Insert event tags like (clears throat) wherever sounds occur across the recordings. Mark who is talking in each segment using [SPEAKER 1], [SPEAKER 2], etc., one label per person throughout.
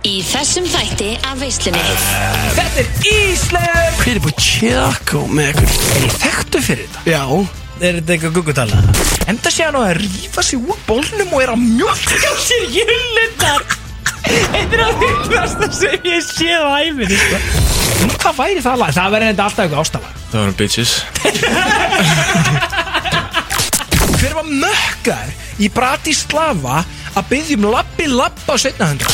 [SPEAKER 1] Í þessum þætti af veislunni
[SPEAKER 2] Þetta er Ísland
[SPEAKER 3] Hver er búið tjekko með eitthvað?
[SPEAKER 2] Er ég þekktu fyrir þetta?
[SPEAKER 3] Já,
[SPEAKER 2] Er þetta eitthvað guggutala? Enda sé hann á að rífa sig úr bólnum og er að mjölka sér jullindar Þetta er að fyrsta sem ég séð á æfinni sko. Nú, Hvað væri það lag? Það verður enda alltaf eitthvað ástala
[SPEAKER 4] Það var bitches
[SPEAKER 2] Hver var mökkar í Bratislava að byggja um labbi labba á setna hundra?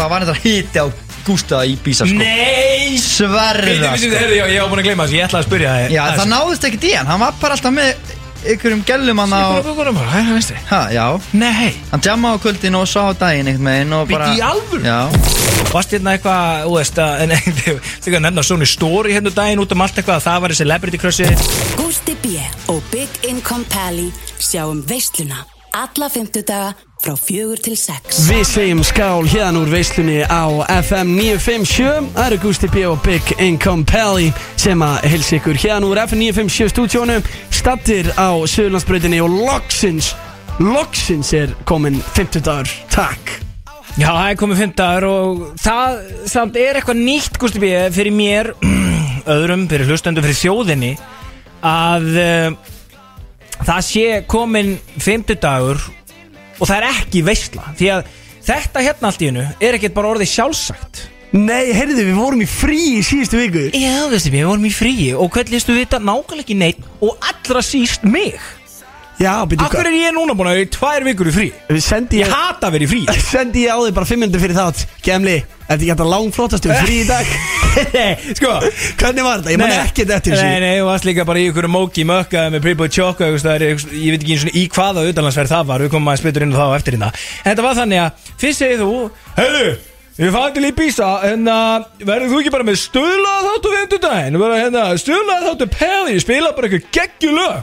[SPEAKER 5] Það var þetta híti á Gústa í Bísa sko
[SPEAKER 2] Nei Býtu,
[SPEAKER 5] Sverða
[SPEAKER 2] býtu,
[SPEAKER 5] sko
[SPEAKER 2] býtu, heyrðu, já, ég var búin að gleyma þessu, ég ætlaði að spyrja það
[SPEAKER 5] Já, það náðist ekkert í hann Hann var bara alltaf með ykkurum gellum hann á
[SPEAKER 2] ná Hæra vinstri
[SPEAKER 5] Ha, já
[SPEAKER 2] Nei
[SPEAKER 5] Hann jamma á kvöldin og sá á daginn einhvern veginn og bara
[SPEAKER 2] Bíddu, í alvöru?
[SPEAKER 5] Já
[SPEAKER 2] Varst hérna eitthvað, þú veist að (laughs) Nei, þú veist ekki að nefna Sony Story hérna daginn út um allt eitthvað að Það var í Celebrity Crussi
[SPEAKER 6] Gústi B. og Big Income Pally sjáum um veisluna alla fymtudaga frá fjögur til sex.
[SPEAKER 3] við segjum skál hérna úr veislunni á FM 957 Það eru Gusti B og Big Income Pally sem að helsa ykkur hérna úr FM 957 stúdjónu Stattir á Suðurlandsbrautinni og loksins, loksins er komin 50 dagur, takk
[SPEAKER 2] Já, það er komið fymtaður og það samt er eitthvað nýtt, Gusti B, fyrir mér, (clears throat) öðrum, fyrir hlustendum, fyrir þjóðinni að uh, það sé komin fymtudagur og það er ekki veistla því að þetta hérna allt í hennu er ekkert bara orðið sjálfsagt
[SPEAKER 3] Nei, heyrðu, við vorum í frí í síðustu viku
[SPEAKER 2] Já, Gusti B, við vorum í fríi og hvernig listu við þetta nákvæmlega ekki neitt og allra síst mig
[SPEAKER 3] Já, byrju,
[SPEAKER 2] Akkur er ég núna búin að vera í tvær vikur í frí
[SPEAKER 3] Við sendi
[SPEAKER 2] Ég
[SPEAKER 3] ég,
[SPEAKER 2] hata að vera í frí
[SPEAKER 3] (laughs) sendi ég á þig bara 5 minnum fyrir þátt Gemli, þetta er ekki þetta langflottast um frí í
[SPEAKER 6] (laughs)
[SPEAKER 3] dag
[SPEAKER 2] Sko,
[SPEAKER 3] Hvernig var þetta? Ég man
[SPEAKER 2] Nei.
[SPEAKER 3] ekkert eftir þessu
[SPEAKER 2] Nei, nei, þú varst líka bara í ykkur móki mökkaði með Preboy Choco einhvers staðar, einhvers- Ég veit ekki eins og í hvaða utanlandsferð það var Við komum að spytur inn á það á eftir hérna En þetta var þannig að Fyrst segir þú Heiðu, ég fann til í Bísa En að verður þú ekki bara með stöðlaða þáttu Vindudaginn Bara hérna, stöðlaða þáttu Peli Ég spila bara eitthvað geggjulög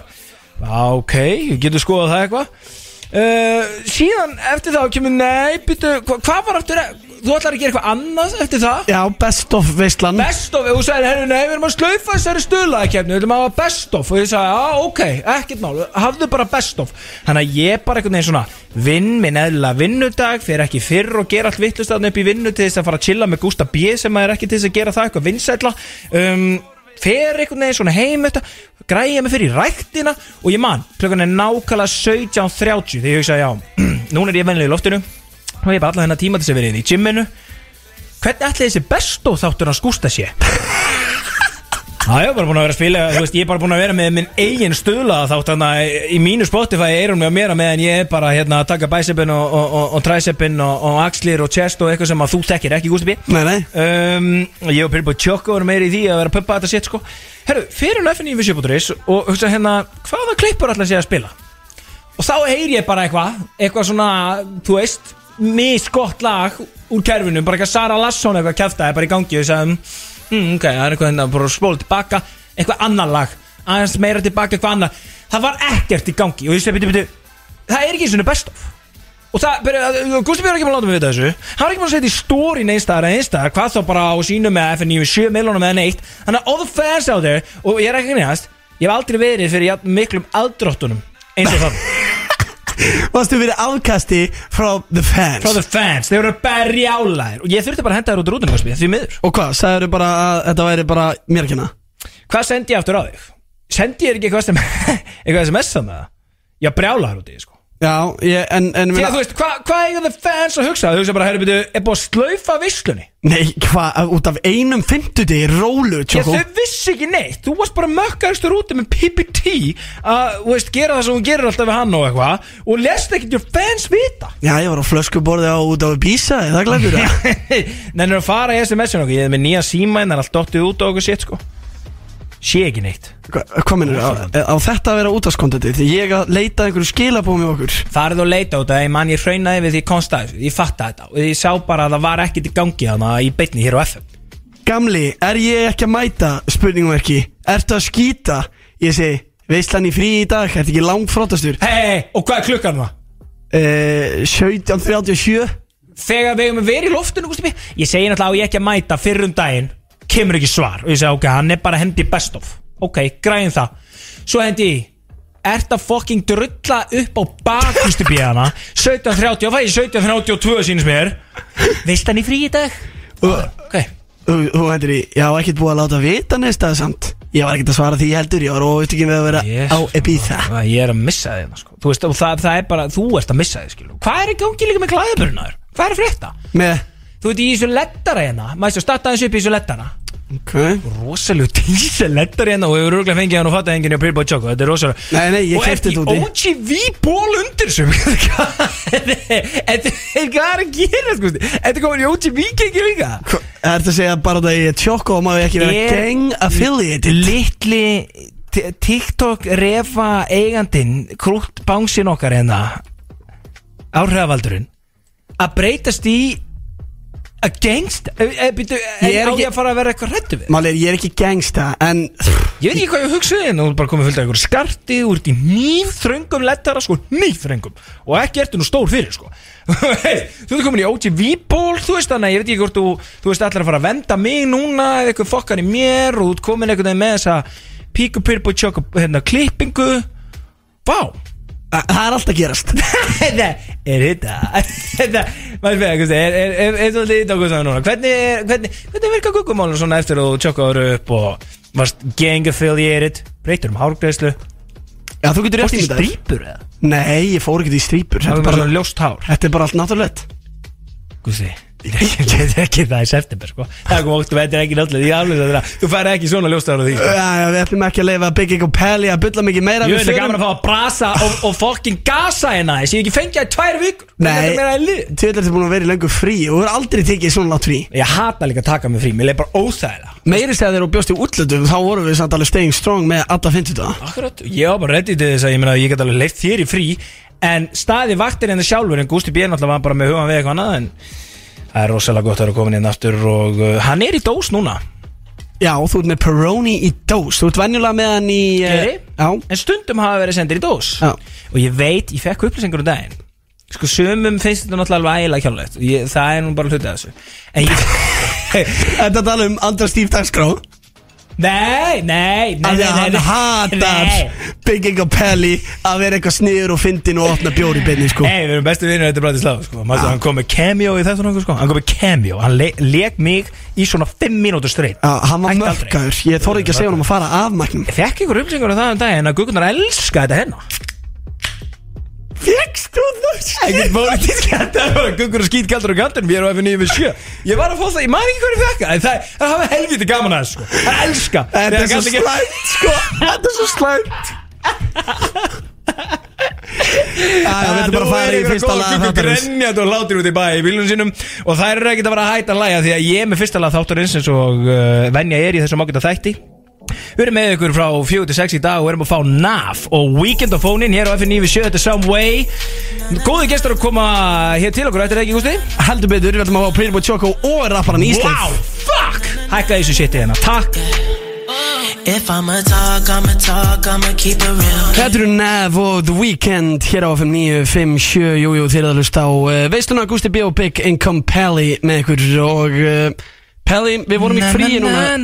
[SPEAKER 2] Já, Ok, ég getur skoðað það eitthvað Uh, síðan eftir það kemur nei, byrju, hva, hvað var eftir þú ætlar að gera eitthvað annað eftir það
[SPEAKER 3] Já, best of veistlan
[SPEAKER 2] best of, og þú sagði, herru, nei, við erum að slaufa þessari stöðlaðakefni, við erum að hafa best of og ég sagði, já, ok, ekkert mál, hafðu bara best of, þannig að ég bara einhvern veginn svona vinn minn eðla vinnudag fyrir ekki fyrr og gera allt vittlust þarna upp í vinnu til þess að fara að chilla með Gústa B sem að er ekki til þess að gera það eitthvað vinsætla um, fer einhvern veginn svona heim þetta, græja mig fyrir ræktina og ég man, klokkan er nákvæmlega 17.30 þegar ég hugsa, já, (clears throat) núna er ég venlega í loftinu og ég bara allan hennar tíma til þess að vera inn í gymminu Hvernig ætli þessi bestó þáttur hans Gústa sé? Já, ég er bara búin að vera að spila, þú veist, ég er bara búin að vera með minn eigin stöðlaða þátt Þannig að í mínu Spotify er hún með að mér að meðan ég er bara hérna, að taka bæsepin og, og, og, og træsepin og, og axlir og chest og eitthvað sem að þú þekkir ekki, Gústi B
[SPEAKER 3] Nei, nei
[SPEAKER 2] um, Ég og Pirbo Tjokko erum meira í því að vera að pumpa þetta sétt sko Herru, fyrir löfinni við sjöputuris og hugsa hérna, hvaða klippur ætla sé að spila? Og þá heyr ég bara eitthvað Eitthvað svona, þú veist Misgott lag úr kerfinu Bara eitthvað Sara Larsson eitthvað kæftaði bara í gangi Og ég sagði, mm, ok, það er eitthvað hérna Bara spóla tilbaka, eitthvað annar lag Aðeins meira tilbaka, eitthvað annar Það var ekkert í gangi og ég segi, byrju, byrju Það er ekki svona best of Og það, byrju, Gusti Björn er ekki búin að láta mig vita þessu Hann er ekki búin að setja í stóri neinstæðar en einstæðar Hvað þá bara á sínu með FNU 7 miljónum eða neitt Þannig að all the fans out there Og ég er ekki neðast Ég hef aldrei verið fyrir jafn miklum aðdróttunum Eins og þannig
[SPEAKER 3] Varstu verið afkasti frá The Fans
[SPEAKER 2] Frá the fans, þeir voru berjálaðir Og ég þurfti bara að henda þér út úr rútunum Guspi, Því miður
[SPEAKER 3] Og hvað, sagðurðu bara að þetta væri bara mér að kynna?
[SPEAKER 2] Hvað sendi ég aftur á þig? Sendi ég þér ekki eitthvað sem (laughs) Eitthvað sem essa með það? Já, brjálaðir út í sko
[SPEAKER 3] Já, ég, en, en
[SPEAKER 2] Þegar þú veist, hva- hvað eiga the fans að hugsa? Þau hugsa bara, herri, byrju, er búið að slaufa visslunni
[SPEAKER 3] Nei, hvað, út af einum fimmtudegi rólu,
[SPEAKER 2] Ég,
[SPEAKER 3] tjókó
[SPEAKER 2] þau vissi ekki neitt, þú varst bara mökkaðistur úti með PPT að, þú veist, gera það sem hún gerir alltaf við hann og eitthvað og lest ekki your fans vita (laughs)
[SPEAKER 3] Já, ég var á flöskuborði á út af Bísa, er það glæður það?
[SPEAKER 2] Nennir að fara í SMS-un okkur, ég er með nýja síma en það er allt dottið út og okkur sétt sko Sé ekki neitt
[SPEAKER 3] Hva- Hvað minnur, á, á þetta að vera út af skontandi Því ég að leita að einhverju skilabóð með okkur
[SPEAKER 2] farið og leita út að ég man ég hraunnaði við því konstæðis ég fatta þetta og ég sá bara að það var ekkert í gangi þannig að ég beitni hér á FM
[SPEAKER 3] Gamli, er ég ekki að mæta, spurningum ekki Ertu að skýta? Ég segi, veistlan í frí í dag, ertu ekki langfrótastur?
[SPEAKER 2] hei, hei, og hvað er klukkan það?
[SPEAKER 3] Uh, 17.37
[SPEAKER 2] þegar við hefum verið í loftinu Gústi B, ég segi náttúrulega á ég ekki að mæta fyrr um daginn kemur ekki svar og ég segi ok, hann er bara hendi best of ok, græðin það svo hendi ég í, ert að fucking drulla upp á (laughs) bakkustubíðana 17.30 og fæði 17.32 sínist mér Veist hann í frí í dag? Ok,
[SPEAKER 3] Þú þú hendur í, ég hafa ekkert búið að láta vita neist að samt Ég var ekkert að svara því ég heldur, ég var óuttökin við að vera
[SPEAKER 2] Yes.
[SPEAKER 3] á Ibiza
[SPEAKER 2] Það, ég er að missa þig hérna, sko. Þú veist, og það, það er bara, þú ert að missa þig skilu. Hvað er í gangi líka með klæðaburnaður? Hvað er að frétta?
[SPEAKER 3] Með,
[SPEAKER 2] Þú veit, í þessu lettara hérna Mæstu, starta þessu upp í þessu lettara
[SPEAKER 3] ok
[SPEAKER 2] Rosalegu dísa lettara hérna Og hefur rúglega fengið hann og fatta enginn á Pirbo Choco Þetta er rosalegu
[SPEAKER 3] Nei, nei, ég keypti þetta úti.
[SPEAKER 2] Og eftir OGV ból undir (laughs) sem Hvað er hvað er að gera, sko Þetta komin í OGV kengi líka
[SPEAKER 3] Það ert að segja bara það að ég er tjokko og maður ekki vera
[SPEAKER 2] Er-
[SPEAKER 3] gang affiliated
[SPEAKER 2] Littli t- TikTok refa eigandin Krútt bánsin okkar hérna Áhrifavaldurinn Að breytast í Against Ég er
[SPEAKER 3] Ég er
[SPEAKER 2] ekki
[SPEAKER 3] ekki-
[SPEAKER 2] að fara að vera eitthvað hrættu við
[SPEAKER 3] Máli er, ég er ekki gangsta, en
[SPEAKER 2] Ég veit ekki hvað ég hugsaði en þú er bara komið fullt af ykkur skarti Þú ert í nýfþröngum lettara sko Nýfþröngum Og ekki ertu nú stór fyrir sko (laughs) Hey, Þú ert komin í OGV-ból Þú veist þannig að ég veit ekki hvort þú Þú veist allar að fara að venda mig núna Eða eitthvað fokkar í mér Og þú ert komin einhvern veginn með þessa Píku pyrbu tjóka hérna klippingu Vá
[SPEAKER 3] a- það er allt að gerast
[SPEAKER 2] Þetta er (laughs) þetta Þetta Maður fyrir eitthvað Er, er, er, er svolítið þetta okkur þannig núna Hvernig, er- hvernig, hvernig virka guggumálun svona eftir að þú tjókaður upp og varst gang affiliated Breytur um hárgreðslu
[SPEAKER 3] Já, þú getur rétt
[SPEAKER 2] Fórst í
[SPEAKER 3] í þetta
[SPEAKER 2] strýpur eða?
[SPEAKER 3] Nei, ég fór ekkert í strýpur
[SPEAKER 2] Það
[SPEAKER 3] Þetta
[SPEAKER 2] var
[SPEAKER 3] er
[SPEAKER 2] bara
[SPEAKER 3] bara,
[SPEAKER 2] svona ljóst hár
[SPEAKER 3] þetta er bara allt náttúrulegt
[SPEAKER 2] Guði Þetta er ekki það í september sko Það kom óttu, þetta er ekki náttúrulega Ég aflýsa þetta Þú fær ekki svona ljóst hár á því sko.
[SPEAKER 3] Já, já, við ætlum ekki að leifa að byggja eitthvað pæli að bylla mikið meira
[SPEAKER 2] Ég
[SPEAKER 3] við
[SPEAKER 2] veit að
[SPEAKER 3] förum-
[SPEAKER 2] gaman að fá að brasa og, og fokkin gasa hérna Þessi ég hef ekki fengið það í tvær vikur Þetta er meira en
[SPEAKER 3] Nei,
[SPEAKER 2] lið.
[SPEAKER 3] tjóðlega þetta búin að vera í löngu frí og þú er aldrei tekið svona látt frí
[SPEAKER 2] Ég hata líka að taka mig frí Mér leið bara óþægilega
[SPEAKER 3] Meiri segja þegar þú bjóst í útlöndum þá vorum við samt alveg staying strong með alla 50 daga
[SPEAKER 2] Akkurat, ég var bara ready til þess að ég meina að ég get alveg leitt þér í frí En staði vaktir en það sjálfur En Gústi Björn alltaf var bara með hugan við eitthvað annað En það er rosalega gott að vera komin inn aftur Og uh, hann er í dós núna
[SPEAKER 3] Já, þú ert með Peroni í dós Þú ert venjulega með hann í eh,
[SPEAKER 2] Geri?
[SPEAKER 3] Já,
[SPEAKER 2] En stundum hafa verið sendir í dós
[SPEAKER 3] Já.
[SPEAKER 2] Og ég veit, ég fekk upplýsingur um daginn Sko, sumum finnst þetta náttúrulega alveg ægilega kjálulegt ég, Það er nú bara hlutið þessu En ég... (laughs)
[SPEAKER 3] þetta tala um andra stíf dagskrá
[SPEAKER 2] nei, nei, nei, nei,
[SPEAKER 3] Þannig að
[SPEAKER 2] nei,
[SPEAKER 3] hann
[SPEAKER 2] nei Nei.
[SPEAKER 3] hatar Bygging og Pelli að vera eitthvað sniður og fyndin og opna bjóri beinni sko
[SPEAKER 2] Nei, við erum bestu vinnir Þetta er Bratislava sko. Mastu,
[SPEAKER 3] Já.
[SPEAKER 2] Hann kom með cameo í þetta nokkuð, sko. Hann kom með cameo Hann le leik mig í svona 5 mínútur streitt
[SPEAKER 3] Já, hann var
[SPEAKER 2] Ætti aldrei.
[SPEAKER 3] mörkaður Ég þorði ekki að segja hann að fara af magnum
[SPEAKER 2] Ég fekk ykkur umsengur á það um daginn að Guðgunar elska þetta hérna? hennar
[SPEAKER 3] Fegst þú þau?
[SPEAKER 2] Ekkert pólitísk Þetta er bara Guðgunar skýt kaldur og kaldur Við erum að finna yfir sjö Ég var að fá það, ég maður ekki hverju fekk það En það, það hafa helviti gaman að þessu, sko. Hann elska
[SPEAKER 3] Þetta
[SPEAKER 2] Þegar
[SPEAKER 3] er svo
[SPEAKER 2] kallar ekki-
[SPEAKER 3] slæmt sko Þetta er svo
[SPEAKER 2] (laughs)
[SPEAKER 3] slæmt Æ, Við ætlum bara að fara í fyrsta lag
[SPEAKER 2] Nú er ykkur að góða kukku
[SPEAKER 3] þáttarins.
[SPEAKER 2] grenjað og látir út í bæ í bílunum sínum Og þær eru ekkert að vera að hætta að læja Því að ég er með fyrsta lag þáttarins eins og uh, venja er í þessum ágæta þætti Við erum með ykkur frá 4-6 í dag og erum að fá NAF og Weekend of Phone-in hér á FN97, þetta er Some Way Góði gestur að koma hér til okkur, þetta er ekki gústi?
[SPEAKER 3] Heldur betur, við ætlum að fá Pirbo Choco og rapparan Ísleif
[SPEAKER 2] Wow, fuck! Hækka þessu shiti hérna, takk
[SPEAKER 4] If I'ma talk, I'ma talk, I'ma keep it real.
[SPEAKER 3] Þetta eru Nev og The Weeknd hér á FM 957, jú, jú, þeir eru að hlusta á uh, veisluna Gusti B. og Big Income Pally með ykkur og uh, Pally, við vorum í fríi núna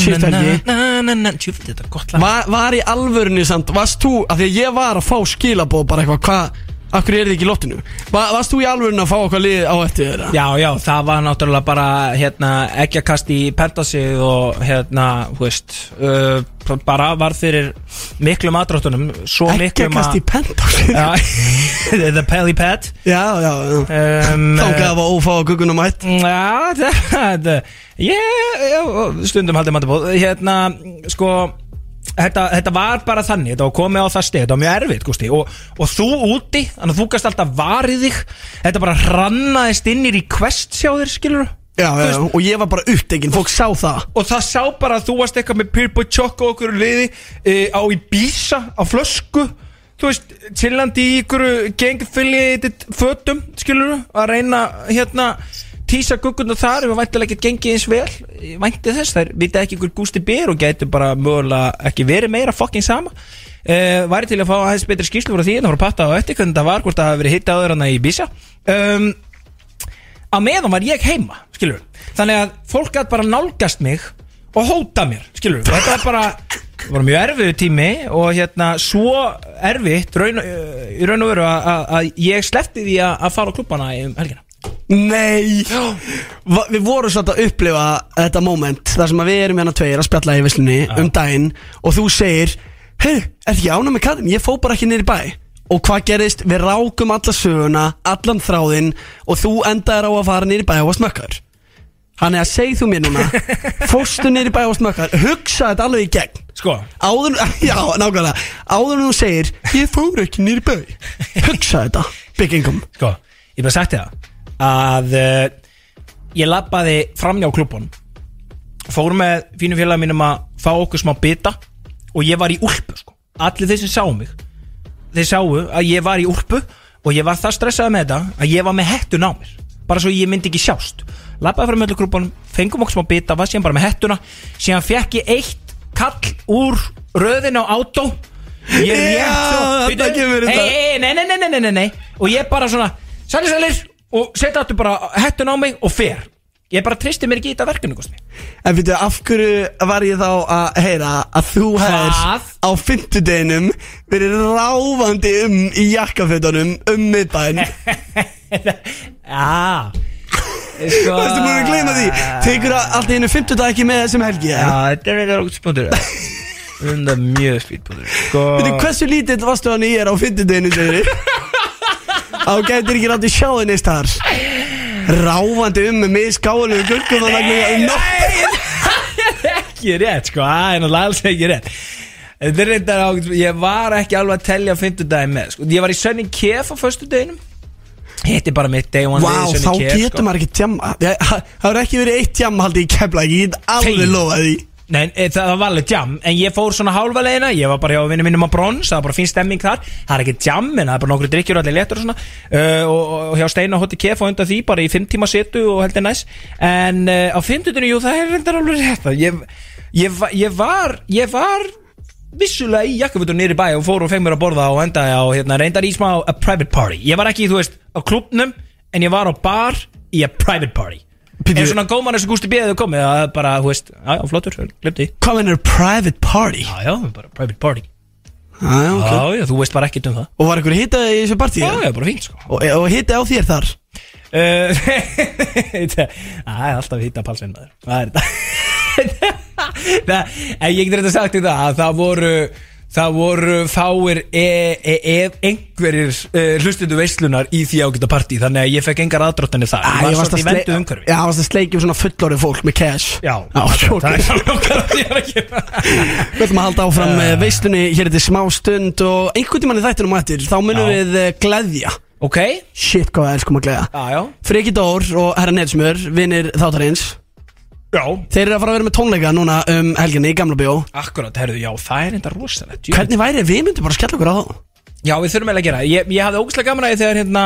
[SPEAKER 3] Síðustu helgi.
[SPEAKER 2] núna Tjúfti, þetta er gott lag
[SPEAKER 3] Va, Var í alvörinu samt, varst þú, af því að ég var að fá skilabóð bara eitthvað, hvað, af hverju er þið ekki í lottinu Va, Varst þú í alvörinu að fá eitthvað lið á eftir þeirra?
[SPEAKER 2] Já, já, það var náttúrulega bara hérna, ekkjakast í pentasið og hérna, þú veist uh, bara var fyrir miklum aðdráttunum, svo
[SPEAKER 3] Ekki að
[SPEAKER 2] miklum
[SPEAKER 3] kasta í pentásin Já,
[SPEAKER 2] Já, (laughs) The Pelly Pad
[SPEAKER 3] já, já
[SPEAKER 2] um,
[SPEAKER 3] Þákað að var ófá að gugguna mætt
[SPEAKER 2] Já, (laughs) það Ég, ég stundum haldið maður bóð Hérna, sko þetta, þetta var bara þannig, þetta var komið á það stið Þetta var mjög erfitt, Gústi Og, og þú úti, þannig að þú gast alltaf varið þig Þetta bara rannaðist inn í request sjá þér, skilur
[SPEAKER 3] Já, já, já, og ég var bara upptekinn, fólk sá það
[SPEAKER 2] og það sá bara að þú varst eitthvað með Pirbo Choco og okkur liði e, á í bísa, á flösku þú veist, chillandi í ykkur gengfiliðið fötum, skilur að reyna hérna tísa gugguna þar, við væntilega ekki gengið eins vel Ég vænti þess, þær vita ekki ykkur gústi byr og gætu bara mögulega ekki verið meira fucking sama Uh, væri til að fá aðeins betri skýrslu frá því en það voru að patta á eftir hvernig það var hvort það hafi verið hitt áður hana í Bísa um, á meðan var ég heima, skilur Þannig að fólk gætt bara nálgast mig og hóta mér, skilur Þetta er bara,
[SPEAKER 7] Takk
[SPEAKER 2] Það var mjög erfiðu tími og hérna svo erfitt raun, uh, í raun og veru að- að að ég sleppti því að að fara á klubbana um helgina
[SPEAKER 3] Nei Va Við vorum svolítið að upplifa þetta moment Þar sem að við erum hérna tveir að spjalla í visslunni um daginn Og þú segir Hei, er þið ánum með kallum? Ég fó bara ekki niður í bæ Og hvað gerist? Við rákum alla söguna Allan þráðinn Og þú endaðir á að fara niður í bæ og að smökkar Þannig að segð þú mér núna Fórstu niður í bæ og að smökkar Hugsa þetta alveg í gegn
[SPEAKER 2] Sko,
[SPEAKER 3] Áður, (laughs) já, nákvæmlega Áður en þú segir, ég fór ekki niður í bæ Hugsa þetta, byggingum
[SPEAKER 2] sko, ég bara sagt þér það að uh, ég labbaði framjá klubbun fór með fínu félag mínum að fá okkur smá bita og ég var í úlpu sko. allir þeir sem sáu mig þeir sáu að ég var í úlpu og ég var það stressaði með þetta að ég var með hettun á mér bara svo ég myndi ekki sjást labbaði frá möllugrúpan, fengum okkur smá bita var síðan bara með hettuna síðan fekk ég eitt kall úr röðin á átó ég
[SPEAKER 3] Já, þarna kemur þetta.
[SPEAKER 2] hei, hei, nei, nei, nei, nei, nei, nei, nei og ég bara svona, sælir, sælir og setja þetta bara hettun á mig og fer ég bara tristi mér ekki í þetta verkefni kosti.
[SPEAKER 3] En fyrir af hverju var ég þá að heyra að þú hefðir
[SPEAKER 2] Hvað?
[SPEAKER 3] á fymtudeginum verið ráfandi um í jakkafötunum um
[SPEAKER 2] (laughs)
[SPEAKER 3] miðbæn Þú
[SPEAKER 2] Já (laughs) Sko
[SPEAKER 3] veist, þú múið að gleyma því Tekur að allt í einu fymtudag ekki með sem helgi
[SPEAKER 2] Já,
[SPEAKER 3] ja.
[SPEAKER 2] þetta er eitthvað spýtbúndur Þetta er mjög spýtbúndur Sko
[SPEAKER 3] Veitu, hversu lítill varstu hann í er á fymtudeginu,
[SPEAKER 2] (laughs)
[SPEAKER 3] segir þið? Á gætir ekki rátti sjá þið neist þar Ráfandi um með skálu gurkum og lagum um nótt
[SPEAKER 2] Ekki rétt, sko Það er náttúrulega alls ekki rétt Þetta er reyndar ágætt Ég var ekki alveg að telja fimmtudaginn með sko. Ég var í Sunny Kef á föstudeginum Hitti bara mitt day one
[SPEAKER 3] Vá, þá
[SPEAKER 2] sko.
[SPEAKER 3] getur maður ekki tjamma Já, ha- Það hefur ekki verið eitt tjamma haldi í kefla Ég get alveg
[SPEAKER 2] Þegið.
[SPEAKER 3] lofað því
[SPEAKER 2] Nei, e, það það var alveg jam En ég fór svona hálfa leiðina Ég var bara hjá vinnum mínum á brons Það var bara fín stemming þar Það er ekki jam En það er bara nokkru drikkjur og Allir léttur og svona uh, og, og, og hjá Steina Hotti Kef Og undan því Bara í fimm tíma setu Og heldur næs En uh, á fimmtutunni Jú, það er reyndar alveg rétt ég, ég, va- ég var Ég var Vissulega í jakkafutur nýri bæ Og fór og feng mér að borða Og endaði á hérna, Reyndar í smá A private party Ég var ekki, þú veist Á klubnum En ég var á bar Í a private party
[SPEAKER 3] Pítur-
[SPEAKER 2] Pítur. Er svona góman þessu gústi bíðið komið að bara, hú veist, já, já, flottur, glemdi því
[SPEAKER 3] Hvað mennur private party?
[SPEAKER 2] Já, já, bara private party
[SPEAKER 3] Ah, já, ok.
[SPEAKER 2] Já, já, þú veist bara ekkert um það
[SPEAKER 3] Og var einhver hitaði í þessu partíu?
[SPEAKER 2] Já, já, bara fínt, sko
[SPEAKER 3] Og, eh, og hitaði á þér þar?
[SPEAKER 2] Uh, (laughs) Það er alltaf hitta palsinn maður Það er (laughs) þetta Það, en ég getur þetta sagt í það að það voru Það voru fáir ef e, e, einhverjir uh, hlustundu veislunar í því ágæta partí Þannig að ég fekk engar aðdróttanir þar Ég var svolítið í vendu umhverfi
[SPEAKER 3] Já, varst að sleikjum svona fullorðið fólk með cash
[SPEAKER 2] Já,
[SPEAKER 3] Já,
[SPEAKER 2] (laughs)
[SPEAKER 3] ok
[SPEAKER 2] það er svona okkar að ég er að gera
[SPEAKER 3] Við ætlum að halda áfram uh. veislunni hér til smá stund Og einhvern tímann í þættinum á eftir Þá munum
[SPEAKER 2] Já.
[SPEAKER 3] við uh, gleðja
[SPEAKER 2] (laughs) Ok,
[SPEAKER 3] Shit, hvað við elskum að gleðja
[SPEAKER 2] já, já
[SPEAKER 3] Freki Dór og Herra Nelsmur, vinnir þáttarins
[SPEAKER 2] Já,
[SPEAKER 3] Þeir eru að fara að vera með tónleika núna um helginni í Gamla Bjó
[SPEAKER 2] akkurat, herðu, já, það er enda rosalegt Jú.
[SPEAKER 3] Hvernig væri ef við myndum bara að skella okkur á þá?
[SPEAKER 2] Já, við þurfum eiginlega að gera það. Ég, ég hafði ógæslega gaman að ég þegar hérna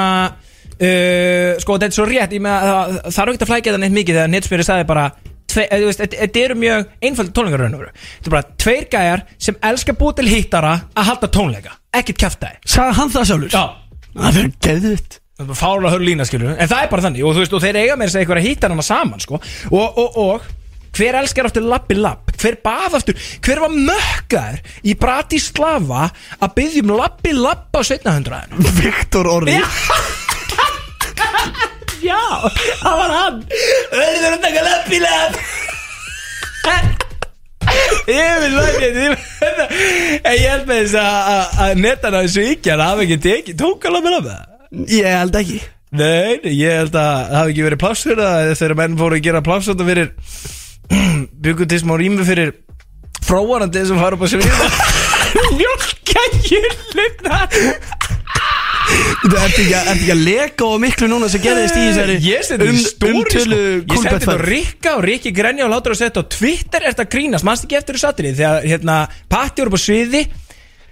[SPEAKER 2] uh, Sko, þetta er svo rétt, ég með það, það er ekkert að flækja þetta neitt mikið Þegar Netsmjöri sagði bara tve- eh, þú veist, Þetta þetta eru mjög einföld tónleikar raun og veru Þetta er bara tveir gæjar sem elska búið til hittara að halda tónleika Ekkert kjaftaði
[SPEAKER 3] Sagði hann það sjálfur?
[SPEAKER 2] Já
[SPEAKER 3] Það verður geðvitt
[SPEAKER 2] Það er bara fárlega hörlu lína skilur En það er bara þannig Og, þú veist, og þeir eiga með þess að eitthvað að hýta hana saman sko. og, og, og hver elskar aftur lappi lapp Hver bað aftur Hver var mökkar í Bratislava Að byggjum lappi lapp á setna hundraðinu
[SPEAKER 3] (laughs) Viktor Orri
[SPEAKER 2] (laughs) Já, það var hann Verður að taka lappi (laughs) lapp Ég vil lækja þetta En ég held með þess að- að að netan að þessu ekki Hann hafi ekki tekið Tókala með lappi
[SPEAKER 3] Ég held ekki
[SPEAKER 2] Nei, nei, ég held að það hafi ekki verið plássur að þegar menn fóru að gera pláss þetta fyrir (clears throat) byggu til smá rými fyrir fróarandi sem fara upp að svíða Mjölka júlina
[SPEAKER 3] Þú ert ekki, að- ertu ekki að leka og miklu núna sem gerðist í þessari um-
[SPEAKER 2] Ég sendi þetta í stóri
[SPEAKER 3] umtölu
[SPEAKER 2] Ég sendi þetta á
[SPEAKER 3] kúlbettferð
[SPEAKER 2] Rikka og Rikki Grenja og látur að setja á Twitter Er þetta grínast, mannst ekki eftir þessu atrið Þegar hérna, Patti voru upp á sviði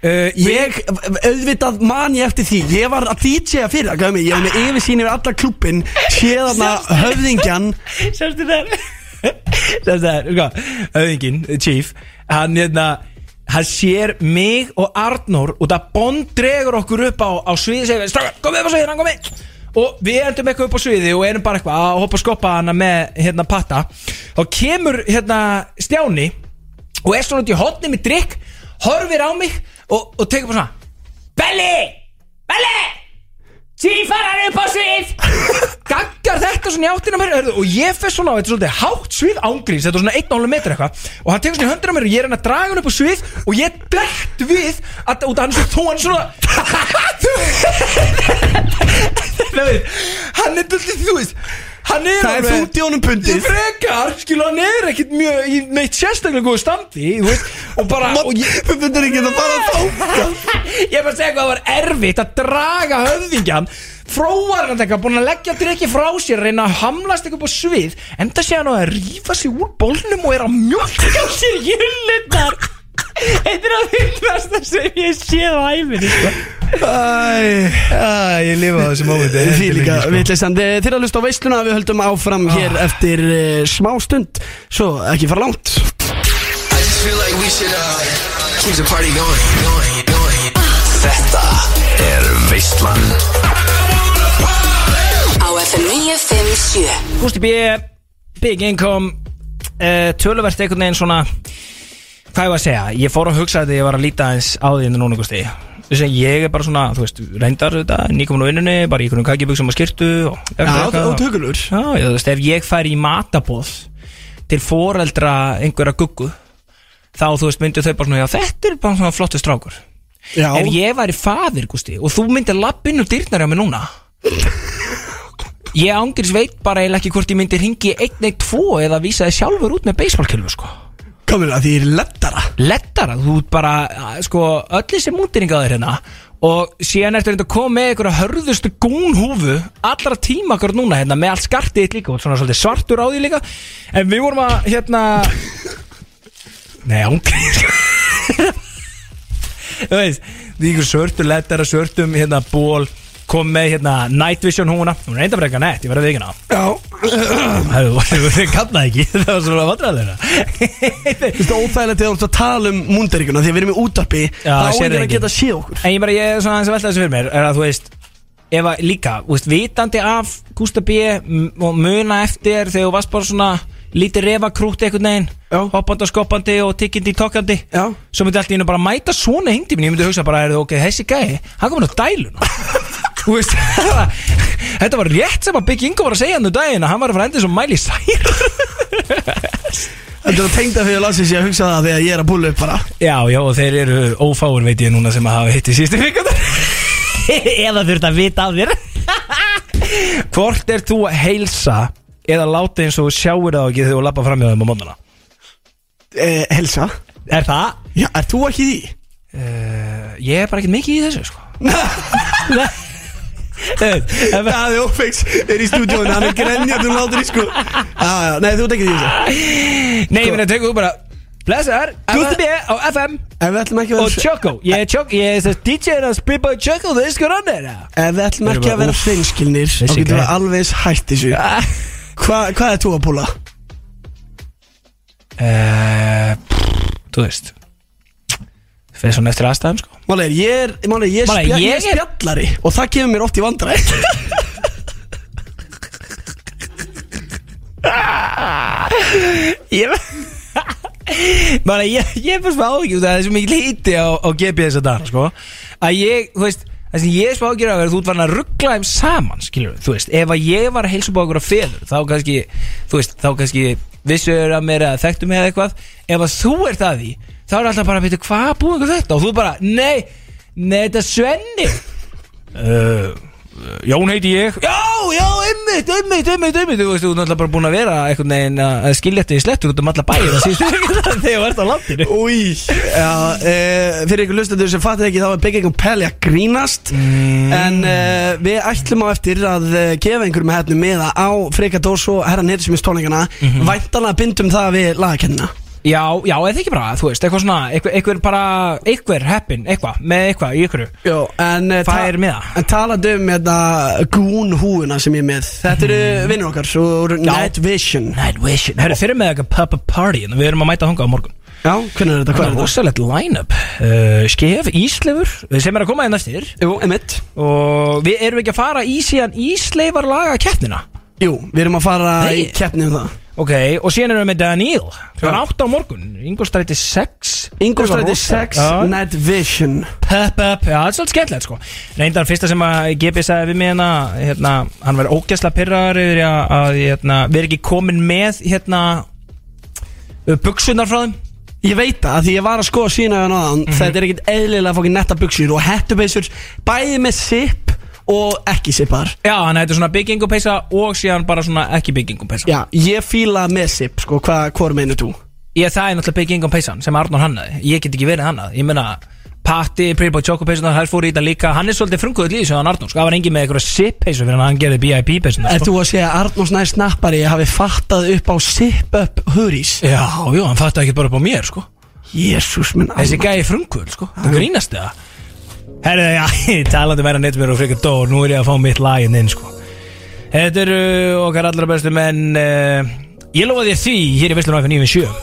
[SPEAKER 2] Uh,
[SPEAKER 3] Ég, auðvitað man ég eftir því Ég var að DJ-a fyrir það, gæmi Ég var með yfirsýn yfir alla klúppin Séðarna höfðingjan
[SPEAKER 2] Sérstu þær Sérstu þær, sko Öðingin, Chief Hann, hérna Hann sér mig og Arnór Og það Bond dregur okkur upp á, á sviði Segir, strákar, komið upp á sviði, hann komið Og við endum eitthvað upp á sviði og erum bara eitthvað Að hoppa að skoppa hana með, hérna, patta Þá kemur, hérna, Stjáni og er svona út í hotni með drikk horfir á mig og, og tekur bara svona Belli! Belli! Tífarar upp á svið!
[SPEAKER 3] (laughs)
[SPEAKER 2] Gaggar þetta svona í áttina mér hörðu, og ég fer svona á þetta svolítið hátt svið ángríns þetta er svona 1,5 metra eitthvað og hann tekur svona í höndina á mér og ég er hann að draga hann upp á svið og ég dætt við að, út af hann er svo þó hann er
[SPEAKER 3] (laughs)
[SPEAKER 2] svona þú veist hann er dætt þú veist hann er
[SPEAKER 3] Það er
[SPEAKER 2] alveg-
[SPEAKER 3] þungt í honum pundið.
[SPEAKER 2] Ég frekar, skilu hann er ekkit mjög í neitt sérstaklega góðu standi þú veist, og bara og ég,
[SPEAKER 3] Þú myndir ekki að fara þá
[SPEAKER 2] ég er bara að segja hvað það var erfitt að draga höfðingjan fróar hann eitthvað, búin að leggja drikki frá sér reyna að hamlast eitthvað á svið enda sé hann á að rífa sig úr bólnum og er að mjölka á sér jullundar Þetta er að fyllast það sem ég séð á æfinni
[SPEAKER 5] Æ, ég lifa á þessu mómenti
[SPEAKER 3] Því líka
[SPEAKER 2] sko.
[SPEAKER 3] vitleysandi Þeir að hlusta á veisluna Við höldum áfram
[SPEAKER 2] Ah.
[SPEAKER 3] hér eftir uh, smá stund Svo ekki fara langt
[SPEAKER 7] I just feel like we should uh, keep the party going, going, going. Þetta er Veistlan
[SPEAKER 6] Á FM 957
[SPEAKER 2] Gústi B, Big Income uh, Töluvert einhvern veginn svona Hvað ég var að segja Ég fór að hugsa þetta ég var að líta eins á því en núna Gústi Þessi, Ég er bara svona, þú veist, reyndar þetta Nýkomin á vinnunni, bara í einhvern kakiböksum og skirtu og
[SPEAKER 3] Já, og tökulur
[SPEAKER 2] Já, ég, þú veist, ef ég fær í matabóð til foreldra einhverja guggu þá, þú veist, myndu þau bara svona, já, þetta er bara svona flottu strákur
[SPEAKER 3] Já
[SPEAKER 2] Ef ég væri faðir, Gústi, og þú myndir lappinn og dyrnar á mig núna Ég ángriðs veit bara eiginlega ekki hvort ég myndi ringi 112 eða vísa þið sjálfur út með beisbólkilvu, sko
[SPEAKER 3] Kamil að því er lettara
[SPEAKER 2] Lettara, þú ert bara, að, sko, öll þessi mútiringaður hérna Og síðan ertu reynda að koma með einhverja hörðustu gúnhúfu Allra tíma akkur núna, hérna, með allt skartið þitt líka Og svona svolítið svartur á því líka En við vorum að, hérna Nei, ángriðs Þú veist, því ykkur svörtu lettara, svörtum, hérna, ból kom með hérna Night Vision húna hún er enda frekar nett, ég verði vikina (clears throat) já (laughs) þau kallaði ekki það var svona (laughs) vandræðilega
[SPEAKER 3] Þú veist óþægilegt þegar þú ert að tala um múndaríkuna Þegar við erum í útarpi
[SPEAKER 2] Já,
[SPEAKER 3] Það
[SPEAKER 2] sér
[SPEAKER 3] áhengur að
[SPEAKER 2] enginn.
[SPEAKER 3] geta séð okkur
[SPEAKER 2] En ég bara, ég er svona aðeins að velta þessu fyrir mér Er að þú veist Ef að líka, þú veist, vitandi af Gústa B m- Og muna eftir þegar þú varst bara svona Lítið refakrúti einhvern veginn
[SPEAKER 3] Já.
[SPEAKER 2] Hoppandi og skoppandi og tikkindi í tokkandi
[SPEAKER 3] Já.
[SPEAKER 2] Svo myndi allt í hennu bara mæta svona hindi Ég myndi hugsa bara, er ok, þessi gæi Hann komin á dæluna
[SPEAKER 3] (laughs)
[SPEAKER 2] Þú veist, (laughs) þetta var rétt sem að Big Ingo var að segja hann um daginn að hann var að fara endið sem Miley Cyrus
[SPEAKER 3] Þetta er tengda fyrir landsins ég að hugsa það Þegar ég er að búla upp bara
[SPEAKER 2] Já, já, og þeir eru ófáur veit ég núna sem að hafa hitt í sístu vikundar (laughs) Eða þurft að vita af þér (laughs) Hvort er þú að heilsa eða láta eins og þú sjáir það ekki þegar þú lappa fram hjá þeim á móndana?
[SPEAKER 3] eh, Helsa
[SPEAKER 2] Er það?
[SPEAKER 3] Já, er þú ekki í því?
[SPEAKER 2] Eh, Ég er bara ekkert mikið í þessu, (laughs) sko Nei. Nei.
[SPEAKER 3] Daði Ófeigs er í stúdíónu, hann er grenjandi um látri sko Já, já, nei þú tekir því sko. þessu
[SPEAKER 2] Nei, ég meina, tekur þú bara Blessaðar, Guði B á FM
[SPEAKER 3] Ef við ætlum ekki að
[SPEAKER 2] og
[SPEAKER 3] vera
[SPEAKER 2] Choco Ég er Choco, ég er þess DJ er að spila bara Choco, það er sko rann er það
[SPEAKER 3] Ef við ætlum ekki að vera
[SPEAKER 2] Úff,
[SPEAKER 3] hreinskilnir Þá
[SPEAKER 2] þessi
[SPEAKER 3] getum við
[SPEAKER 2] gæi.
[SPEAKER 3] alveg eins hætt þessu Hva, Hvað er þú að púla?
[SPEAKER 2] Eh, pff, Þú veist Það er svona eftir aðstæðum sko
[SPEAKER 3] Máli er, ég er, máli er,
[SPEAKER 2] Máli er,
[SPEAKER 3] ég, spja,
[SPEAKER 2] ég
[SPEAKER 3] ég
[SPEAKER 2] er-
[SPEAKER 3] er spjallari Og það kemur mér oft í vandræ
[SPEAKER 2] Ég Bara ég, ég er bara smá áhyggjum Það er svo mikið líti á, á GPS að dana sko Að ég, þú veist Það sem ég er smá áhyggjum að vera Þú ert varin að ruggla þeim saman Skiljum við, þú veist Ef að ég var að heilsa upp á okkur á feður Þá kannski, þú veist, þá kannski Vissu er að mér að þekktu mig eða eitthvað Ef að þú ert að því Þá er alltaf bara að byrja hvað búið ykkur þetta Og þú bara, nei, nei, þetta er Svenni uh, Jón heiti ég Já, já, ymmit, ymmit, ymmit, ymmit Þú veist, þú er náttúrulega bara búin að vera einhvern veginn að að skilja þetta í slettur út um alla bæir það síðustu vikuna (laughs) þegar þú ert á landinu
[SPEAKER 3] Új Já, e, fyrir ykkur lustendur sem fattir ekki þá er Big Egg Pelli að grínast
[SPEAKER 2] Mm.
[SPEAKER 3] En e, við ætlum á eftir að e, gefa einhverjum hefnum meða á Freyka Dós og Herran Hirsumins tónleikana mm
[SPEAKER 2] Mhm.
[SPEAKER 3] bindum það við lagakennina
[SPEAKER 2] Já, já, eða ekki bara, þú veist, eitthvað svona eitthvað, eitthvað bara, eitthvað heppin, eitthvað með eitthvað í ykkur
[SPEAKER 3] Jó, en e,
[SPEAKER 2] Fær
[SPEAKER 3] ta-
[SPEAKER 2] miða.
[SPEAKER 3] En talandi um þetta gún húuna sem ég er með Þetta eru
[SPEAKER 2] Mm.
[SPEAKER 3] vinnur okkar svo úr Night Vision
[SPEAKER 2] Night Vision Herru, fyrir með eitthvað pub a party en við erum að mæta þangað á morgun
[SPEAKER 3] Já, hvernig er þetta? Hvað
[SPEAKER 2] Það
[SPEAKER 3] er
[SPEAKER 2] er
[SPEAKER 3] þetta?
[SPEAKER 2] rosalegt line-up uh, Skef, Íslefur, sem er að koma einn eftir
[SPEAKER 3] Jú, emitt
[SPEAKER 2] og við erum ekki að fara í síðan Ísleifar laga keppnina
[SPEAKER 3] Jú, við erum að fara
[SPEAKER 2] Nei.
[SPEAKER 3] í keppni um það
[SPEAKER 2] Ok, og síðan erum við með Daniel Klukkan 8 á morgun, Ingolstræti 6
[SPEAKER 3] Ingolstræti 6,
[SPEAKER 2] Já.
[SPEAKER 3] Night Vision
[SPEAKER 2] Pep, pep, já, það er svolítið skemmtilegt sko Reyndar fyrsta sem að GB sagði við mig hérna, hérna Hann var ógæsla pyrraður yfir því að, að hérna, við erum ekki komin með hérna Buksunar frá þeim
[SPEAKER 3] Ég veit það, af því ég var að skoða sína við hann áðan
[SPEAKER 2] Mhm.
[SPEAKER 3] Þetta er ekkit eðlilega fókin netta buksur og hettubeysur Bæði með sip og ekki sipar
[SPEAKER 2] Já, hann hættu svona byggingupeysa og síðan bara svona ekki byggingupeysa
[SPEAKER 3] Já, ég fíla með sip, sko, hvað, hvað meinu þú?
[SPEAKER 2] Ég það er náttúrulega byggingupeysan sem Arnór hannaði Ég get ekki verið hannað, ég meina Patti, Pretty Boy Choco peysunar, þær fóru í þetta líka Hann er svolítið frumkvöðu líðis hann Arnór sko. Það var engin með einhverja sip peysu fyrir hann að hann gerði BIP peysunar
[SPEAKER 3] Er
[SPEAKER 2] sko.
[SPEAKER 3] þú að segja að Arnórs næri snappari hafi fattað upp á sip-up hurís?
[SPEAKER 2] Já, jú, hann fattaði ekki bara upp á mér sko.
[SPEAKER 3] Jésús minn
[SPEAKER 2] Þessi
[SPEAKER 3] almáttugur.
[SPEAKER 2] gæði frumkvöld sko Það grínast það Herðu, já, (laughs) talandi meira neitt mér og frikar dó Nú er ég að fá mitt lagin inn sko Þetta eru okkar allra bestu menn uh, Ég lofa þér því Hér í Veslun FM 97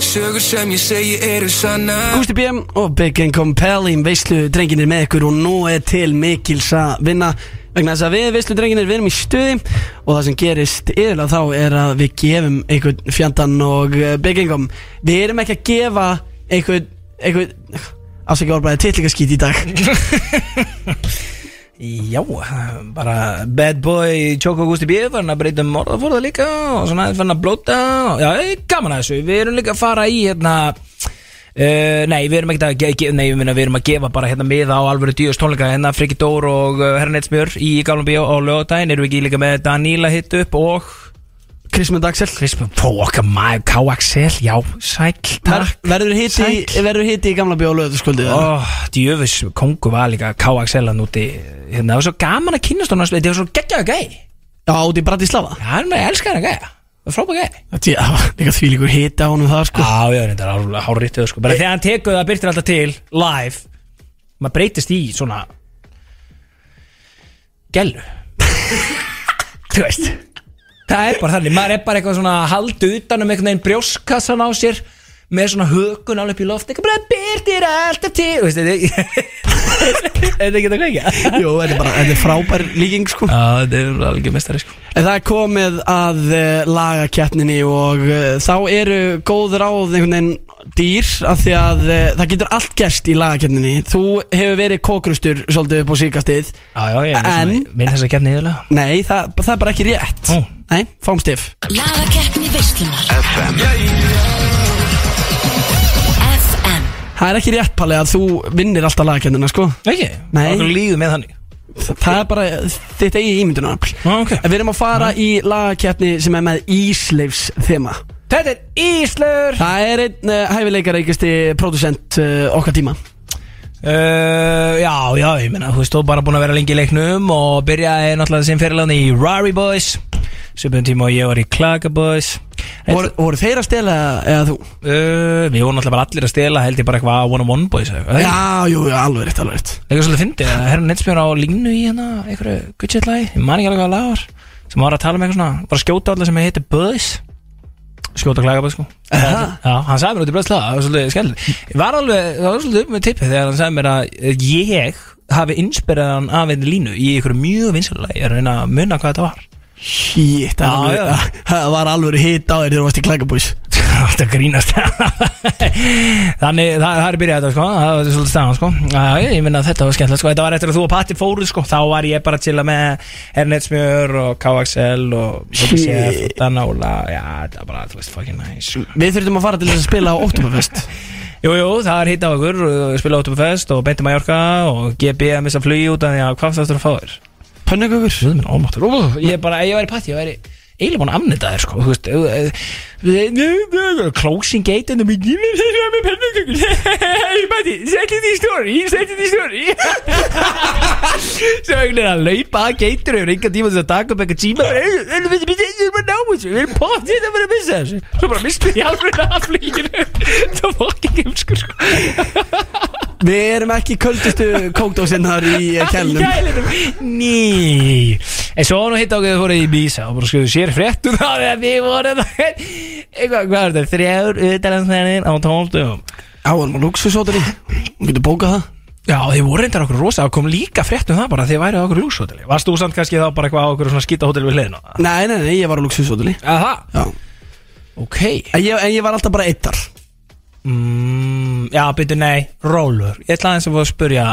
[SPEAKER 7] Sögur sem ég segi eru sanna
[SPEAKER 3] Gústi BM og Big and Compelling Veislu drenginir með ykkur og nú er til mikils að vinna vegna þess að við veislu drenginir við erum í stuði og það sem gerist yfirlega þá er að við gefum einhvern fjandan og eh, Big and Com við erum ekki að gefa einhvern, einhvern afsækja orðbæði titlingaskít í dag
[SPEAKER 2] Já, bara Bad Boy Choco Gusti B var hann að breyta um orðaforða líka og svona aðeins fann að blóta og, Já, ég er gaman að þessu Við erum líka að fara í hérna Uh, nei, við erum ekki að, ge- ge- nei, ég meina, við erum að gefa bara hérna miða á alvöru djúðust tónleika hérna Friki Dór og uh, Hernetsmjör í Galvan Bíó á lögadaginn erum við ekki líka með Daníla hitt upp og
[SPEAKER 3] Krismund Axel
[SPEAKER 2] Krispun Póka Mæg K.A.X.L. Já, sæll
[SPEAKER 3] Ver, verður hitti,
[SPEAKER 2] Sæll.
[SPEAKER 3] verður hitti í gamla bíó og löðuskvöldu
[SPEAKER 2] Ó, djöfus, kongu var líka K.A.X.L. hann úti hérna, það var svo gaman að kynast hún þetta var svo geggjaðu gæi
[SPEAKER 3] Já, út í Bratislava
[SPEAKER 2] Já, hann er elskar hann gæja Það er frábæð gæja
[SPEAKER 3] Þetta er líka því líkur hitti á honum það sko (laughs)
[SPEAKER 2] Já, já, þetta er hárrítið sko. Bara þegar hann tekur það byrtir alltaf til Live Maður breytist í svona Gellu (laughs) Þú veist Það er bara þannig Maður er bara eitthvað svona að halda utan um einhvern veginn brjóskassan á sér Með svona hökun alveg upp í loft Eitthvað bara byrtir alltaf til Þú veist, (laughs) þetta er Þetta getur að kveika
[SPEAKER 3] Jó, þetta er bara, þetta er frábær líking sko
[SPEAKER 2] Já, þetta er alveg mestari sko
[SPEAKER 3] En Það er komið að uh, lagakeppninni og uh, þá eru góð ráð einhvern veginn dýr af því að uh, það getur allt gerst í lagakeppninni Þú hefur verið kókrustur svolítið upp á síkastið
[SPEAKER 2] Já, já, ég
[SPEAKER 3] En-
[SPEAKER 2] minn þess að kemni yfirlega
[SPEAKER 3] Nei, það, það er bara ekki rétt
[SPEAKER 2] Ó.
[SPEAKER 3] Nei, fámstif
[SPEAKER 1] Lagakeppni veislunar FM
[SPEAKER 3] Það er ekki rétt, Palli, að þú vinnir alltaf lagakeppnina, sko
[SPEAKER 2] Ekki?
[SPEAKER 3] Nei.
[SPEAKER 2] Okkur líður með þannig
[SPEAKER 3] Það er bara þitt eigið ímyndunarafl
[SPEAKER 2] Já, ok.
[SPEAKER 3] En Við erum að fara í lagakeppni sem er með ísleifs þema
[SPEAKER 2] Þetta er Íslur
[SPEAKER 3] Það er einn uh, hæfileikareikasti pródusent uh, okkar tíma
[SPEAKER 2] Uh, já, já, ég meina, þú veist, þú er bara búin að vera lengi í leiknum og byrjaði náttúrulega sem fyrirlan í Rari Boys Svipum tíma og ég var í Klaka Boys Vor,
[SPEAKER 3] Voru, voru þeir að stela eða þú?
[SPEAKER 2] uh, Við vorum náttúrulega bara allir að stela, held ég bara eitthvað One on One Boys eða eitthvað
[SPEAKER 3] Já, jú, jú, alveg rétt, alveg rétt
[SPEAKER 2] Eitthvað svolítið fyndið, að herra Netsbjörn á línu í hérna einhverju gudgetlægi, ég man ekki alveg hvað lagar sem var að tala með eitthvað svona, var að skjóta alla sem heitir Boys skjóta Klaka Boys, sko
[SPEAKER 3] Aha.
[SPEAKER 2] Já, hann sagði mér út í bröðsla, það var svolítið skemmt Var alveg, það var svolítið upp með tippið þegar hann sagði mér að eh, ég hafi inspirað hann af einni línu í einhverju mjög vinsalagi, ég er að reyna að munna hvað þetta var
[SPEAKER 3] Shit, það var
[SPEAKER 2] Já,
[SPEAKER 3] alveg- Ah, það var alveg hitt á þér þegar þú varst í klækabús
[SPEAKER 2] (laughs) Þetta grínast Þannig, það, það er byrjað þetta sko það var svolítið staðan sko Já, ég minna að þetta var skemmtilegt sko, þetta var eftir að þú og Patti fóruð sko þá var ég bara til að með Ernetsmjör og KXL og Bobby Sef og Danála, já, þetta var bara, þú veist, fucking nice sko.
[SPEAKER 3] Við þurftum að fara til þess að spila á Oktoberfest
[SPEAKER 2] Jú, jú, það er hitt á okkur, uh, spila Óttumfest og Beinti Mallorca og GB að missa flugi út af því að hvað það þurftur að fá þér?
[SPEAKER 3] Pönnugugur
[SPEAKER 2] Guð minn, ómáttur, ómáttur, ég er bara, ef ég væri patti, ég væri eiginlega búin að afnita þér, sko, þú veist, eh, eh, closing gate and the beginning, þeir eru með pennukökur, hei patti, setjum því stóri, setjum því stóri, sem einhvern veginn að laupa að geitur yfir enga tíma til þess að taka upp eitthvað tíma, bara, "Eh, eh, við við- við erum að ná þessu, við erum pottið að vera að missa þessu, svo bara mistið því alveg að flýkinu, það var ekki heimskur, sko,
[SPEAKER 3] Við erum ekki köldustu kókdósinnar (laughs) í eh, kælnum
[SPEAKER 2] Kælinum Ný En svo nú hitt ákveðið fóruð í Bísa og bara skoðu sér fréttum það að við vorum eitthvað, hvað er þetta, þrjár utanlandsferðin á tólftum
[SPEAKER 3] Já, hann var luxusótur í Hún getur bókað það
[SPEAKER 2] Já, þið voru reyndar okkur rosa Það kom líka frétt um það bara að Þið værið á okkur lúshoteli Varst þú samt kannski þá bara eitthvað á okkur svona skítahoteli við hliðina?
[SPEAKER 3] Nei, nei, nei, ég var á luxushoteli
[SPEAKER 2] Aha,
[SPEAKER 3] Já
[SPEAKER 2] ok
[SPEAKER 3] En ég, en ég var alltaf bara eittar
[SPEAKER 2] mm, Já, byrju nei, rólur Ég ætla aðeins að fá að spurja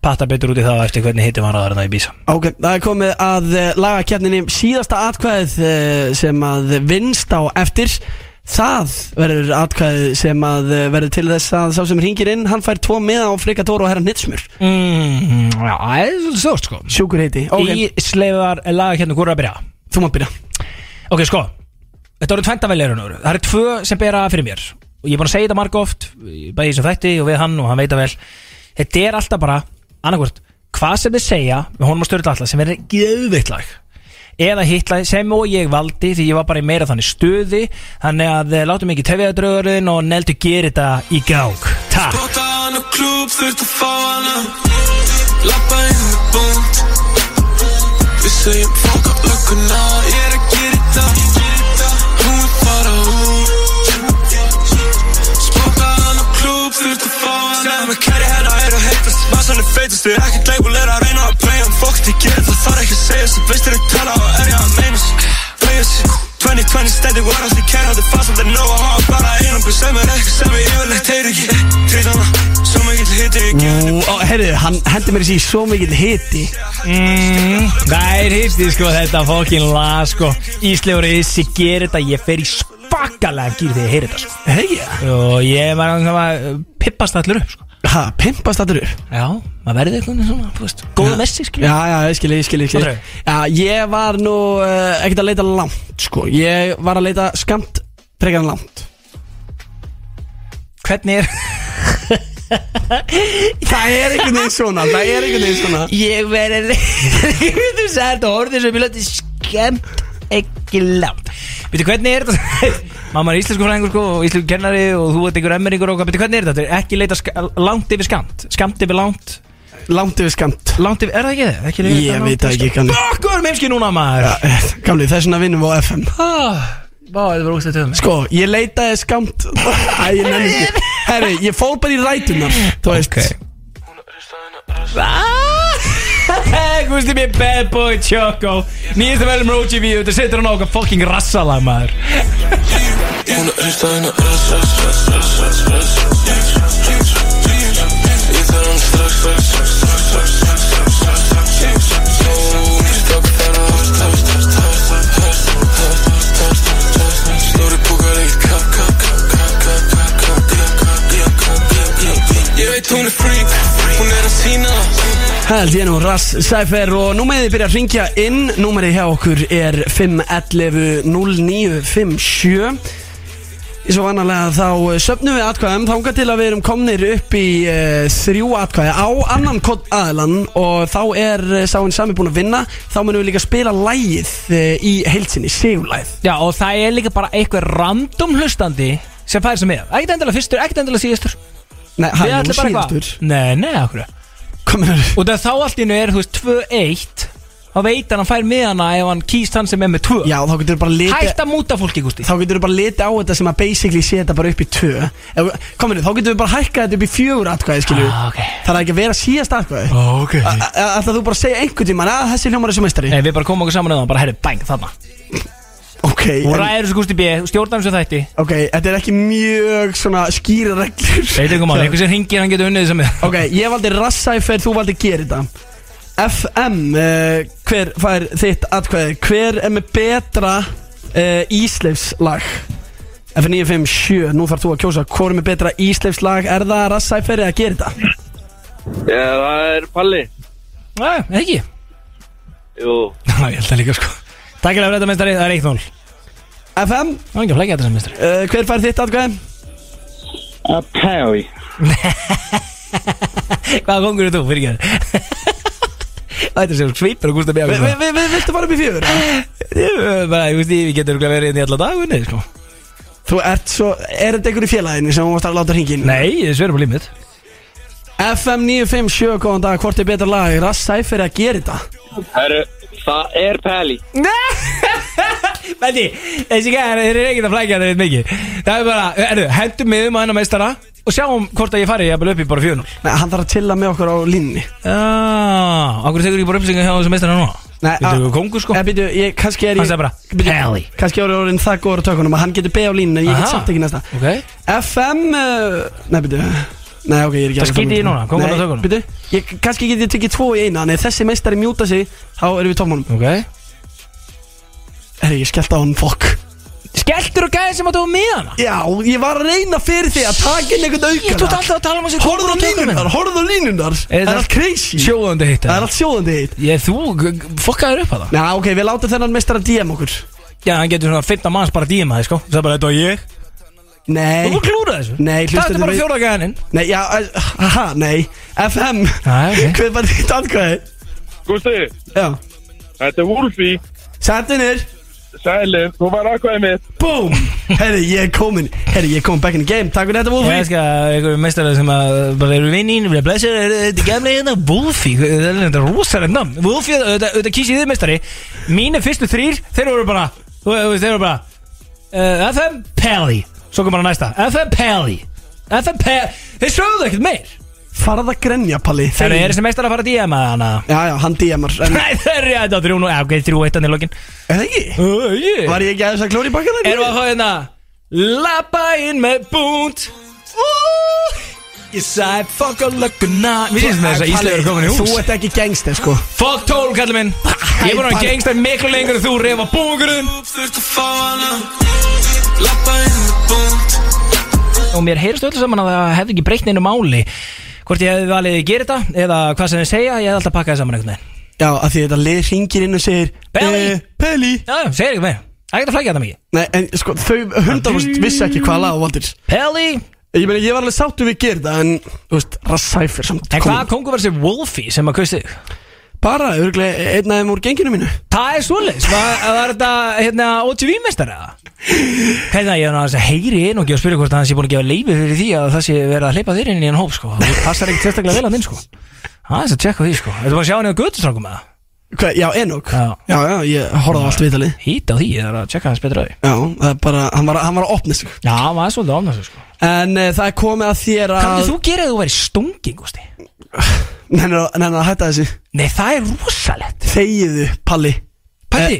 [SPEAKER 2] Patta betur út í það eftir hvernig hitti maður aðra í bísa
[SPEAKER 3] Ok, það er komið að uh, lagakeppninni síðasta atkvæðið uh, sem að vinst á eftir Það verður atkvæðið sem að uh, verður til þess að sá sem ringir inn Hann fær tvo miða á frika tóru og herra nýtsmur
[SPEAKER 2] mm, Já, það er svolítið stórt sko
[SPEAKER 3] Sjúkur heiti, ok,
[SPEAKER 2] Í sleifar laga hérna, hvort er að byrja?
[SPEAKER 3] þú mátt byrja
[SPEAKER 2] Ok, sko Þetta voru tvæntaveljarinnur Það eru tvö sem bera fyrir mér Og ég er búin að segja þetta marg oft Bæði sem þætti og við hann og hann veita vel Þetta er alltaf bara annarkvort Hvað sem þið segja með honum að störla alltaf sem verður geðveitt lag Eða hitlaði sem og ég valdi Því ég var bara í meira þannig stuði Þannig að eh, látum ekki tefja draugurinn Og neldu gera þetta í gang Takk
[SPEAKER 7] Bóta hann á klúb, þurft að fá hana Lappa inn í búnd Við segjum fólk á lögguna Ég er að gera þetta Hún er fara út Spóta hann á klúb, þurft að fá hana Segðu mig hverju hérna er að heitast Vassan er feitast, þið er ekkert leikul Er að reyna að playa um fólk, þið gerir það Þarf ekki að segja sem veist þér að tala Og er ég að meina sig, beigja sig 2020 steady var allt í kæra Þið fannst að það nóg að hafa bara einum Sem er eitthvað sem ég yfirlegt heyri ekki Trýta hana, svo mikill hiti ég gef henni
[SPEAKER 3] Ó, herðu, hann hendi mér þessi í svo mikill hiti
[SPEAKER 2] Mm, Það er histi sko þetta fokkin lag sko Íslegur Issi gerir þetta Ég fer í spakalega gýr þegar ég heyri þetta sko
[SPEAKER 3] Herðu,
[SPEAKER 2] Og ég var að að uh, pippast allur upp sko
[SPEAKER 3] ha, pimpast allur upp
[SPEAKER 2] Já, maður verði eitthvað svona, þú veist Góða messi skilja
[SPEAKER 3] Já, já, ég skil, ég skil, ég skil
[SPEAKER 2] Andrei?
[SPEAKER 3] Já, ég var nú uh, ekkert að leita langt, sko Ég var að leita skamt, frekar en langt
[SPEAKER 2] Hvernig er
[SPEAKER 3] Það er einhvern veginn svona, það er einhvern veginn svona
[SPEAKER 2] Ég (laughs) verði Þú sagði um þetta orðið sem ég löti skemmt ekki langt Býtu hvernig er þetta (laughs) Mamma er íslensku fræðingur sko og íslensku kennari og þú ert einhver emmeringur og hvað Býtu hvernig er þetta Þetta er Ekki leita sk- langt yfir skamt Skamt yfir langt
[SPEAKER 3] Langt yfir skamt
[SPEAKER 2] Langt yfir, er það ekki það? Ekki yfir
[SPEAKER 3] Ég
[SPEAKER 2] langt
[SPEAKER 3] veit
[SPEAKER 2] yfir
[SPEAKER 3] það ekki,
[SPEAKER 2] skamt?
[SPEAKER 3] Kalli.
[SPEAKER 2] Bokkur meimski núna maður
[SPEAKER 3] Gamli, það er svona vinnum á FM
[SPEAKER 2] Ah, Vá, það var úrstætt um
[SPEAKER 3] Sko, ég leitaði skamt Æ, ég nenni (laughs) ekki Herri, ég fór bara í rætunar Þú veist
[SPEAKER 2] Ok. (laughs) Gústi mér bad boy choco Nýjastu velum Roji Víu Þetta setur hann á okkar fucking rassalag maður
[SPEAKER 7] Hún er hrista henni rass, rass, rass, rass, rass, rass Ég þarf hann strax, strax, strax, strax, strax, strax, strax, strax, strax Jó, ég stakk þarna hart, hart, hart, hart, hart, hart, hart, hart, hart, hart, hart Stóri búkar eitt kapp, kapp, kapp, kapp, kapp, kapp, kapp, kapp, kapp, kapp, kapp, kapp, kapp, kapp Ég veit hún er freak, hún er að sína
[SPEAKER 3] Held ég nú, Rass Sæfer Og nú meðið byrja að ringja inn Númerið hjá okkur er 511 0957 Í svo vannarlega þá eh, söfnum við atkvæðum Þángar til að við erum komnir upp í uh, þrjú atkvæði á annan kod aðlan Og þá er eh, sáinn sami búin að vinna Þá munum við líka spila lægið uh, í heilsinni, segulæð
[SPEAKER 2] Já og það er líka bara einhver random hlustandi sem fær sem með Ekkert endilega fyrstur, ekkert endilega síðastur
[SPEAKER 3] Nei,
[SPEAKER 2] Við
[SPEAKER 3] hann er
[SPEAKER 2] ætlum
[SPEAKER 3] nú
[SPEAKER 2] bara eitthvað-
[SPEAKER 3] síðastur
[SPEAKER 2] Nei, nei, okkur
[SPEAKER 3] Kominar
[SPEAKER 2] Og það þá allt í hennu er, þú veist, 2-1 Þá veit hann að hann fær með hana ef hann kýst hann sem er með 2
[SPEAKER 3] Já, þá getur þú bara litið
[SPEAKER 2] Hætt að múta fólki, Gústi
[SPEAKER 3] Þá getur þú bara litið á þetta sem að basically sé þetta bara upp í tvö Ef- Kominar, þá getur þú bara hækkað þetta upp í fjögur atkvæði, skilju
[SPEAKER 2] Ah, ok. Ah,
[SPEAKER 3] Það er ekki að vera síðast atkvæði
[SPEAKER 2] Ok
[SPEAKER 3] Ætla þú bara að segja einhvern tímann að þessi hljómar er sem meistari
[SPEAKER 2] Nei, við bara komum okkur saman eða bara herri, bang, þarna
[SPEAKER 3] Ok,
[SPEAKER 2] Þú
[SPEAKER 3] en-
[SPEAKER 2] ræður þessu Gústi B, stjórnar þessu þætti
[SPEAKER 3] ok, þetta er ekki mjög svona skýra reglur
[SPEAKER 2] Veit ekki maður, einhver sem hringir hann getur unnið þessu (laughs) með
[SPEAKER 3] Ok, ég valdi rassæfer, þú valdi gera þetta FM, uh, hver fær þitt atkvæði? Hver er með betra uh, ísleifslag? F957, nú þarf þú að kjósa Hvor er með betra ísleifslag? Er það rassæfer eða gera þetta?
[SPEAKER 8] Já, það er Palli
[SPEAKER 2] Nei, ekki
[SPEAKER 8] Jú,
[SPEAKER 2] Já, (laughs) ég held það líka sko Takk fyrir þetta meistari, það er eitt nól
[SPEAKER 3] FM,
[SPEAKER 2] Það er ekki að flækja þetta sem meistari
[SPEAKER 3] uh, hver fær þitt atkvæði?
[SPEAKER 8] að Perry
[SPEAKER 2] Hvaða kongur er þú, fyrir (laughs) ekki Það er sem svipur og Gústi B
[SPEAKER 3] Vi- vi- vi- vi- Viltu fara upp í fjögur?
[SPEAKER 2] Bara, ég veist, ég getur örugglega verið hérna í alla dag unnið, sko
[SPEAKER 3] Þú ert svo, er þetta einhver í félaginu sem þú mást að láta hringin?
[SPEAKER 2] Nei, ég sverjum á límit
[SPEAKER 3] FM 957, góðan dag, hvort er betra lag? Rassæfer eða gera þetta?
[SPEAKER 8] Heru, Það er Palli
[SPEAKER 2] Vendi, þessi gæðar, þeir eru ekkert að flækja þetta eitthvað mikið Það er bara, erðu, hendum miðum að um hennar meistara og sjáum hvort að ég fari jafnvel upp í bara 4-0
[SPEAKER 3] Nei, hann þarf að chilla með okkur á línni
[SPEAKER 2] Já, okkur tekur ekki bara upplýsingar hjá þessum meistarinn núna
[SPEAKER 3] Nei, ah,
[SPEAKER 2] Þetta er
[SPEAKER 3] að-
[SPEAKER 2] ekki kongur sko
[SPEAKER 3] Eða býtu, Eh, ég, kannski er
[SPEAKER 2] Hann
[SPEAKER 3] ég
[SPEAKER 2] sagði bara,
[SPEAKER 3] Bíddu,
[SPEAKER 2] Pally.
[SPEAKER 3] Kannski er ég orðin það góður á tökunum að hann getur beðið á línni En ég
[SPEAKER 2] Aha.
[SPEAKER 3] get samt ekki næsta
[SPEAKER 2] Ok,
[SPEAKER 3] FM, uh, nei býtu Nei, ok, ég er ekki
[SPEAKER 2] Það skýt ég í núna, kom bara á tökunum.
[SPEAKER 3] Býtu, ég, kannski get ég tekið tvo í eina Þannig ef þessi meistari mjúta sig, þá erum við tómánum
[SPEAKER 2] ok
[SPEAKER 3] Herri, ég skellt á hann, fokk
[SPEAKER 2] Skeltur og gæði sem að þú var með hana
[SPEAKER 3] Já, ég var að reyna fyrir því að taka inn einhvern
[SPEAKER 2] Ég tótt
[SPEAKER 3] aukana
[SPEAKER 2] alltaf að tala um þessi
[SPEAKER 3] Horfðu á línunar, horfðu á línunar
[SPEAKER 2] Er
[SPEAKER 3] Það
[SPEAKER 2] það-
[SPEAKER 3] er allt crazy
[SPEAKER 2] Sjóðandi hitt
[SPEAKER 3] Það er allt sjóðandi eitt
[SPEAKER 2] Ég, þú, fokkaður upp að það
[SPEAKER 3] Já, ok, við látum þennan meistara DM okkur
[SPEAKER 2] Já, hann getur svona 15 manns bara díma þig sko Það er bara, þetta var ég Þú
[SPEAKER 3] Nei
[SPEAKER 2] voru klúrað þessu
[SPEAKER 3] Nei, hlustaðu
[SPEAKER 2] Það er bara
[SPEAKER 3] við-
[SPEAKER 2] fjóra gæðaninn
[SPEAKER 3] Nei, já, eh, haha, nei FM,
[SPEAKER 2] Nei, ok.
[SPEAKER 3] hver var þitt atkvæði?
[SPEAKER 9] Gústi,
[SPEAKER 3] Já,
[SPEAKER 9] þetta er Wolfi
[SPEAKER 3] sættinir
[SPEAKER 9] Sælir, þú var aðkvæðið mitt
[SPEAKER 3] Búm, herri, ég er komin Herri, ég er komin back in the game, takk fyrir þetta
[SPEAKER 2] Ég
[SPEAKER 3] Wolfi
[SPEAKER 2] elska einhverju meistarið sem að bara eru vinnin, vilja blessir, eru þetta gemlega hérna, Wolfi, þetta er þetta rosalega namn Wolfi, auðvitað auðvitað kýs ég þið meistari Mínir fyrstu þrýr, þeir voru bara, þú þú veist, þeir voru bara uh, FM Pelli, svo kom bara næsta, FM Pelli, FM Pelli, þeir sögðu ekkert meir
[SPEAKER 3] Farða grenja, Palli
[SPEAKER 2] Þeir eru þessi meistar að fara að díma það hana (laughs)
[SPEAKER 3] Já, já, hann DM-ar en-
[SPEAKER 2] Nei, þeir eru þetta á þrjú nú, ok, þrjú eitt hann í lokin
[SPEAKER 3] Er það ekki?
[SPEAKER 2] Uh, yeah.
[SPEAKER 3] Var ég ekki aðeins að klóri í bakkana?
[SPEAKER 2] Erum við að fá hérna Lappa inn með búnt Úh, Ég sagði fuck a lögguna Við erum þess að Ísleifur er komin í
[SPEAKER 3] Þú
[SPEAKER 2] hús
[SPEAKER 3] ert ekki gangster, sko
[SPEAKER 2] Fuck tól, kallið minn Ég er búin að gengsta miklu lengur en þú reyfa búngurinn
[SPEAKER 7] Þurft að fá hana Lappa inn með búnt
[SPEAKER 2] Og mér heyrst öllu saman að það hefði ekki breytt neinu máli Hvort ég hefði valið að gera þetta Eða hvað sem þið segja, ég hefði alltaf pakkað saman einhvern veginn
[SPEAKER 3] Já, af því þetta lið ringir inn og segir
[SPEAKER 2] Pelli.
[SPEAKER 3] eh, Pelli
[SPEAKER 2] Já, segir ekki meir Það er ekki að flækja þetta mikið
[SPEAKER 3] Nei, en sko, þau hundarvist vissi ekki hvað lag þú valdir
[SPEAKER 2] Pelli
[SPEAKER 3] Ég meina, ég var alveg sáttu við gerða En, þú veist, rassæfir samt
[SPEAKER 2] En
[SPEAKER 3] kom-
[SPEAKER 2] hvað konguversi Wolfie sem að kusti
[SPEAKER 3] Bara, örgulega, einn af þeim úr genginu mínu
[SPEAKER 2] Það er svoleiðis, var, var þetta hérna, OTV-mestari eða? Hérna, ég er náttúrulega að heyri inn og gefa spyrja hvort að hann sé búin að gefa leifi fyrir því að það sé verið að hleypa þér inn í enn hóp sko Þú passar ekki sérstaklega vel að minn sko Það er þess að tjekka því sko Þetta var að sjá hann eða göttustrákum með það
[SPEAKER 3] Hva, já, Enok
[SPEAKER 2] Já.
[SPEAKER 3] já. já, ég horfði á allt viðtalið
[SPEAKER 2] Hýta á því, ég þarf að tjekka hans betra á því
[SPEAKER 3] Já, það er bara, hann var, hann var að opna sig
[SPEAKER 2] Já, maður er svolítið ofnast sko
[SPEAKER 3] En uh, það er komið að þér að
[SPEAKER 2] Kanntu þú gera ef þú væri stungin, Gusti?
[SPEAKER 3] Nenna, nenna, hætta þessu
[SPEAKER 2] Nei, það er rosalett
[SPEAKER 3] Þegiðu, Palli
[SPEAKER 2] Pæti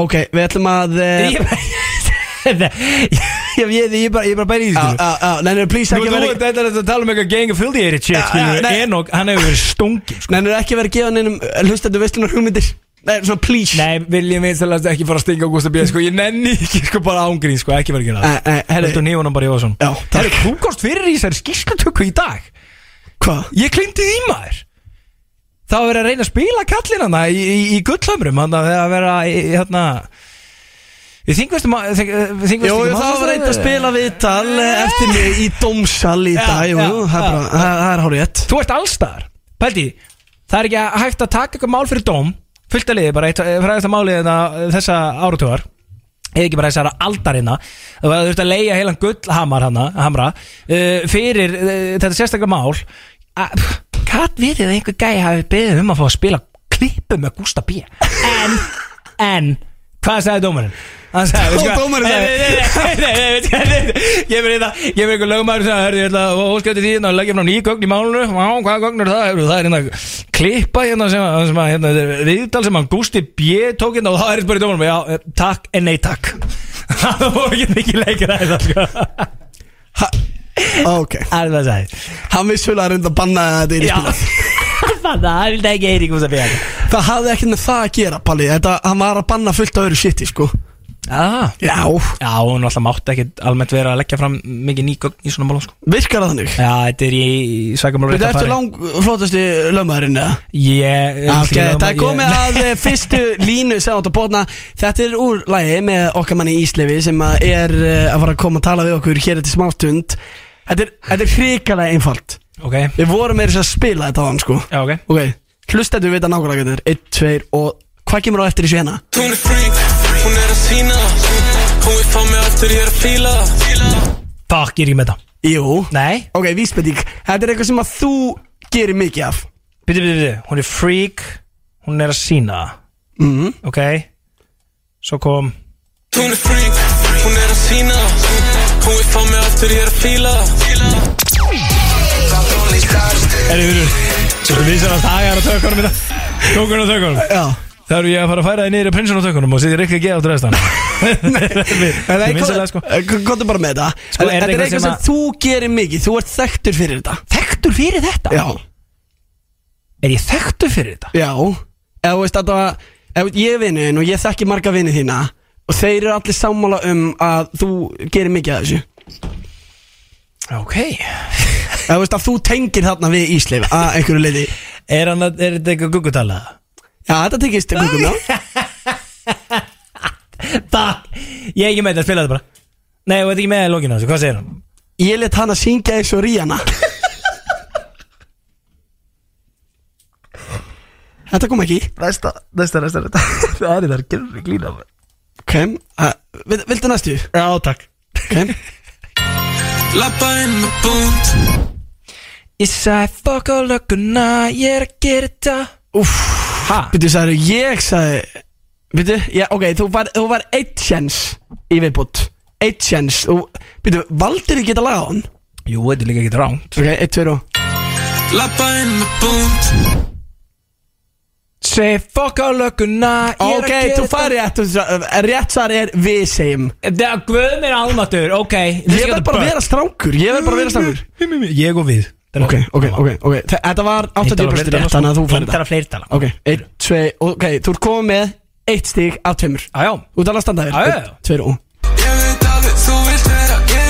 [SPEAKER 3] Ok, við ætlum að
[SPEAKER 2] Ég
[SPEAKER 3] uh,
[SPEAKER 2] ég- ég- ég bara ég bara bæri í því
[SPEAKER 3] Já,
[SPEAKER 2] skilur.
[SPEAKER 3] já, já, nenna, please
[SPEAKER 2] Nú,
[SPEAKER 3] ekki
[SPEAKER 2] Þú
[SPEAKER 3] verið
[SPEAKER 2] ert þetta að tala um eitthvað gang affiliated shit, skilur
[SPEAKER 3] nei.
[SPEAKER 2] Enok, hann hefur verið stungin
[SPEAKER 3] Nenna, ekki verið að gefa neinum Hlustandi veistlunar hugmyndir Nei, svona, please
[SPEAKER 2] Nei, viljum við sælast ekki fara að stinga á Gústa B Sko, ég nenni ekki, sko, bara ángrín, sko, ekki verið
[SPEAKER 3] Eh, eh,
[SPEAKER 2] ekki
[SPEAKER 3] herri-
[SPEAKER 2] Þetta er nýjónum bara Jóðsson
[SPEAKER 3] Já,
[SPEAKER 2] Herri,
[SPEAKER 3] takk.
[SPEAKER 2] þú komst fyrir í þessari skýrslutöku í dag
[SPEAKER 3] Hvað?
[SPEAKER 2] Ég klindi því maður Það var verið að reyna að spila kallin hana í, í, í gullhamrum Þannig að það að vera, í- í- hérna Við þingvistum að
[SPEAKER 3] Jú,
[SPEAKER 2] um
[SPEAKER 3] jú, það var reynd að spila viðtal eh, Eftir mig í dómsal í
[SPEAKER 2] Já,
[SPEAKER 3] dag Jú,
[SPEAKER 2] já,
[SPEAKER 3] jú, það er
[SPEAKER 2] já.
[SPEAKER 3] bara- það- það er hárið ett
[SPEAKER 2] Þú ert allstar Pældi, það er ekki hægt að taka eitthvað mál fyrir dóm Fullt að liði, bara eitt fræðasta máli þetta- þessa áratugar eða ekki bara þessara aldarinna það var þurft að leia heilan gullhamar hana, hamra, uh, fyrir uh, þetta sérstaklega mál A- pff, hvað við þið að einhver gæi hafi beðið um að fá að spila klippu með Gústa B en, en hvað sagði dómarinn? hann
[SPEAKER 3] (laughs)
[SPEAKER 2] sagði, veistu hvað?
[SPEAKER 3] Og
[SPEAKER 2] Eh,
[SPEAKER 3] dómarinn
[SPEAKER 2] Nei, nei, nei, nei,
[SPEAKER 3] sagði-
[SPEAKER 2] nei, nei, veistu hvað, nei, nei, ég verið það ég verið einhver lögmaður sem sagði, hörðu, ég ætla að óskætti því hérna, leggja frá ný gögn í málunu Vá, hvaða gögn er það, Heyrðu, það er hérna klippa hérna sem, að- sem að, hérna, þetta er viðtal sem hann Gústi B tók hérna og það er bara í dómarum, já, eh, takk en nei takk það var ekki mikið leikir að það, sko
[SPEAKER 3] Ok,
[SPEAKER 2] það er það sagði
[SPEAKER 3] hann vissulega reynda að banna að þetta er í
[SPEAKER 2] já,
[SPEAKER 3] spilað
[SPEAKER 2] það er vildi ekki Eirík Gústa B
[SPEAKER 3] Það hafði ekkert með það að gera, Palli Þetta, hann var að banna fullt af öðru shiti, sko
[SPEAKER 2] ah.
[SPEAKER 3] Já
[SPEAKER 2] Já, hún alltaf mátti ekkit almennt vera að leggja fram mikið nýgögn í svona málum sko
[SPEAKER 3] Virkar það þannig?
[SPEAKER 2] Já, þetta er í svakamál
[SPEAKER 3] Þetta ertu lang flottasti lögmaðurinn, eða?
[SPEAKER 2] Ég
[SPEAKER 3] Ok, það er komið að eh, (laughs) fyrstu línu sem átt að bóna Þetta er úr lagi með okkar manni Íslefi sem að er eh, að fara að koma að tala við okkur hér eftir smástund Þetta er, þetta er hrikalega einfalt
[SPEAKER 2] Ok,
[SPEAKER 3] Við vorum meira þess að spila þetta á hann sko
[SPEAKER 2] já ok
[SPEAKER 3] Ok, hlustaðu við þetta nákvæmlega hvernig þetta er 1, 2 og hvað kemur á eftir þessu hérna?
[SPEAKER 7] Hún er freak, hún er að sína Hún vil fá mig aftur, ég er að fíla
[SPEAKER 2] Fuck, ég er ekki með það
[SPEAKER 3] Jú
[SPEAKER 2] Nei,
[SPEAKER 3] Ok, vísbending, þetta er eitthvað sem að þú gerir mikið af
[SPEAKER 2] byrju, byrju, byrju Hún er freak, hún er að sína
[SPEAKER 3] mm.
[SPEAKER 2] Ok Svo kom
[SPEAKER 7] Hún er freak, hún er að sína Hún vil fá mig aftur, ég er að fíla
[SPEAKER 2] Erri, við erum vísarast agar á tökunum í dag Tókunum á tökunum
[SPEAKER 3] Já
[SPEAKER 2] Það eru ég að fara að færa þig niður í prinsun á tökunum og setja Rikki G áttur restan
[SPEAKER 3] En
[SPEAKER 2] Það
[SPEAKER 3] það
[SPEAKER 2] er vinsalega sko
[SPEAKER 3] Eh, Kontu bara með þetta
[SPEAKER 2] Sko,
[SPEAKER 3] En
[SPEAKER 2] er
[SPEAKER 3] Þetta er
[SPEAKER 2] eitthvað
[SPEAKER 3] eitthvað
[SPEAKER 2] sem
[SPEAKER 3] sem
[SPEAKER 2] að-
[SPEAKER 3] þú gerir mikið Þú ert þekktur fyrir þetta
[SPEAKER 2] Þekktur fyrir þetta?
[SPEAKER 3] Já
[SPEAKER 2] Er ég þekktur fyrir þetta?
[SPEAKER 3] Já Ef þú veist að Ef ég er vinnin og ég þekki marga vinni þína Og þeir eru allir sammála um að þú gerir mikið af þessu
[SPEAKER 2] Ok
[SPEAKER 3] Ef þú veist að þú tengir þarna við Ísleif Að einhverju leiði
[SPEAKER 2] Er, hann að- er þetta eitthvað guggutala?
[SPEAKER 3] Já, þetta tekist gugum á
[SPEAKER 2] (laughs) Takk Ég er ekki með þetta, spila þetta bara Nei, þú ert ekki með það í lókinu þessu, hvað segir hann?
[SPEAKER 3] Ég let hana syngja eins og Ríana Þetta kom ekki
[SPEAKER 5] Næsta, næsta, næsta, næsta Það er það að gera glýna
[SPEAKER 3] Ok, uh, vil- viltu næstu?
[SPEAKER 5] Já, takk
[SPEAKER 3] Ok
[SPEAKER 7] Lappa inn með búnd
[SPEAKER 2] Ég sagði fuck á lögguna, ég er að gera þetta
[SPEAKER 3] Úff
[SPEAKER 2] Ha?
[SPEAKER 3] Býtu, sagði, ég sagði Býtu, já, ok, þú var, þú var eitt sjens í viðbútt Eitt sjens Býtu, valdir við geta laga hann?
[SPEAKER 2] Jú, þetta er líka ekki ránt
[SPEAKER 3] Ok, eitt, tveir og
[SPEAKER 7] Lappa inn með búnd
[SPEAKER 2] Segði fuck á lögguna, ég
[SPEAKER 3] Ok,
[SPEAKER 2] er að gera
[SPEAKER 3] þú farið rétt þú sagði- eh, Rétt svar er við segjum
[SPEAKER 2] þetta Það guð mér almatur, ok
[SPEAKER 3] Ég verð bara að vera strákur Ég verð bara að vera strákur
[SPEAKER 2] vera Ég og við
[SPEAKER 3] Ok, ok, ok, ok Þe- Þetta var 80% rétt Þannig að þú
[SPEAKER 2] Það
[SPEAKER 3] farið
[SPEAKER 2] er
[SPEAKER 3] það
[SPEAKER 2] að fleirtala
[SPEAKER 3] Ok, eitt, tvei, ok, þú ert komið með Eitt stig af tveimur
[SPEAKER 2] Jájá
[SPEAKER 3] Út alveg að standa
[SPEAKER 2] Ah, Já,
[SPEAKER 3] þér
[SPEAKER 2] já, já.
[SPEAKER 3] Eitt, tveir og
[SPEAKER 7] Ég veit alveg þú vilt vera gay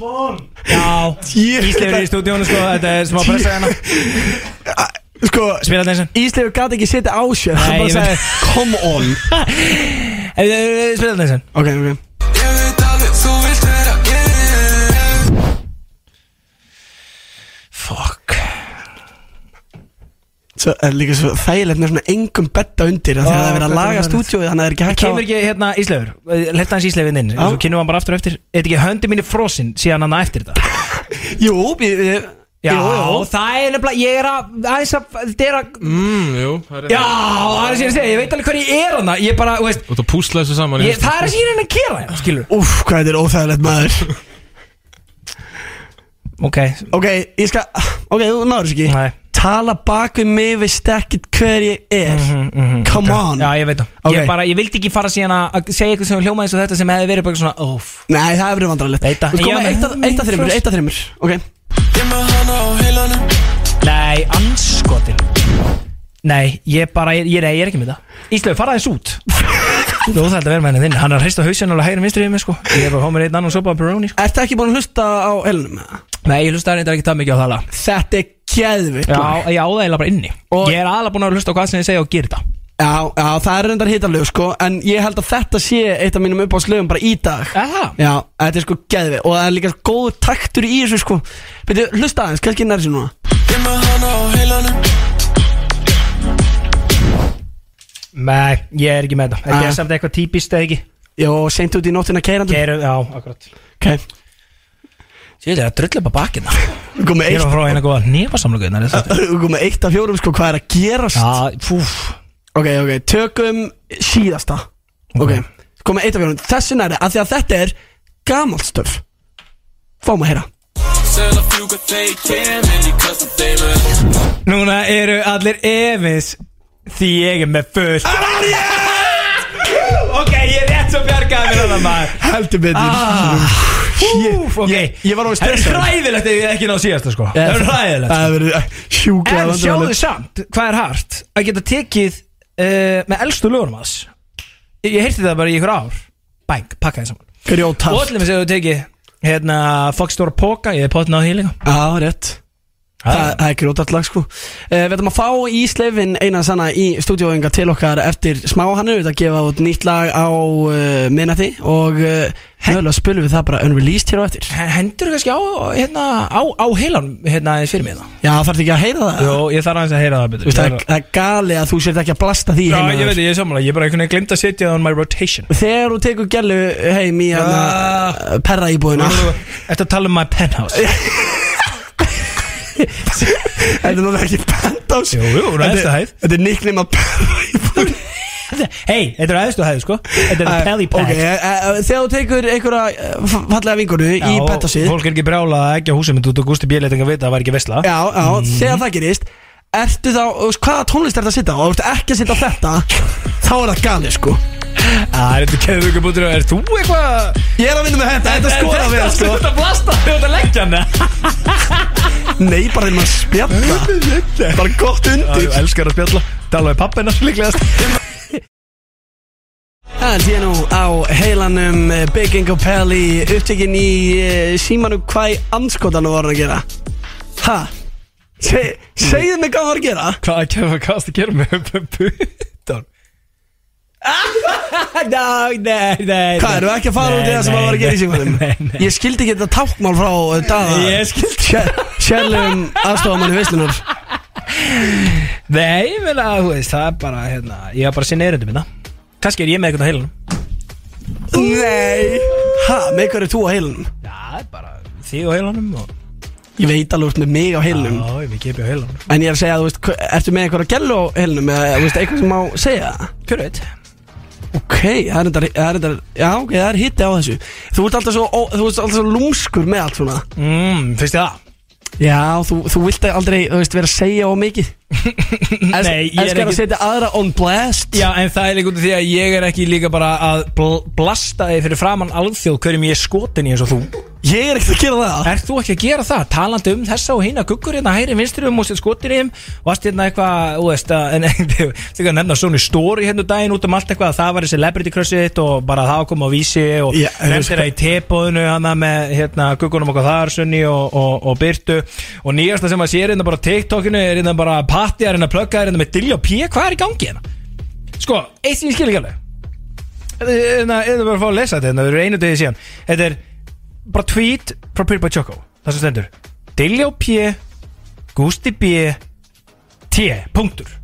[SPEAKER 2] Fuck! Já
[SPEAKER 3] Ég-
[SPEAKER 2] Ísleifur er í stúdíónu sko, þetta er smá pressa hérna
[SPEAKER 3] Sko,
[SPEAKER 2] Spila (laughs) þetta eins og
[SPEAKER 3] Ísleifur gæti ekki setja á sér Hann
[SPEAKER 2] Nei,
[SPEAKER 3] bara
[SPEAKER 2] ég veit.
[SPEAKER 3] sagði, come on
[SPEAKER 2] Eh, eh, Spila þetta eins og
[SPEAKER 3] Ok, ok
[SPEAKER 7] Ég veit alveg þú vilt vera gay
[SPEAKER 2] Fuck
[SPEAKER 3] Svo er líka svo þægilegt með svona engum betta undir af því að það er verið að laga stúdíóið þannig að það er ekki hægt
[SPEAKER 2] Kemur ekki hérna Ísleifur Letta hans Ísleifinn inn
[SPEAKER 3] Já.
[SPEAKER 2] Svo kynum hann bara aftur og eftir Er ekki höndi mín í frosinn síðan hann eftir þetta
[SPEAKER 3] ekki Jú, ég, ég,
[SPEAKER 2] Já,
[SPEAKER 3] jú, jú.
[SPEAKER 2] það er nefnilega Ég er að aðeins að Þetta er að
[SPEAKER 10] Mm, jú, það er
[SPEAKER 2] Já, það er að segja Ég veit alveg hvað ég er hana Ég bara, þú veist
[SPEAKER 10] Þú ert að púsla þessu saman
[SPEAKER 2] ég, Það er að segja henni að kera hérna Skilur
[SPEAKER 3] Úff, hvað þetta er óþægilegt maður
[SPEAKER 2] (laughs) Ok
[SPEAKER 3] Ok, ég skal Ok, þú náður þessu ekki
[SPEAKER 2] Nei.
[SPEAKER 3] Tala bak við mig við stekkit hver ég er Come
[SPEAKER 2] Mhm.
[SPEAKER 3] on
[SPEAKER 2] Mm, Já, ég veit það
[SPEAKER 3] Ok.
[SPEAKER 2] Ég bara, ég vildi ekki fara síðan að að segja eitthvað sem hljómaði eins og þetta sem hefði verið bara svona óf
[SPEAKER 3] Nei, það er verið vandrarlegt
[SPEAKER 2] Veit það.
[SPEAKER 3] Þú
[SPEAKER 2] Ég
[SPEAKER 3] komið
[SPEAKER 2] með
[SPEAKER 3] eitt að- eitt að þreymur,
[SPEAKER 2] frost.
[SPEAKER 3] eitt að þreymur Ok
[SPEAKER 7] Ég með hana á heilanum
[SPEAKER 2] Nei, anskotin Nei, ég bara, ég, ég, nei, ég er ekki með það Íslöf, fara þess (laughs) út Þú er óþægt að vera með henni þinn Hann er að hrista hausinn alveg hægri minnstri í mig sko Ég er bara að fá mér einn annan sopa að pepperoni sko
[SPEAKER 3] Ert það ekki búin að hlusta á elnum?
[SPEAKER 2] Nei, ég hlusta reyndar ekki það mikið á það lag
[SPEAKER 3] Þetta er geðvikt lag.
[SPEAKER 2] Já, ég á það eiginlega bara inni
[SPEAKER 3] Og-
[SPEAKER 2] Ég er aðalega búin að hlusta á hvað sem ég segja og gera það
[SPEAKER 3] já, já, það er reyndar hitalög sko En ég held að þetta sé eitt af mínum uppáðslögum bara í dag
[SPEAKER 2] Er það?
[SPEAKER 3] Já, þetta er sko geðvið Og það er líka góður taktur í þessu sko Byrju, hlusta aðeins, kannski nær sér núna
[SPEAKER 7] Ég með hana á heilanum
[SPEAKER 2] Nei, ég er ekki með það Þetta
[SPEAKER 3] Ah.
[SPEAKER 2] er samt eitthvað típist eða ekki
[SPEAKER 3] Jó, seint út í nóttina keirandi
[SPEAKER 2] Geru, já, akkurat
[SPEAKER 3] Ok,
[SPEAKER 2] Sér þetta er að drulla upp á Ah. bakina Ég
[SPEAKER 3] við komum með
[SPEAKER 2] er að
[SPEAKER 3] eitt
[SPEAKER 2] fara á eina góða hérna, nefasamlugunar
[SPEAKER 3] (laughs) Við komum með eitt af fjórum sko, hvað er að gerast
[SPEAKER 2] Já, fúf
[SPEAKER 3] Ok, ok, tökum síðasta Ok,
[SPEAKER 2] Ok.
[SPEAKER 3] komum með eitt af fjórum Þessu næri, af því að þetta er gamalt stöf Fáum að heyra
[SPEAKER 7] Sel að fjúka þegar ég kem inn í kastum þeimur
[SPEAKER 2] Núna eru allir efins Því ég er með fullt Ok, ég er rétt svo bjargaði mér hann maður
[SPEAKER 3] Heldur betur
[SPEAKER 2] Ah, Úf, ok
[SPEAKER 3] ég- ég var alveg
[SPEAKER 2] Það er
[SPEAKER 3] stressaður.
[SPEAKER 2] hræðilegt ef ég ekki ná síðasta sko Það er hræðilegt
[SPEAKER 3] Það hefur verið sjúklega
[SPEAKER 2] En sjáðu
[SPEAKER 3] vandræðalegt.
[SPEAKER 2] samt hvað er hart Að geta tekið uh, með elstu lögunum hans Ég ég heyrti það bara í ykkur ár Bæng, pakka þið saman
[SPEAKER 3] Grjótart.
[SPEAKER 2] Og allir með sér þú tekið Hérna, Fox Store Poka Ég er pottin á því líka
[SPEAKER 3] Já, rétt Það, það er grótart lag sko uh, Við ætlum að fá Ísleifin eina sanna í stúdíóinga til okkar eftir smá hann er auðvitað að gefa út nýtt lag á uh, minnati og uh, mögulega spilum við það bara unreleased hér á eftir
[SPEAKER 2] Hendur kannski á, hérna, á, á heilan Hérna, aðeins fyrir mig það
[SPEAKER 3] Já, þarf ekki að heyra það
[SPEAKER 2] Jó, ég þarf aðeins að heyra það
[SPEAKER 3] Þú
[SPEAKER 2] betur
[SPEAKER 3] veist, það, er, það er gali að þú sért ekki að blasta því
[SPEAKER 2] Já,
[SPEAKER 3] heima
[SPEAKER 2] ég veit, ég er samanlega, ég bara einhvern veginn glimt að setja það on my rotation
[SPEAKER 3] Þegar þú tekur gælu heim í hana
[SPEAKER 2] Ah.
[SPEAKER 3] uh, perra íbúðina
[SPEAKER 2] Þetta tala um my penthouse
[SPEAKER 3] Þetta er náttúrulega ekki penthouse
[SPEAKER 2] Jú, jú, hún er eftir hæð.
[SPEAKER 3] Þetta er nickname að perra íbúðina
[SPEAKER 2] Hei, þetta er aðeins og hefði sko Þetta er Pelly Pack
[SPEAKER 3] Ok, eh, eh, þegar þú tekur einhverja eh, f- fallega vinkonu í
[SPEAKER 2] Já, og
[SPEAKER 3] betasið
[SPEAKER 2] Fólk er ekki brjála að ekki á húsum Þú tók Gústi Björleiting að vita að það var ekki vesla
[SPEAKER 3] Já, já, þegar það gerist Ertu þá, þú veist, hvaða tónlist ertu að sitta á? Og ertu ekki að sitta á þetta Þá er það galið, sko
[SPEAKER 2] Það er þetta keður ykkur bútur Er þú eitthvað
[SPEAKER 3] Ég er að vinna með þetta, þetta skora við,
[SPEAKER 2] Þetta
[SPEAKER 3] sko
[SPEAKER 2] er þetta blasta Þú ert að leggja hann eða?
[SPEAKER 3] Nei, bara þegar maður spjalla Bara gott
[SPEAKER 2] Já,
[SPEAKER 3] undir
[SPEAKER 2] Þú elskar að spjalla Dalaði pappina líklegast
[SPEAKER 3] Það er ég nú á heilanum eh, Big Ingo Pelli Upptekinn í uh, símanu hvað í anskotanum var hann að gera Ha? Se, segðu mig hvað hann var að gera
[SPEAKER 2] Hvað að gera Hvað að gera með Puttan (laughs) Ná, nei, nei
[SPEAKER 3] Hvað, erum við ekki að fara út í það sem hann var að gera í símanum? Ég skildi ekki þetta tákmál frá eh,
[SPEAKER 2] Ég skildi-
[SPEAKER 3] Daða Sjælum (laughs) aðstofamann í veislunar
[SPEAKER 2] Nei, ég vil að, þú veist, það er bara, hérna, ég var bara að sinna erindum minna Kannski er ég með eitthvað á heilanum
[SPEAKER 3] Nei Ha, með hverju er þú á heilunum?
[SPEAKER 2] Já, það er bara þig á heilanum og
[SPEAKER 3] Ég veit alveg út með mig á heilunum
[SPEAKER 2] Já, ég vil gefa á heilanum
[SPEAKER 3] En ég er að segja, þú veist, hva- ertu með eitthvað að gælu á heilunum Eða, þú veist, eitthvað sem má segja
[SPEAKER 2] Hver veit?
[SPEAKER 3] Ok, það er þetta, það er þetta, já, ok, það er hitti á þessu Þú ert alltaf svo, ó, þú ert alltaf svo lúmskur með allt svona
[SPEAKER 2] Mmm, finnst þið það?
[SPEAKER 3] Já, þú, þú vilt aldrei, þú veist, vera að segja á
[SPEAKER 2] (laughs)
[SPEAKER 3] mikið
[SPEAKER 2] Nei, ég er
[SPEAKER 3] Elskar að
[SPEAKER 2] ekki
[SPEAKER 3] setja aðra on blast
[SPEAKER 2] Já, en það er líka út af því að ég er ekki líka bara að bl blasta þig fyrir framann alþjóð hverjum ég er skotin í eins og þú
[SPEAKER 3] Ég er ekkert að gera það
[SPEAKER 2] Ert þú ekki að gera það? Talandi um þessa og hina guggur hérna hæri vinstri um og sér skotin í þeim Vast hérna eitthvað, þú veist að en, (laughs) Þegar nefna Sony Story hérna daginn út um allt eitthvað að Það var í celebrity crushið þitt og bara það kom á vísi Og
[SPEAKER 3] Já, þú veist
[SPEAKER 2] nefndir það í tepóðinu hana með hérna guggunum okkar þar Sunni og, og, og Byrtu Og nýjasta sem að sér hérna bara á TikTokinu Er hérna bara patti að reyna að plugga þér hérna með Dilja P Hvað er í gangi hérna? Sko, eitt sem ég skil ekki alveg Þetta er bara að fá að lesa þetta hérna, Þetta er einu degi síðan Þetta er bara tweet frá Pyrpa Choco Það sem stendur Diljá P Gusti B T Punktur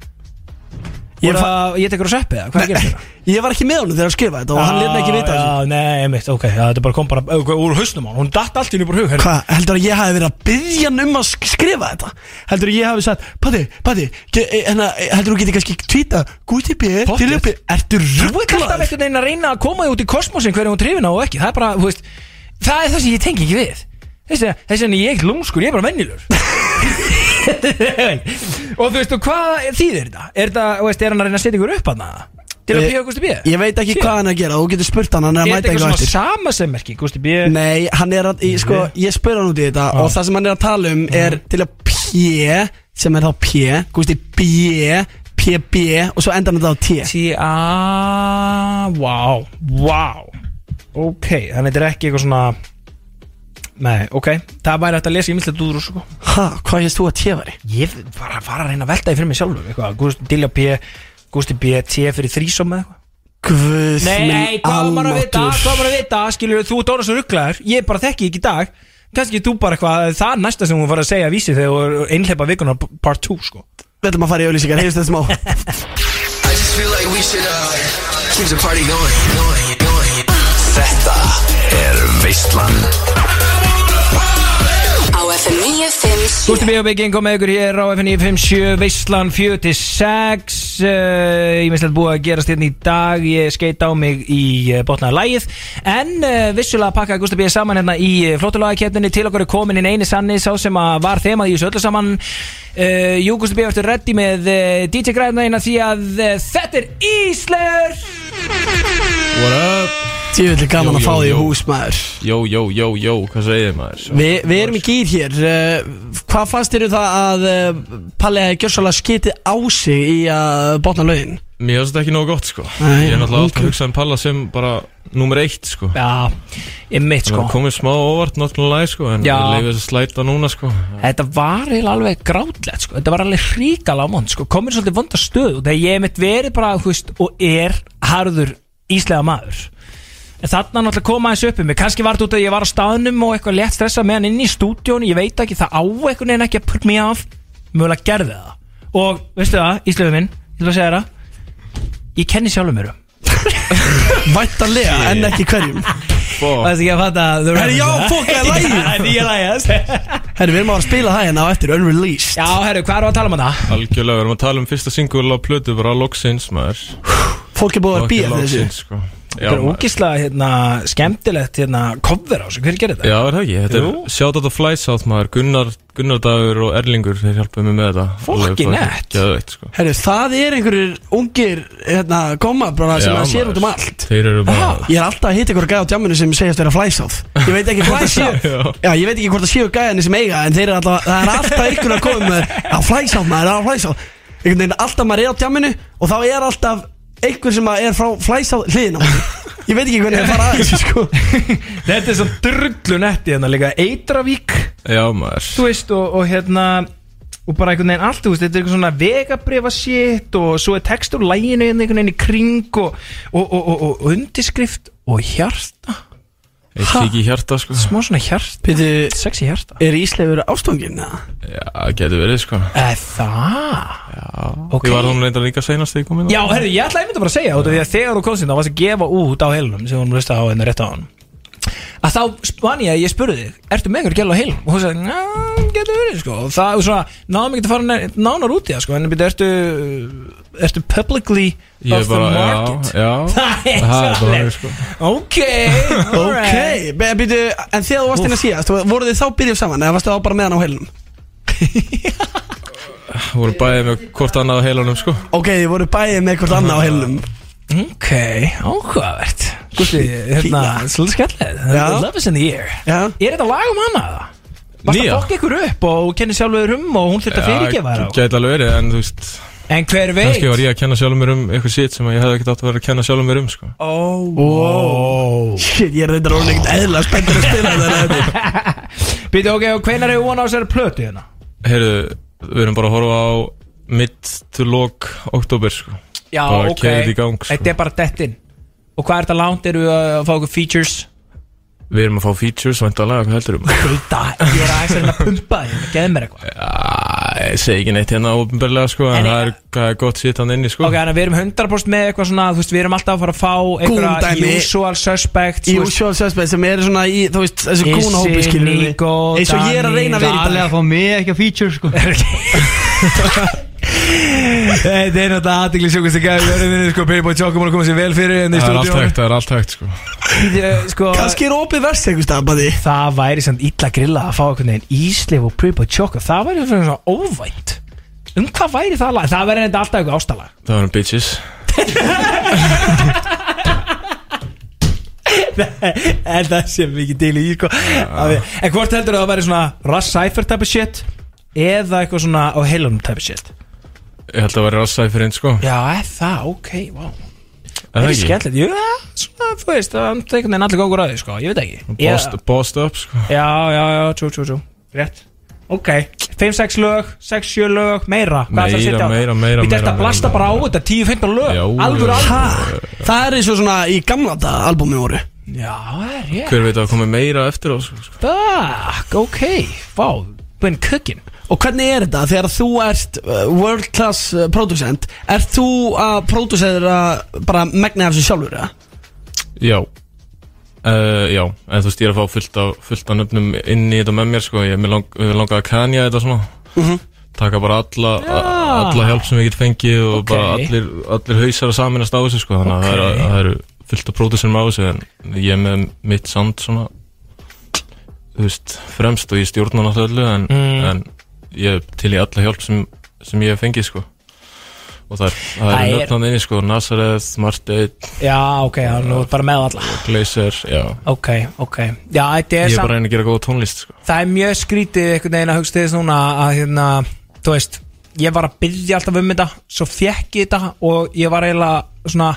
[SPEAKER 3] Ég
[SPEAKER 2] Ég, fa... ég tekur að sveppi það, hvað er að gera þetta?
[SPEAKER 3] Ég var ekki með honum þegar að skrifa þetta hérna? og hann lét mig ekki vita þessu
[SPEAKER 2] þessu Nei, einmitt, ok, já, þetta bara kom bara uh, úr hausnum á hann Hún datt allt í henni bara hug herri.
[SPEAKER 3] Hvað, heldur að ég hafi verið að byggja hann um að sk- skrifa þetta? Heldur að ég hafi sagt, Patti, Patti, ge- eh, hérna, eh, heldur að þú getur kannski tvítið að Guti B,
[SPEAKER 2] Pottþétt.
[SPEAKER 3] til uppi, ertu
[SPEAKER 2] Þú ert alltaf
[SPEAKER 3] rugglaður?
[SPEAKER 2] einhvern veginn að reyna að koma þig út í kosmosin hverju hún trefina og ekki Það er bara, þú veist, það er það sem ég tengi ekki við Þessi, þessi en ég er ekki lúmskur, ég er bara venjulur (laughs) Og þú veist, og hvað þýðir þetta? Er þetta, þú veist, er hann að reyna að setja ykkur upp hann Til að
[SPEAKER 3] Eh,
[SPEAKER 2] píða Gusti B?
[SPEAKER 3] Ég veit ekki
[SPEAKER 2] Sé.
[SPEAKER 3] hvað hann er að gera, þú getur spurt hann, hann er að
[SPEAKER 2] Er þetta
[SPEAKER 3] mæta
[SPEAKER 2] eitthvað
[SPEAKER 3] eitthvað
[SPEAKER 2] svona
[SPEAKER 3] eftir
[SPEAKER 2] sama sem merki, Gusti B?
[SPEAKER 3] Nei, hann er að, ég, sko, ég spur hann út í þetta og það sem hann er að tala um er til að P, sem er þá P, Gusti B, PB og svo endar hann þetta á T
[SPEAKER 2] T-A Vá, vá Ok, þannig þetta er ekki eitthvað svona Nei, ok Það væri hægt að lesa ímyndslegt úr úr sko
[SPEAKER 3] Ha, hvað hefðist þú að T væri?
[SPEAKER 2] Ég var að fara að reyna að velta því fyrir mig sjálfur Eitthvað, Gúst- Dilja P Gusti B, T fyrir þrísom eða eitthvað
[SPEAKER 3] Guð
[SPEAKER 2] Nei, nei,
[SPEAKER 3] minn
[SPEAKER 2] hvað á maður að vita,
[SPEAKER 3] almáttugur.
[SPEAKER 2] hvað á maður að vita Skilur, þú ert orðan svo rugglaður, ég bara þekki ekki í dag Kannski þú bara eitthvað, það er næsta sem hún var að segja að vísi þegar þú einhleipa vikunar part 2 sko
[SPEAKER 3] Við ætlum að fara í auðlýsingar, hefðist þetta smá
[SPEAKER 7] I just feel like we should uh, keep the party going, going, going. Þetta er Veistland
[SPEAKER 6] Á FM 957
[SPEAKER 2] Gústi B.O.B. gengur með ykkur hér á FN957 Veistlan 4-6 uh, Ég minnst að búið að gerast hérna í dag Ég skeit á mig í uh, botnaða lægið En uh, vissulega pakkaði Gústi B. saman hérna í uh, flóttulagakettinni Til okkur er komin inn eini sanni Sá sem að var þemað í þessu öllu saman uh, Jú, Gústi B. ertu reddi með uh, DJ Græna eina Því að uh, þetta er Íslegur
[SPEAKER 10] What up?
[SPEAKER 3] Tjöfulli gaman
[SPEAKER 10] Jú,
[SPEAKER 3] að fá
[SPEAKER 10] jú,
[SPEAKER 3] því í
[SPEAKER 10] jú.
[SPEAKER 3] hús maður
[SPEAKER 10] Jó, jó, jó, jó, hvað segir þið maður?
[SPEAKER 3] Vi, Við erum í gýr hér uh, Hvað fannst þér um það að uh, Palli að gjössalega skitið á sig í að botna lögin?
[SPEAKER 10] Mér finnst þetta ekki nógu gott, sko
[SPEAKER 3] Nei,
[SPEAKER 10] Ég er náttúrulega alltaf
[SPEAKER 3] ok.
[SPEAKER 10] að hugsa um Palla sem bara Númer eitt, sko
[SPEAKER 2] Já, ég mitt
[SPEAKER 10] Það
[SPEAKER 2] sko
[SPEAKER 10] er komið smá óvart, náttúrulega, sko En
[SPEAKER 2] Já.
[SPEAKER 10] ég leiði þess að slæta núna, sko
[SPEAKER 2] Mm. Þetta var eiginlega alveg grátlegt sko. Þetta var alveg hríkala á mond sko. Komir svolítið vonda stöð og þegar ég hef mitt verið bara þú veist, og er harður íslega maður En þarna náttúrulega koma aðeins upp um mig Kanski var þetta út að ég var á staðnum og eitthvað létt stressað með hann inn í stúdíónu Ég veit ekki, það á eitthvað neina ekki að put me off Mögulega gerði það Og veistu það, íslega minn, ég vil að segja þér það Ég kenni sjálfum mér um
[SPEAKER 3] Væntanlega, en ekki hverjum
[SPEAKER 10] Bó,
[SPEAKER 2] Það er ekki að fatta
[SPEAKER 3] Herri, já, fuck, það er lagið.
[SPEAKER 2] Það (laughs) er nýja lægið
[SPEAKER 3] Herri, við erum að fara að spila það hérna á eftir Unreleased
[SPEAKER 2] Já, herru, hvað er að tala um þetta?
[SPEAKER 10] algjörlega, við erum að tala um fyrsta singul á plötu Bara loksins, maður
[SPEAKER 3] Fólk er búið að
[SPEAKER 10] Fólk er
[SPEAKER 3] býja fyrir
[SPEAKER 10] loksins,
[SPEAKER 3] þessu
[SPEAKER 10] sko.
[SPEAKER 2] Þetta
[SPEAKER 10] Já,
[SPEAKER 2] er
[SPEAKER 10] maður.
[SPEAKER 2] ógislega hérna, skemmtilegt hérna, cover á þessu, hver gerir þetta?
[SPEAKER 10] Já, er það ekki? Þetta
[SPEAKER 2] Jú.
[SPEAKER 10] er Shoutout of Flysátt maður Gunnar, Gunnar Dagur og Erlingur Þeir hjálpaði mér með þetta
[SPEAKER 2] Fucking nett.
[SPEAKER 10] Gjöðveitt sko
[SPEAKER 3] Herru, það er einhverjir ungir hérna, góma bara sem
[SPEAKER 10] Já,
[SPEAKER 3] að sér
[SPEAKER 10] maður.
[SPEAKER 3] út um allt
[SPEAKER 10] Þeir eru bara
[SPEAKER 3] Ég er alltaf að hitta ykkur gæði á djamminu sem segjast vera flæsáð Ég veit ekki hvað séu Já, ég veit ekki hvort það séu gæðinni sem eiga En þeir eru alltaf, það er alltaf ykkur að koma með Á flæsáð, maður er á flæsáð Einhvern veginn, alltaf maður er á djamminu Og þá er alltaf einhver sem að er frá flæsáð hliðin á manni. Ég veit ekki hvernig það fara að þessu sko
[SPEAKER 2] Þetta er svo drullu netti hérna líka Eitravík,
[SPEAKER 10] Já maður
[SPEAKER 2] þú veist, og, og hérna og bara einhvern veginn allt, þú veist, þetta er eitthvað svona vegabrifa sitt og svo er textur úr læginu hérna einhvern veginn í kring og, og, og, og, og undirskrift og hjarta,
[SPEAKER 10] Eitt líki hjarta sko
[SPEAKER 2] smá svona hjarta
[SPEAKER 3] Pítu,
[SPEAKER 2] sexy hjarta
[SPEAKER 3] er Ísleifur ástofnginn? eða?
[SPEAKER 10] Já, getur verið sko
[SPEAKER 2] Eða það?
[SPEAKER 10] Ég var hún reyndar líka seinast þegar ég kom inn á-
[SPEAKER 2] Já, herri, ég ætla einmitt að bara að segja út af því að þegar þú komst inn þá varst að gefa út á heilunum sem hún hlusta á henni rétt á hann að þá man ég að ég spurði þig ertu með einhver gæla á heilum og hún sagði, njá, getur verið sko og það er svona, náðum ekki að fara nær- nánar út í það sko en býttu, ertu ertu publicly
[SPEAKER 10] Ég
[SPEAKER 2] of the
[SPEAKER 10] bara, já,
[SPEAKER 2] market
[SPEAKER 10] já
[SPEAKER 2] (laughs) Það er
[SPEAKER 10] Það er bara,
[SPEAKER 2] svolítið.
[SPEAKER 10] sko
[SPEAKER 2] ok,
[SPEAKER 3] Ok,
[SPEAKER 2] alright
[SPEAKER 3] be- býtu, en þegar þú varst inn að síðast Voruð þið þá byrjuð saman eða varstu þá bara með hann á heilunum?
[SPEAKER 10] Voru bæðið með hvort annað á heilanum sko
[SPEAKER 3] Ok, þið voru bæðið með hvort annað á heilunum
[SPEAKER 2] ok, áhugavert Gusti, hérna, svolítið skemmlega
[SPEAKER 3] Já.
[SPEAKER 2] love is in the air
[SPEAKER 3] Já.
[SPEAKER 2] er þetta lag um hana það? Varst að
[SPEAKER 10] Nýja?
[SPEAKER 2] fokka ykkur upp og kenni sjálfur um og hún þurft að fyrirgefa þér á
[SPEAKER 10] Gæti alveg verið, en þú veist
[SPEAKER 2] En hver veit
[SPEAKER 10] kannski var ég að kenna sjálfum mér um eitthvað sitt sem ég hefði ekkert átt að vera að kenna sjálfum mér um sko.
[SPEAKER 2] oh, wow.
[SPEAKER 3] Shit, ég er reyndar orðin ekkert eðla spenntur að spila þetta þetta.
[SPEAKER 2] Býtu ok, og hvenær er von á þessari plötu hérna?
[SPEAKER 10] Heyrðu, við erum bara að horfa á mitt til lok oktober sko.
[SPEAKER 2] Já,
[SPEAKER 10] Bara keyrið þetta í gang, sko.
[SPEAKER 2] Þetta er bara dettin Og hvað er þetta langt? Eru við að fá okkur features?
[SPEAKER 10] Við erum að fá features vantalega, hvað heldur um?
[SPEAKER 2] Gulda, ég er aðeins að reyna að pumpa þér Geð mér eitthvað
[SPEAKER 10] Já, ég segi ekki neitt hérna ofinbarlega sko,
[SPEAKER 2] En
[SPEAKER 10] en
[SPEAKER 2] ég-
[SPEAKER 10] það er, það er gott sitt hann inni sko.
[SPEAKER 2] Ok, þannig að við erum 100% með eitthvað svona Þú veist, við erum alltaf að fara að fá Einhverja
[SPEAKER 3] dæmi.
[SPEAKER 2] usual suspects þú veist,
[SPEAKER 3] Usual suspect sem er svona í, þú veist, þessu
[SPEAKER 2] Issi,
[SPEAKER 3] kúnahópi skilur við
[SPEAKER 2] Nico,
[SPEAKER 3] Eins og ég er að reyna að vera í
[SPEAKER 5] Alveg
[SPEAKER 3] dag
[SPEAKER 5] að fá mig ekki að feature (laughs) sko
[SPEAKER 2] Þetta er náttúrulega aðdegli sjókvæmst ekki að við erum vinni sko Payboy Chocobo að koma sér vel fyrir en
[SPEAKER 10] Það er allt hægt, það er allt hægt sko.
[SPEAKER 2] hægt sko,
[SPEAKER 3] Kanski er opið vers eitthvað stafaði
[SPEAKER 2] Það væri samt illa grilla að fá einhvern veginn íslif og pripa tjóka Það væri svona svona óvænt Um hvað væri það lag? Það væri enda alltaf eitthvað ástalag
[SPEAKER 10] Það varum bitches.
[SPEAKER 2] En það sem við ekki til í sko. Að við- En hvort heldur það að væri svona Russ Cypher type of shit Eða eitthvað svona á heilunum type of shit
[SPEAKER 10] Ég held að það væri rassaði fyrir hinn sko.
[SPEAKER 2] Já, er það, ok, wow
[SPEAKER 10] Er
[SPEAKER 2] Það
[SPEAKER 10] það
[SPEAKER 2] er
[SPEAKER 10] ekki?
[SPEAKER 2] skemmtilegt, jú, ja, svona, þú veist Það er einhvern veginn allir góður að því, sko, ég veit ekki
[SPEAKER 10] Bossed, bossed up sko.
[SPEAKER 2] Já, já, já, tjú, tjú, tjú Rétt Ok, 5-6 lög, 6-7 lög, meira Hvað ætlarðu að
[SPEAKER 10] Meira,
[SPEAKER 2] setja á?
[SPEAKER 10] meira, meira,
[SPEAKER 2] Við þetta
[SPEAKER 10] meira,
[SPEAKER 2] blasta
[SPEAKER 10] meira,
[SPEAKER 2] bara á
[SPEAKER 10] meira.
[SPEAKER 2] þetta 10-15 lög
[SPEAKER 10] Já,
[SPEAKER 2] Alvöru
[SPEAKER 10] já.
[SPEAKER 2] alvöru
[SPEAKER 3] Það er eins og svona í gamla daga albúmi voru
[SPEAKER 2] Já, það er rétt
[SPEAKER 10] Hver veit að komi meira eftir á sko.
[SPEAKER 2] Fuck, ok Vá, búinn kukkin
[SPEAKER 3] Og hvernig er þetta þegar þú ert uh, world class uh, producent Ert þú að producera bara megna af þessu sjálfur eða?
[SPEAKER 10] Já Uh, já, en þú veist ég er að fá fullt af, fullt af nöfnum inn í þetta með mér sko. ég er lang, við langaði að kanja þetta svona taka bara alla, a, alla hjálp sem ég get fengið og
[SPEAKER 2] Ok.
[SPEAKER 10] bara allir, allir hausar að saminast á þessu sko. þannig að það
[SPEAKER 2] Ok.
[SPEAKER 10] eru- það eru fullt af pródusum á þessu en ég er með mitt sand svona þú veist, fremst og ég stjórna náttúrulega öllu, en,
[SPEAKER 2] Mm.
[SPEAKER 10] en ég er til í alla hjálp sem, sem ég hef fengið sko. og það er, það
[SPEAKER 2] Það
[SPEAKER 10] er
[SPEAKER 2] er-
[SPEAKER 10] nöfnan inni sko. Nazareth, Marteinn,
[SPEAKER 2] Já, ok, það er nú bara með alla
[SPEAKER 10] Glazer, já
[SPEAKER 2] Ok, ok Já, þetta er
[SPEAKER 10] Ég er bara
[SPEAKER 2] samt
[SPEAKER 10] að reyna að gera góða tónlist sko.
[SPEAKER 2] Það er mjög skrítið einhvern veginn að hugsa þess núna að hérna, þú veist, ég var að byrja alltaf um þetta, svo fekk ég þetta og ég var eiginlega svona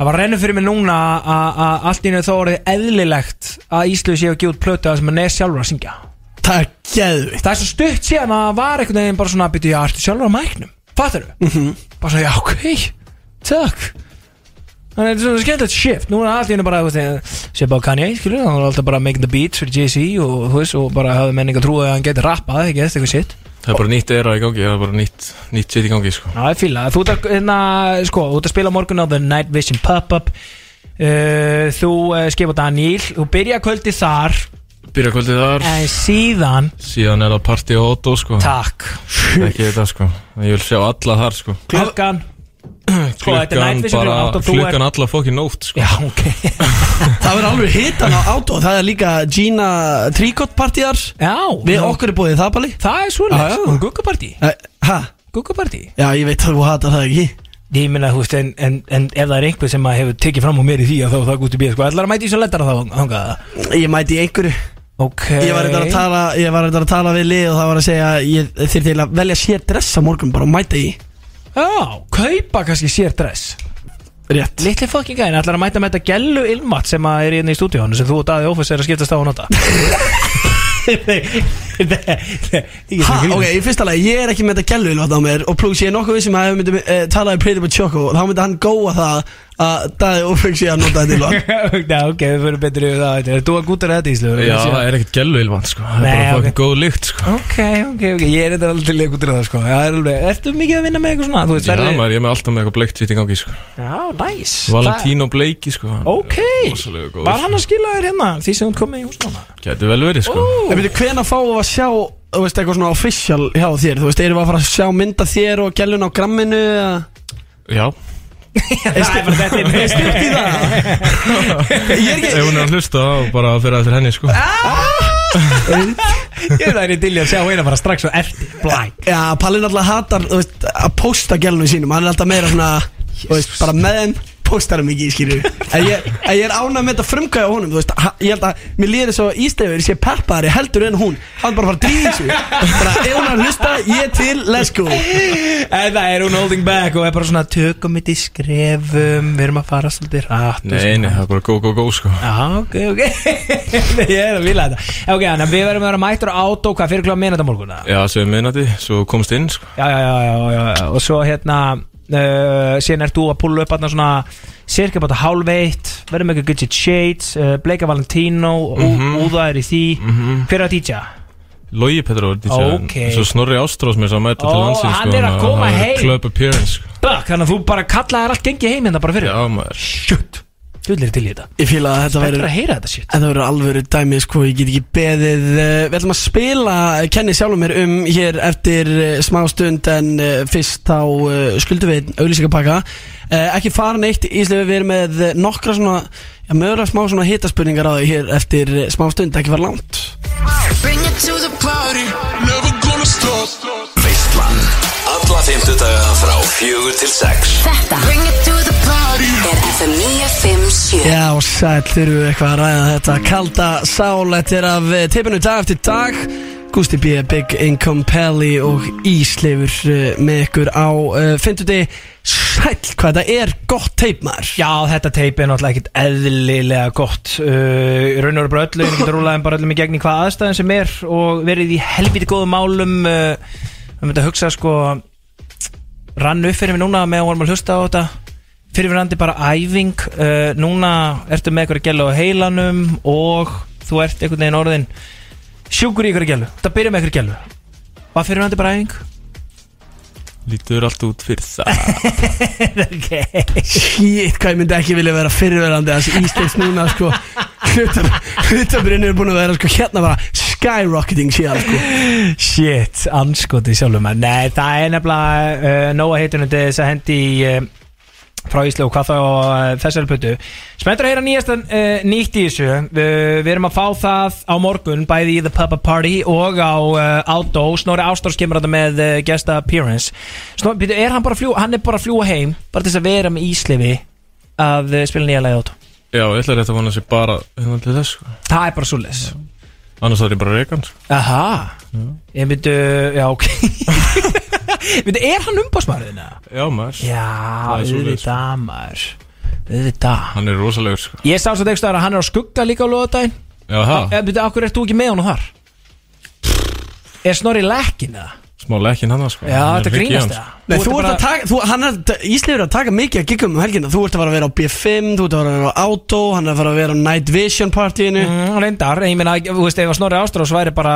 [SPEAKER 2] það var reynu fyrir mig núna að- að að allt í nöðu þó orðið eðlilegt að Íslöf séu að gefa út plötu að sem að neð sjálfur að syngja.
[SPEAKER 3] Það er geðvitt
[SPEAKER 2] Það er svo stutt síðan að það var einhvern veginn bara svona að byrja, já, ertu sjálfur á mæknum? Fattar þau? Bara svona, já, ok, takk Þannig að þetta er svona skemmtilegt shift Nú er allt í henni bara, þú veist, sé bara Kanye, skilur Hann var alltaf bara making the beats fyrir Jay-Z og, þú veist, og bara hafði menning að trúa að hann geti rappað, ekki eða eitthvað sitt
[SPEAKER 10] Það er bara nýtt era í gangi Það er bara nýtt, nýtt shit í gangi sko.
[SPEAKER 2] Já, það er fíla Þú ert að, hérna, sko, þú ert að spila á morgun á The Night Vision Pop-Up uh, Þú uh, skipa Daniel Þú byrja kvöldi þar
[SPEAKER 10] Byrja kvöldið þar
[SPEAKER 2] En síðan,
[SPEAKER 10] Síðan er það party á Otto sko.
[SPEAKER 2] takk
[SPEAKER 10] Ekki þetta sko En Ég vil sjá alla þar sko.
[SPEAKER 2] Klokkan Sko, þetta er
[SPEAKER 10] klukkan
[SPEAKER 2] night vision klukkan átta
[SPEAKER 10] bara
[SPEAKER 2] og þú er-
[SPEAKER 10] klukkan alla fokkin nótt sko.
[SPEAKER 2] Já, ok
[SPEAKER 3] Það verður alveg hitan á átó Það er líka Gina Tricot partíjar
[SPEAKER 2] Já
[SPEAKER 3] Við okkur er búið það bali
[SPEAKER 2] Það er
[SPEAKER 3] Já,
[SPEAKER 2] svoleiðis Sko,
[SPEAKER 3] já.
[SPEAKER 2] Og guggapartí
[SPEAKER 3] Eh, Ha?
[SPEAKER 2] Guggapartí
[SPEAKER 3] Já, ég veit að þú hatar það ekki
[SPEAKER 2] Ég minna, þú veist, en, en, en ef það er einhver sem að hefur tekið fram á mér í því að þá það gúti bíð, sko, ætlar að mæti svo lettara þá hangað
[SPEAKER 3] Ég mæti í einhverju
[SPEAKER 2] Ok
[SPEAKER 3] Ég var eitthvað að tala, ég var eitthvað að tala við lið og það var að segja að ég þyrfti eiginlega að velja sér dress á morgun bara og mæta í
[SPEAKER 2] Já, kaupa kannski sér dress
[SPEAKER 3] Rétt
[SPEAKER 2] Litli fucking gæðin, ætlar að mæta með þetta gellu ilmat sem að er inn í stúdíónu sem þú og Daði Ófess er að skiptast á að
[SPEAKER 3] (laughs)
[SPEAKER 2] nota
[SPEAKER 3] Ha, ok,
[SPEAKER 2] Hæ,
[SPEAKER 3] í fyrsta lagi, ég er ekki með þetta gælu á mér og pluss ég er nokkuð vissum að ef við myndum e, talaði Pretty But Choco þá myndi hann góa það að Daði Ófeng sé að nota þetta ilva
[SPEAKER 2] (laughs)
[SPEAKER 3] (laughs)
[SPEAKER 2] Já, ok, við fyrir betur yfir það Þetta er þú að gútur þetta Íslu
[SPEAKER 10] Já, það er ekkert gælu ilvan sko. Það er
[SPEAKER 2] Nei,
[SPEAKER 10] bara
[SPEAKER 2] ok.
[SPEAKER 10] fokkin góð lykt sko.
[SPEAKER 2] Ok, ok, ok, ég er þetta alveg til leikur til það sko Já, er alveg, ertu mikið að vinna með eitthvað svona? Þú veist,
[SPEAKER 10] Já,
[SPEAKER 2] það er-
[SPEAKER 10] maður, ég er með alltaf með eitthvað bleikt sitt í gangi sko.
[SPEAKER 2] Já, næs
[SPEAKER 10] Valentino Bleiki sko. hann er
[SPEAKER 2] Ok,
[SPEAKER 10] rosalega góður,
[SPEAKER 2] var
[SPEAKER 10] sko.
[SPEAKER 2] hann að skila þér hérna því sem hún kom með í húsnána?
[SPEAKER 10] Gæti vel verið sko
[SPEAKER 3] En veitu, hvena fáum við að sjá Þú veist, eitthvað svona official hjá þér Þú veist, erum við að fara að sjá mynda þér og gælun á gramminu eða?
[SPEAKER 10] Já,
[SPEAKER 2] Það er bara þetta er stutt í það
[SPEAKER 3] Ég er ekki
[SPEAKER 10] ef hún er að hlusta þá bara fyrir að fyrir henni sko
[SPEAKER 2] Ah. Ég veit að það er til í að sjá hérna bara strax og eftir Blæ
[SPEAKER 3] Já, Pallin alltaf hatar, þú veist, að posta gælunum sínum Hann er alltaf meira svona, þú veist, bara með þeim Postar hann ekki, skilur En ég, en ég er ánað með þetta frumkvæði á honum Þú veist, ha- ég held að Mér líður svo ístefur Sér peppari heldur en hún Hann bara fara að dríða í sig Bara, ef hún er að hlusta, ég er til, let's go
[SPEAKER 2] En það er hún holding back og er bara svona Tökum mitt í skrefum, við erum að fara svolítið rætt
[SPEAKER 10] Nei, nei, það er bara góð, góð, góð sko
[SPEAKER 2] Já, ok, ok (laughs) Ég er að vilja þetta Ok, þannig að við verðum að vera mættur á átó Hvað fyrir klá meina þetta morgun? eða?
[SPEAKER 10] Já, sem minnati, svo komst inn sko
[SPEAKER 2] já, já, já, já, já, já. og svo hérna uh, síðan ert þú að púla upp hérna svona cirka bátta hálf eitt verðum ekki að gutja shades uh, Bleika Valentino, mm Úða er í því hver er að dýja?
[SPEAKER 10] Logi Petróður,
[SPEAKER 2] Ok.
[SPEAKER 10] svo Snorri Ástrós mér sem að mæta
[SPEAKER 2] Ó,
[SPEAKER 10] til landsins sko,
[SPEAKER 2] hann er að
[SPEAKER 10] þannig
[SPEAKER 2] koma
[SPEAKER 10] það verður
[SPEAKER 2] heim.
[SPEAKER 10] Club appearance sko
[SPEAKER 2] Bak, þannig að þú bara kallaðir allt gengi heim hérna bara fyrir
[SPEAKER 10] Já, maður
[SPEAKER 2] Shit, þú vilir til í þetta
[SPEAKER 3] Ég fíla að þetta
[SPEAKER 2] Það verður
[SPEAKER 3] verður
[SPEAKER 2] að heyra þetta shit
[SPEAKER 3] En það verður alvöru dæmi, sko, ég get ekki beðið Eh, Við ætlum að spila, eh, kenni sjálfum mér um hér eftir eh, smá stund En eh, fyrst þá eh, skuldum við auðlýsingapakka Eh, Ekki fara neitt, Íslegu við erum með eh, nokkra svona Já, mögulega smá svona hitaspurningar á því hér eftir eh, smá stund, ekki fara langt
[SPEAKER 1] Bring it to the party
[SPEAKER 7] Veistlan Alla fymtudaga frá fjögur til sex
[SPEAKER 1] Þetta Bring it to the party
[SPEAKER 6] er FM 957
[SPEAKER 3] Já, sæl, þurfum við eitthvað að ræða þetta Kalda sál, þetta er af eh, tippinu dag eftir dag Gusti B, Big Income Pelli og Ísleifur eh, með ykkur á uh, Fynduði sæl hvað þetta er gott teip maður
[SPEAKER 2] Já, þetta teip er náttúrulega ekkit eðlilega gott uh, Raunar bara öllu, ég getur rúlaðið bara öllum í gegn í hvað aðstæðin sem er og verið í helviti góðum málum uh, við myndum að hugsa sko rann upp fyrir mig núna með að vorum að hlusta á þetta fyrir við randi bara æfing uh, núna ertu með eitthvað að gæla á heilanum og þú ert einhvern veginn orðin sjúkur í eitthvað að gælu það byrja með eitthvað að gælu var fyrir randi bara æfing?
[SPEAKER 10] Lítur allt út fyrir
[SPEAKER 2] (laughs)
[SPEAKER 10] það
[SPEAKER 2] ok
[SPEAKER 3] Shit, hvað ég myndi ekki vilja vera fyrirverandi þessi Ísleifs núna sko Hlutabrinn er búin að vera sko hérna bara skyrocketing síðan sko
[SPEAKER 2] Shit, anskotið sjálfum að Nei, það er nefnilega uh, Nóa heitunandi þess að hendi í, uh, frá Íslu og hvað þá uh, þessari putu Spenntur að heyra nýjasta uh, nýtt í þessu uh, Við erum að fá það á morgun bæði í The Papa Party og á uh, Outdo Snorri Ástors kemur þetta með uh, gesta appearance Snorri, býtu, er hann bara að fljúa Hann er bara að fljúa heim bara til þess að vera með Íslifi að uh, spila nýja leið át
[SPEAKER 10] Já, ég ætla rétt að vona sér bara hérna til þess sko
[SPEAKER 2] Það er bara svo les
[SPEAKER 10] Annars þarf ég bara að reka hann sko
[SPEAKER 2] Aha Ég myndi, já ok Myndi, er hann umbásmaðurinn eða?
[SPEAKER 10] Já, maður
[SPEAKER 2] Já,
[SPEAKER 10] Það er svoleiðis.
[SPEAKER 2] auðvitað maður Auðvitað
[SPEAKER 10] Hann er rosalegur sko
[SPEAKER 2] Ég sá svo tegst að hann er á skugga líka á Eh, loðadaginn
[SPEAKER 10] Já, það,
[SPEAKER 2] Eða byrja, okkur ert þú ekki með honum þar? Er snorri lekkin eða?
[SPEAKER 10] smá lekkin hann sko
[SPEAKER 2] Já,
[SPEAKER 10] Hann er
[SPEAKER 2] þetta
[SPEAKER 10] hrygg í
[SPEAKER 2] grínast
[SPEAKER 10] hann, sko.
[SPEAKER 2] eða?
[SPEAKER 3] Nei, þú ert að taka, þú, hann er, Ísleifur er að taka mikið að giggum um helgina Þú ert að fara að vera á B5, þú ert að fara að vera á Auto Hann er að fara að vera á Night Vision partíinu
[SPEAKER 2] Mm, Reyndar, en ég meina, þú veist, ef að snorri ástrás væri bara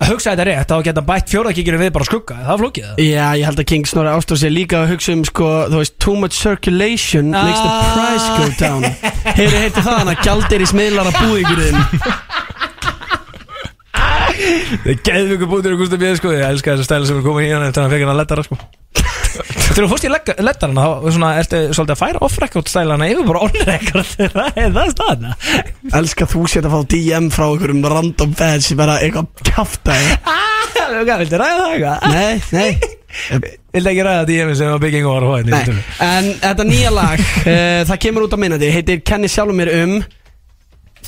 [SPEAKER 2] að hugsa þetta rétt, þá geta hann bætt fjórakikiru við bara á skugga, það er flókið það
[SPEAKER 3] Já, ég held að King Snorri Ástúr sé líka að hugsa um sko, þú veist, too much circulation makes the
[SPEAKER 2] Ah.
[SPEAKER 3] price go
[SPEAKER 10] (laughs)
[SPEAKER 3] down Hefur þið heitið það hann að gjaldir í smiðlar að búi ykkur þinn
[SPEAKER 2] Geðvöku bútur og gústum ég, sko, ég elska þess að stæla sem er komið í hann eftir að hann fekk hann að lettara, sko Þegar þú fórst í legg- leddarana þá svona, ertu svolítið að færa off-record stælana yfir bara on-record (laughs) Það er það (laughs) staðna
[SPEAKER 3] Elskar þú sétt að fá DM frá einhverjum random fans sem er að eitthvað kjafta þig
[SPEAKER 2] Hvað, viltu ræða það eitthvað?
[SPEAKER 3] Nei, nei
[SPEAKER 2] Viltu ekki ræða DM-in sem að bygging var hóðin
[SPEAKER 3] Nei, en þetta nýja
[SPEAKER 10] (laughs)
[SPEAKER 3] lag uh, Það kemur út á minnandi Heitir Kenni sjálfur mér um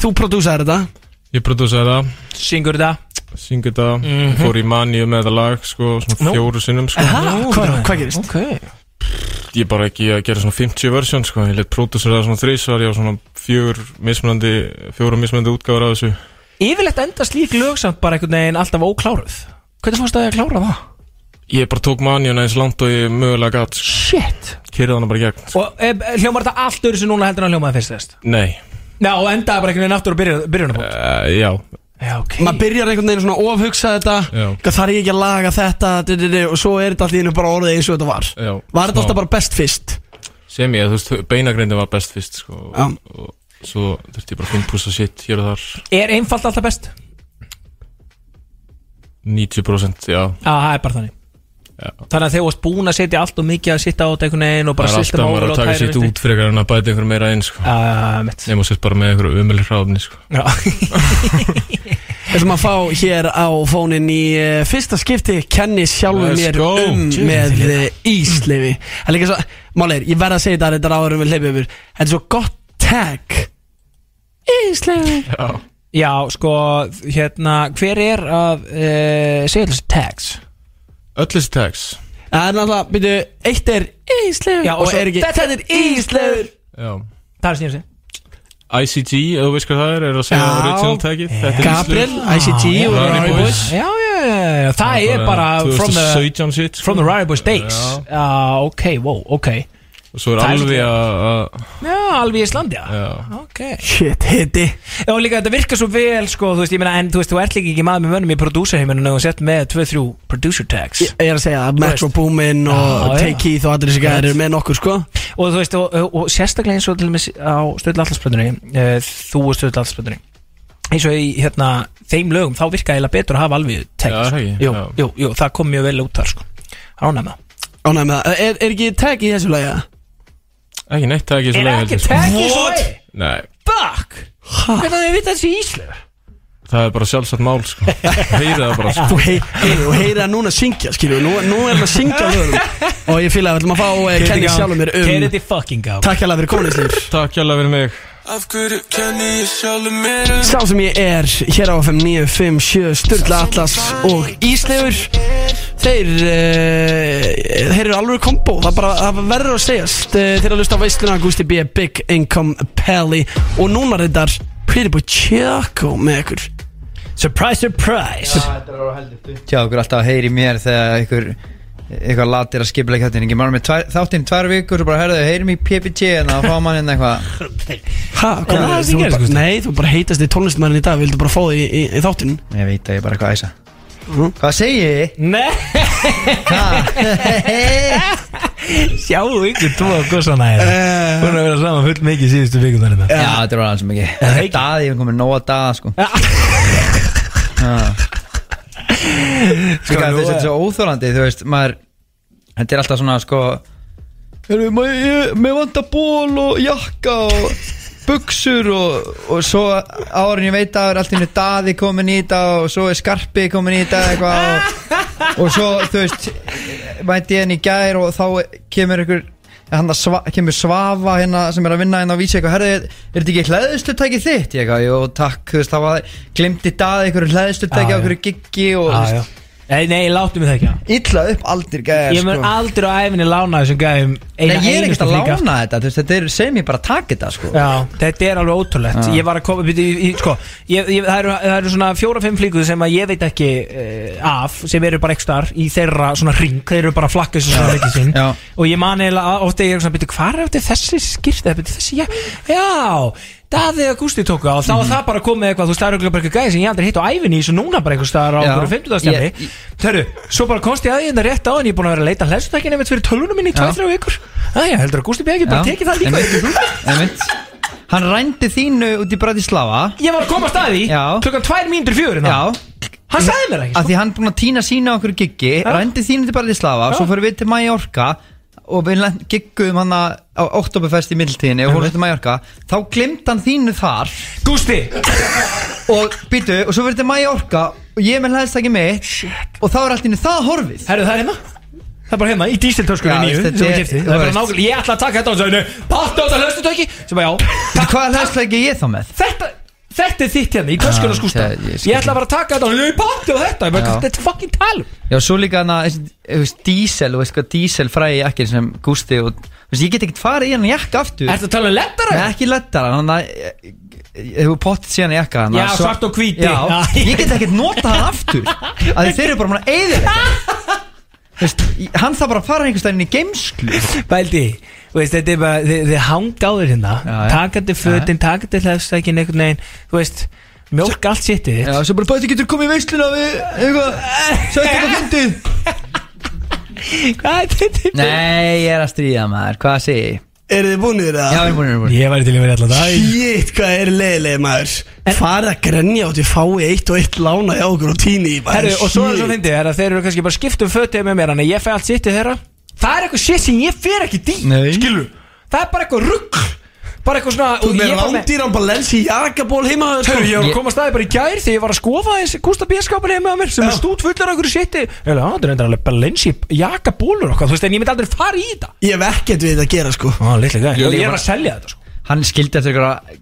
[SPEAKER 3] Þú prodúsar þetta
[SPEAKER 10] sko. Ég prodúsaði það,
[SPEAKER 2] Syngur þetta
[SPEAKER 10] syngur það Fór í maníu með það lag sko, Svona
[SPEAKER 2] Mhm. Nú.
[SPEAKER 10] fjóru sinnum sko.
[SPEAKER 3] Nú, Hvað hvað gerist?
[SPEAKER 2] Ok
[SPEAKER 10] Ég bara ekki að gera svona 50 versjón sko. Ég leitt prodúsaði það svona þrísvar Ég á svona fjögur mismunandi Fjóra mismunandi útgáfur af þessu
[SPEAKER 2] Yfirleitt enda slík lögsamt bara einhvern veginn alltaf ókláruð Hvernig fórst það að klára það?
[SPEAKER 10] Ég bara tók maníuna eins langt og ég mögulega gatt sko.
[SPEAKER 2] Shit
[SPEAKER 10] Kyrði hana bara í gegn sko.
[SPEAKER 2] Og e, e, hljómar þetta allt öðru sem núna heldur hann hljómaði fyrst þess
[SPEAKER 10] Nei,
[SPEAKER 2] Já, og endaði bara einhvern veginn aftur á byrjun, byrjunarpunkt
[SPEAKER 10] uh, já
[SPEAKER 2] Já, ok
[SPEAKER 3] Maður byrjar einhvern veginn svona að ofhugsa þetta
[SPEAKER 10] Já.
[SPEAKER 3] Hvað þarf ég ekki að laga þetta du, du, du, Og svo er þetta allir bara orðið eins og þetta var
[SPEAKER 10] Já.
[SPEAKER 3] Var þetta
[SPEAKER 10] Já.
[SPEAKER 3] alltaf bara best fyrst?
[SPEAKER 10] Sem ég, þú veist, beinagrindin var best fyrst sko,
[SPEAKER 3] Já.
[SPEAKER 10] og, og svo þurfti ég bara að finnpúsa shit hér og þar
[SPEAKER 2] Er einfalt alltaf best?
[SPEAKER 10] 90% já,
[SPEAKER 2] Já, það er bara þannig Þannig að þegar þú varst búin að setja allt og mikið að sitta á þetta einhvern veginn og bara
[SPEAKER 10] það er
[SPEAKER 2] silta
[SPEAKER 10] alltaf maður að taka sitt út frekar en að bæta einhver meira einn sko.
[SPEAKER 2] Já, mitt
[SPEAKER 10] nema sett bara með einhverju umölu hráfni sko.
[SPEAKER 2] Já, (laughs)
[SPEAKER 3] Við ætlum að fá hér á fónin í eh, fyrsta skipti Kenni sjálfur
[SPEAKER 10] Let's
[SPEAKER 3] mér
[SPEAKER 10] go.
[SPEAKER 3] um
[SPEAKER 10] Djöfull, hérna.
[SPEAKER 3] með eh, Ísleifi Það er líka svo, máleir, ég verð að segja þetta þetta áður um við hleypum yfir Þetta er svo gott tag Ísleifi
[SPEAKER 2] Já, sko, hérna, hver er að e, segja þessi tags?
[SPEAKER 10] öll þessi tags
[SPEAKER 3] Það er náttúrulega, byrju, eitt er Ísleifur
[SPEAKER 2] Já, og svo-
[SPEAKER 3] er ekki
[SPEAKER 2] Þetta er Ísleifur.
[SPEAKER 10] já.
[SPEAKER 2] Það er sem ég sé
[SPEAKER 10] ICG, ef þú veist hvað það er, er að segja
[SPEAKER 3] Já.
[SPEAKER 10] original
[SPEAKER 2] Eh.
[SPEAKER 10] tagið Þetta er
[SPEAKER 3] Gabriel,
[SPEAKER 10] íslenskt.
[SPEAKER 3] ICG
[SPEAKER 2] Já,
[SPEAKER 3] og
[SPEAKER 10] Rowdy
[SPEAKER 3] Rowdy
[SPEAKER 10] Boys.
[SPEAKER 3] Boys
[SPEAKER 2] Já, já, já, já, það er bara from the,
[SPEAKER 10] 2017 shit sko.
[SPEAKER 2] from the Rari Boys days Já, ok, wow, ok
[SPEAKER 10] og svo
[SPEAKER 2] Það
[SPEAKER 10] er
[SPEAKER 2] er
[SPEAKER 10] alveg
[SPEAKER 2] ekki-
[SPEAKER 10] að að-
[SPEAKER 2] Já, alveg í Íslandi, já
[SPEAKER 10] já.
[SPEAKER 2] Ok
[SPEAKER 3] Shit, hitti
[SPEAKER 2] Já, líka þetta virkar svo vel, sko, þú veist, ég meina, en þú veist, þú ert líka ekki maður með mönnum í prodúsarheiminu og sett með 2-3 producer tags
[SPEAKER 3] Ég er að segja að Metro
[SPEAKER 2] veist.
[SPEAKER 3] Boomin og
[SPEAKER 2] Já,
[SPEAKER 3] Take
[SPEAKER 2] já.
[SPEAKER 3] Keith og allir þessi gæðir eru með nokkur, sko
[SPEAKER 2] og þú veist, og, og, og sérstaklega eins og til dæmis á stöðlallarspöndunni e, þú og stöðlallarspöndunni eins og í hérna, þeim lögum þá virka eiginlega betur að hafa alveg tag
[SPEAKER 10] Já,
[SPEAKER 2] sko.
[SPEAKER 10] það ekki,
[SPEAKER 2] jú,
[SPEAKER 10] já.
[SPEAKER 2] jú, jú, það kom mjög vel út þar sko. ánæma
[SPEAKER 3] Ánægð með það, er, er ekki tag í þessu lagi?
[SPEAKER 10] ekki neitt tag í þessu
[SPEAKER 2] er
[SPEAKER 10] lagi,
[SPEAKER 2] ekki
[SPEAKER 10] heldur, sko.
[SPEAKER 2] tag í svo leið?
[SPEAKER 10] Nei,
[SPEAKER 2] fuck hvernig þau vita þessi íslu
[SPEAKER 10] það er bara sjálfsagt mál sko. heyrið það bara sko.
[SPEAKER 3] (laughs) Þú hei, hei, og heyri það núna syngja, skilju Nú, nú er það að syngja á lögum Og ég fýla að við ætlum að fá eh, Kenny sjálfur mér
[SPEAKER 2] Keiri
[SPEAKER 3] um
[SPEAKER 2] þið fucking á
[SPEAKER 3] Takk hérlega fyrir komin, Ísleif
[SPEAKER 10] takk hjálpa fyrir mig
[SPEAKER 7] Af hverju kenni ég sjálfur mér um
[SPEAKER 3] Sá sem ég er hér á FM 957 Sturla Atlas og Ísleifur Þeir uh, Þeir eru alveg kombo Það, bara, það verður að segjast uh, Þeir eru að lusta á veisluna Gusti B, Big Income Pally Og núna reyndar Pretty Boy Choco með ykkur
[SPEAKER 2] surprise, surprise
[SPEAKER 5] Tjá, okkur alltaf að heyri mér þegar ykkur eitthvað latir að skipla ekki þáttinn ég maður með tvær, þáttinn tvær vikur og bara herðu heyri mig í PPT en þá fá mann hérna eitthvað
[SPEAKER 3] Ha, hvað
[SPEAKER 2] það
[SPEAKER 3] er
[SPEAKER 2] sem gerist,
[SPEAKER 3] það?
[SPEAKER 2] Gústi?
[SPEAKER 3] Nei, þú bara heitast í tónlistmærin í dag Vildu bara fá því í, í, í þáttinn
[SPEAKER 5] ég veit að ég er bara eitthvað æsa
[SPEAKER 2] Hm?
[SPEAKER 5] hvað segi ég?
[SPEAKER 2] Nei, (laughs) sjáu ykkur tóa og góðsana er Þú erum að vera saman full mikið síðustu hérna. vikum þannig
[SPEAKER 5] já, þetta var alls mikið
[SPEAKER 2] það ekki?
[SPEAKER 5] daði, ég er komið nóg að daða sko (laughs) Líka,
[SPEAKER 2] Sko, nú
[SPEAKER 5] þess að Sko, þetta
[SPEAKER 2] er-
[SPEAKER 5] er svo óþólandi þú veist, maður þetta er alltaf svona sko Heru, ma, ég, mér vantar ból og jakka og buksur og, og svo árin ég veit að er allt innu daði komin í þetta og svo er skarpi komin í þetta eitthvað og, og svo þú veist mæti ég henni í gær og þá kemur ykkur hann að sva, kemur svafa hérna sem er að vinna hérna á vísi eitthvað, herðu, er þetta ekki hlæðustutæki þitt? Ég eitthvað, jú, takk, þú veist, það var glimti daði ykkur
[SPEAKER 2] Já,
[SPEAKER 5] hlæðustutæki á
[SPEAKER 2] já.
[SPEAKER 5] ykkur giggi og þú veist,
[SPEAKER 2] Nei, Ah, Eh, nei, láttu mig það ekki á
[SPEAKER 5] illa upp aldir gæjar
[SPEAKER 2] Ég mun
[SPEAKER 5] sko.
[SPEAKER 2] aldrei á æfinni lána þessum gæðum
[SPEAKER 5] Nei, ég er ekkert að lána þetta þú veist, Þetta er sem ég bara að taka þetta sko.
[SPEAKER 2] Já, þetta er alveg ótrúlegt
[SPEAKER 5] Já.
[SPEAKER 2] Ég var að koma, byrju, í- í- sko ég, ég, það, eru, það eru svona fjóra-fimm flíkuð sem að ég veit ekki uh, af sem eru bara ekki star í þeirra svona ring þeir eru bara að flakka þessu svona mikið sín
[SPEAKER 5] Já.
[SPEAKER 2] og ég man eiginlega að- ofta ég er svona byrju, hvar er átti þessi skýrta, byrju, þessi já, já Daði og Gústi tóku á, þá var
[SPEAKER 5] Mhm.
[SPEAKER 2] það bara komið eitthvað, þú veist, það eru örugglega bara eitthvað gæði sem ég aldrei hitt á ævinni í þessu núna bara eitthvað staðar á
[SPEAKER 5] Já.
[SPEAKER 2] einhverju fimmtudagstæmi
[SPEAKER 5] Ég- ég-
[SPEAKER 2] Hörru, svo bara komst ég að ég þetta rétt á en ég er búin að vera að leita hlæsutækina mitt fyrir tölvunum minni í
[SPEAKER 5] Já.
[SPEAKER 2] 2-3 vikur Æja, heldur að Gústi Bjegi bara tekið það líka upp í
[SPEAKER 5] Einmitt. Einmitt. Hann rændi þínu út í Bratislava
[SPEAKER 2] Ég var að koma að staði
[SPEAKER 5] Já.
[SPEAKER 2] klukkan 2 mínútur fjögur hérna.
[SPEAKER 5] Já
[SPEAKER 2] Hann sagði mér það ekki
[SPEAKER 5] Af því hann er búin að týna sína á okkur giggi ja. Rændi þínu til Barðislava Svo fyrir við til Mallorca Og við lent- giggum hann að- á Oktoberfest í middiltíðinni Og fórum til Mallorca Þá glimt hann þínu þar
[SPEAKER 2] sko. Gústi
[SPEAKER 5] Og býtu, og svo fyrir til Mallorca Og ég er með hlæðist ekki mitt Og þá er allt innu það horfið
[SPEAKER 2] Herru, það er hérna Það er bara hérna, í
[SPEAKER 5] Já,
[SPEAKER 2] dísiltöskunni nýju
[SPEAKER 5] þetta
[SPEAKER 2] sem ég
[SPEAKER 5] er-
[SPEAKER 2] kefti
[SPEAKER 5] þú
[SPEAKER 2] Það er bara
[SPEAKER 5] veist.
[SPEAKER 2] nákvæmlega, ég ætla að taka þetta á þessu Patta á þetta hlustutöki Sem bara já,
[SPEAKER 5] Býtu, Hvaða hlæðist ekki ég þá með?
[SPEAKER 2] þetta, þetta er þitt hérna í töskunni
[SPEAKER 5] Ah,
[SPEAKER 2] skústa
[SPEAKER 5] þetta- ég
[SPEAKER 2] Ég,
[SPEAKER 5] skil.
[SPEAKER 2] ætla bara að taka þetta á þessu Ég patti á þetta, ég bara,
[SPEAKER 5] Já.
[SPEAKER 2] hvað- þetta er fucking talum
[SPEAKER 5] Já, svo líka hann að, þú veist, diesel, þú veist sko, hvað diesel fræði ekki sem gústi og, þú veist, ég get ekkert farið í hann jakka aftur
[SPEAKER 2] Ertu að tala um lettara?
[SPEAKER 5] Nei, ekki lettara, hann að, hefur pottið síðan í jakka hann
[SPEAKER 2] Já, svart og hvíti.
[SPEAKER 5] Já,
[SPEAKER 2] Já.
[SPEAKER 5] (laughs) ég get ekkert nota hann
[SPEAKER 2] (laughs)
[SPEAKER 5] aftur, að þeir eru bara að eyða þetta Þú veist, í- hann þarf bara að fara einhvers staðinn í geimslu
[SPEAKER 2] Bældi, þú veist, þetta er bara þið, þið hangáður hérna,
[SPEAKER 5] já.
[SPEAKER 2] takandi fötin takandi hlæfstækin einhvern veginn þú veist, mjólk allt séttið
[SPEAKER 5] Já, svo bara bæti getur komið í veisluna við, eitthvað, sætti eitthvað fyndið
[SPEAKER 2] (laughs) Hvað er þetta?
[SPEAKER 5] Nei, ég er að stríða maður, hvað segir ég?
[SPEAKER 3] Eru þið búinir
[SPEAKER 5] Já,
[SPEAKER 3] það?
[SPEAKER 5] við erum búin, við erum búin
[SPEAKER 2] Ég væri til í verið allan dag
[SPEAKER 3] Shit, hvað er leiðileg maður Farið að grenja átt ég fái eitt og eitt lána hjá okkur og tíni í maður
[SPEAKER 2] Herru, og svo er
[SPEAKER 3] Shit.
[SPEAKER 2] það fyndið, er að þeir eru kannski bara skipt um fötið með mér, þannig að ég fæ allt sittið þeirra Það er eitthvað shit sem ég fer ekki dý
[SPEAKER 5] Nei.
[SPEAKER 2] Skilur, það er bara eitthvað rugg Bara eitthvað svona
[SPEAKER 3] Þú
[SPEAKER 2] og
[SPEAKER 3] með
[SPEAKER 2] ég bara með-
[SPEAKER 3] rándýran Balenci jakaból heima sko.
[SPEAKER 2] Herru, ég var að
[SPEAKER 5] Ég-
[SPEAKER 2] koma að staði bara í gær þegar ég var að skofa eins Gústa bíðskapin heima á mér sem er stút fullur af einhverju shiti Ég er það er endur alveg balensi jakabólur okkar, þú veist, en ég myndi aldrei fara í þetta
[SPEAKER 3] Ég hef ekkert við þetta að gera sko
[SPEAKER 2] Ó, litli gæði,
[SPEAKER 5] Ég
[SPEAKER 2] ég er
[SPEAKER 5] líka bara-
[SPEAKER 2] að selja þetta sko
[SPEAKER 5] hann skildi eftir ykkur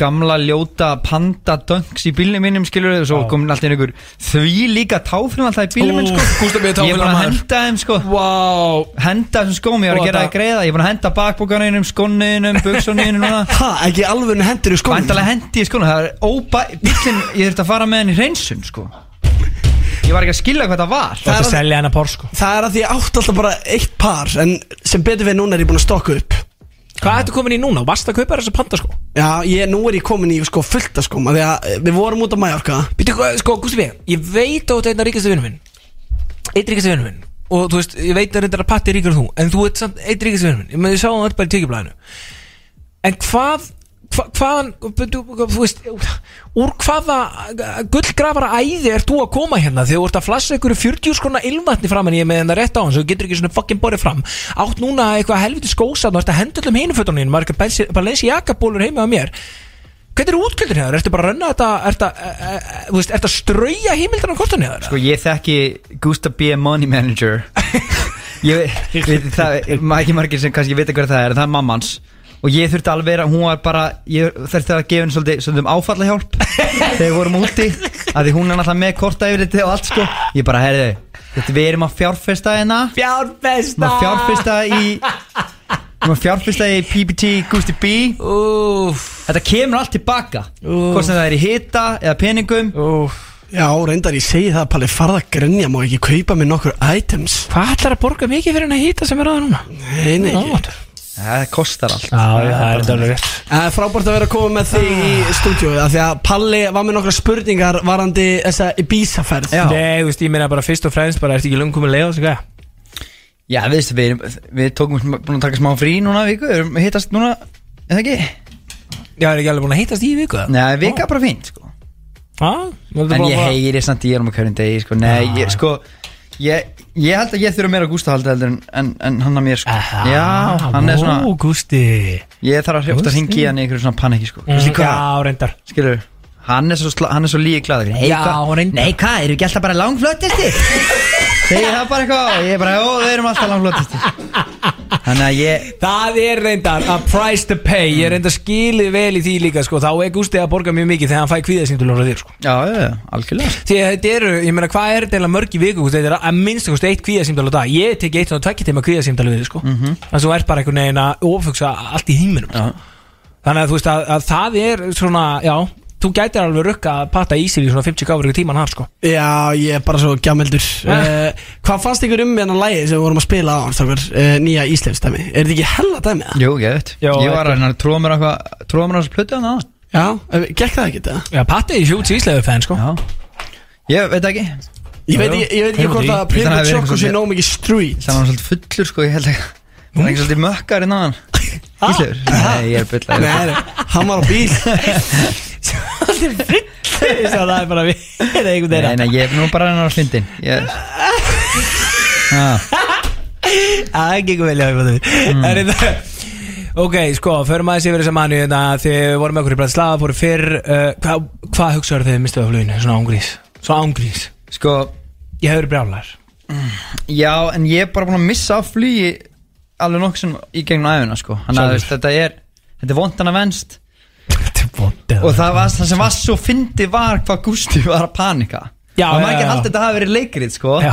[SPEAKER 5] gamla ljóta panda dunks í bílnum mínum skilur og svo kom alltaf inn ykkur því líka táfrinn alltaf í bílnum minn sko
[SPEAKER 2] Gústa B. táfrilla,
[SPEAKER 5] ég er bara að
[SPEAKER 2] maður.
[SPEAKER 5] henda þeim sko
[SPEAKER 2] Vá,
[SPEAKER 5] henda þessum skóm, ég var
[SPEAKER 2] Og
[SPEAKER 5] að gera
[SPEAKER 2] þetta-
[SPEAKER 5] það greiða ég er búin að henda bakbókaninum, skóninum, buksoninum núna
[SPEAKER 3] Ha, ekki alveg hendur í skónum
[SPEAKER 5] Væntalega hendi ég skónum, það er óbæ bílinn, ég þurfti að fara með hann í hreinsun sko ég var ekki að skilja hvað það var
[SPEAKER 2] það er að
[SPEAKER 3] að-
[SPEAKER 2] selja hennar pór sko
[SPEAKER 3] Það er að því ég átt alltaf bara eitt par En sem betur við núna er ég búin að stokka upp
[SPEAKER 2] Hvað ertu komin í núna? Varst að kaupa þessa panda sko?
[SPEAKER 3] Já, ég, nú er ég komin í sko fullta skóm af Því að eh, við vorum út á Mallorca
[SPEAKER 2] Býtu, sko, Gústi B, ég veit að þú ert einn ríkastu vinnum minn Einn ríkastu vinnum minn Og þú veist, ég veit að reyndar að patti er ríkar en þú En þú ert samt einn ríkastu vinnum minn Ég meði sá hann öll bara í tekjublæðinu En hvað, hva, hvaðan, býtu, þú veist Úr hvaða gullgrafara æði ert þú að koma hérna Þegar þú ert að flassa ykkur 40 skona ilmvatni fram En ég er með hennar rétt á hann Svo þú getur ekki svona fucking borið fram Átt núna eitthvað helviti skósatn Og ert að hendulum hinufötunum þínum, maður er ekki að bensi jakabólur heima á mér Hvernig eru útkvöldin hefur? Ertu bara að rönna þetta, ertu að, e, e, þú veist, ertu að strauja heimildar á kortan hefur?
[SPEAKER 5] Sko ég þekki Gústa B. Money (laughs) Manager Ég veit það ma- ekki margir sem kannski vita hver það er en það er mammans og ég þurfti alveg vera, hún var bara ég þurfti að gefa henni svolítið, svolítið um áfallahjálp þegar við vorum úti að því hún er náttúrulega með korta yfir og allt sko ég bara, herðu, þetta við erum að fjárfesta hérna
[SPEAKER 2] Fjárfesta!
[SPEAKER 5] maður fjárfesta í maður fjárfesta í PBT Gusti B
[SPEAKER 2] Úf,
[SPEAKER 5] þetta kemur allt tilbaka hvort sem það er í hita eða peningum
[SPEAKER 2] úf.
[SPEAKER 3] Já, reyndar ég segi það Palli farða að grenja Má ekki kaupa mér nokkur items
[SPEAKER 2] Hvað ætlar að borga mikið fyrir henni að hýta sem er aða núna?
[SPEAKER 3] Nei, nei ekki
[SPEAKER 5] það kostar allt
[SPEAKER 2] Já, það er þetta alveg rétt.
[SPEAKER 3] Það er frábært að vera að koma með þig í
[SPEAKER 5] Ah.
[SPEAKER 3] stúdíu af Því að Palli var með nokkra spurningar varandi þessa Ibiza-ferð
[SPEAKER 5] Já.
[SPEAKER 2] Nei, þú veist, ég meina bara fyrst og fremst, bara ertu ekki lungum með leið og svo gæða?
[SPEAKER 5] Já, við veistu, við, erum- við tókum sm- búin að taka smá frí núna viku, við erum að hittast núna, eða ekki?
[SPEAKER 2] Já, er ekki alveg búin að hýtast í viku það?
[SPEAKER 5] Nei, vika er bara fínt, sko.
[SPEAKER 2] Já,
[SPEAKER 5] En ég heyri samt í erum að hverjum degi, sko. Nei,
[SPEAKER 2] Ah.
[SPEAKER 5] ég, sko, ég, ég held að ég þurfa meira Gústa halda heldur en, en, en hann að mér, sko. Já, hann er
[SPEAKER 2] Ó,
[SPEAKER 5] svona,
[SPEAKER 2] Gústi.
[SPEAKER 5] ég þarf að hrjóta að hringi í hann í einhverju svona paniki, sko. Vistu hvað?
[SPEAKER 2] Mm. Já, reyndar.
[SPEAKER 5] Skilur, hann er svo, sla- hann er svo líi glad.
[SPEAKER 2] Já, reyndar.
[SPEAKER 5] Nei, hvað, eru ekki alltaf bara
[SPEAKER 2] (laughs)
[SPEAKER 5] langflöttasti? Segir það bara eitthvað, og ég er bara, ó, við erum alltaf langflöttasti. Þannig að ég,
[SPEAKER 2] Það er reyndar a price to pay Ég er reyndar skilið vel í því líka sko. Þá er Gústi að borga mjög mikið þegar hann fæ kvíðasýndulur á þér sko.
[SPEAKER 5] já, já, já, algjörlega. sko.
[SPEAKER 2] Því að þetta eru, ég meina hvað er þetta eiginlega mörg í viku Gústi? Þetta er að minnst kosti eitt kvíðasýndal á dag Ég tek eitt og tvekki tíma kvíðasýndal við þig, sko. mm -hmm. Þannig að þú ert bara einhvern veginn að ofugsa allt í híminum sko. Þannig að þú veist að, að það er svona Já, þú gætir alveg rukka að patta í sér í svona 50 gáfur ykkur tíman hann sko.
[SPEAKER 3] Já, ég er bara svo gjameldur
[SPEAKER 5] Ah.
[SPEAKER 2] Eh.
[SPEAKER 3] uh, Hvað fannst ykkur um hérna lægi sem við vorum að spila á strókar, uh, nýja íslensdæmi? Er þetta ekki hella dæmi það?
[SPEAKER 5] Jú, geðvitt
[SPEAKER 2] Já,
[SPEAKER 5] Ég var
[SPEAKER 2] þetta-
[SPEAKER 5] að reyna að tróða mér eitthvað Tróða mér á þessu plötu hann aðan
[SPEAKER 3] Já, eh, gekk það ekki það?
[SPEAKER 2] Já, patti er hjúts íslegu fenn sko. (laughs)
[SPEAKER 5] Já Ég veit ekki Þannig
[SPEAKER 3] Ég
[SPEAKER 2] Jú,
[SPEAKER 3] veit, ekki- ég veit ekki
[SPEAKER 2] heim
[SPEAKER 3] hvort
[SPEAKER 2] út í.
[SPEAKER 5] Þannig
[SPEAKER 3] að
[SPEAKER 5] að
[SPEAKER 3] Pimpi
[SPEAKER 5] við erum
[SPEAKER 3] Tjokko sé
[SPEAKER 5] svolítið-
[SPEAKER 3] nóg mikið street
[SPEAKER 5] að hann var svolítið fullur sko Ég held ekki Það er ekki svolítið mökkar hérna innan hann Íslur Nei, ég er bylla (laughs)
[SPEAKER 3] Nei, nei, hann var á bíl
[SPEAKER 2] allir fyllir þess að það er bara við (laughs) Það er einhvern
[SPEAKER 5] Nei,
[SPEAKER 2] veginn
[SPEAKER 5] nei, ég er nú bara hennar á fyndin Ég Já,
[SPEAKER 2] Það gengur vel hjá mm. er þetta Ok, sko, förum aðeins yfir þess að manni hérna, Þið vorum með okkur í Bratislava, fóru fyrr uh, Hvað hva hugsaður þið um mistuðu af fluginu? Svona ángrís Svona ángrís
[SPEAKER 5] Sko
[SPEAKER 2] Ég hefur brjálar
[SPEAKER 5] Já, en ég er bara búin að missa á flugi alveg nokkuð sem í gegnum æfina sko. Þannig að
[SPEAKER 2] Sjálfur.
[SPEAKER 5] þú veist, þetta er þetta er vondan að venst
[SPEAKER 2] Bóndið
[SPEAKER 5] og það, var, það sem var svo fyndi var hvað Gusti var að panika
[SPEAKER 2] Já, já,
[SPEAKER 5] og
[SPEAKER 2] já.
[SPEAKER 5] maður ekki haldið þetta hafi verið leikrið sko.
[SPEAKER 2] Já.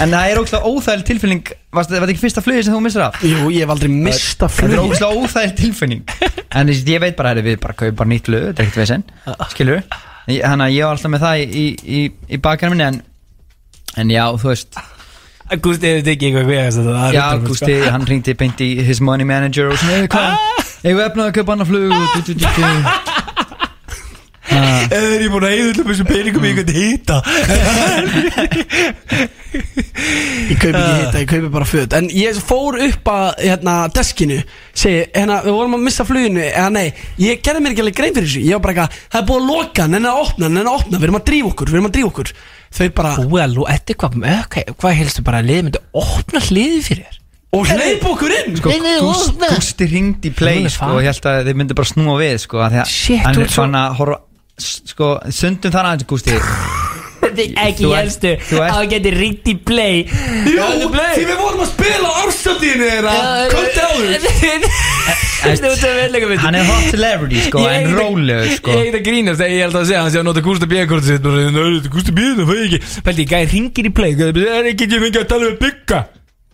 [SPEAKER 5] en það er ógslag óþægileg tilfinning varst, var þetta ekki fyrsta flugi sem þú missir af?
[SPEAKER 3] Jú, ég hef aldrei mista
[SPEAKER 5] Þetta er
[SPEAKER 3] flug
[SPEAKER 5] ógslag óþægileg tilfinning en þú veist, ég veit bara, heyrðu, við bara kaupum bara nýtt flug þetta er ekkert veginn, skilur þannig að ég var alltaf með það í, í, í, í bakar minni en, en já, þú veist
[SPEAKER 2] Gústi hefur tekið eitthvað við það er
[SPEAKER 5] Já,
[SPEAKER 2] hundra prósent, sko.
[SPEAKER 5] Gústi,
[SPEAKER 2] (laughs)
[SPEAKER 5] hann ringdi beint í his money manager og svona, "Hey, hvað, ég hef efnaði að kaupa
[SPEAKER 2] (laughs)
[SPEAKER 5] annað flug og du, du, du, du.
[SPEAKER 2] Ef þeir eru búin að eigða allum þessum peningum í einhvern hýta
[SPEAKER 3] Ég kaupi ekki hitta, ég kaupi bara föt En ég fór upp að hérna, deskinu Segi, hérna, við vorum að missa fluginu Eða nei, ég gerði mér ekki alveg grein fyrir þessu Ég var bara eitthvað, það er búið að loka, nenni að opna Nenni að opna, við erum að drífa okkur, við erum að drífa okkur Þau bara,
[SPEAKER 2] (laughs) Búið að lú, þetta er hvað okay, Hvað helstu bara að liðið myndi opna hliðið fyrir (laughs) þér?
[SPEAKER 3] og hleyp okkur inn
[SPEAKER 5] Sko, Gúst- Gústi ringdi í play
[SPEAKER 2] Hún er
[SPEAKER 5] sko, og
[SPEAKER 2] farin.
[SPEAKER 5] ég held að þið myndi bara snúa við sko, að því að
[SPEAKER 2] Shit,
[SPEAKER 5] hann
[SPEAKER 2] þú
[SPEAKER 5] er
[SPEAKER 2] ert svo-
[SPEAKER 5] svona að horfa sko, sundum þar aðeins Gústi
[SPEAKER 2] Ekki
[SPEAKER 5] Þú ert-
[SPEAKER 2] helstu
[SPEAKER 5] þú ert-
[SPEAKER 2] Á geti ringt í play
[SPEAKER 3] Jú, því við vorum að spila ársöndinu þeirra Komdu á þau
[SPEAKER 2] (laughs) Þetta er út af veðleika mitt
[SPEAKER 5] hann er hot celebrity sko,
[SPEAKER 2] Ég
[SPEAKER 5] en
[SPEAKER 2] held að-
[SPEAKER 5] rólegur sko.
[SPEAKER 2] Ég heit að grínast, ég held að segja hann sé að nota Gústa B-kortið sitt bara, "Nei, þetta er Gústa B-kortið, það er ekki Pældi, ég gæði ringir í play Er ekki ég fengið að tala um bygga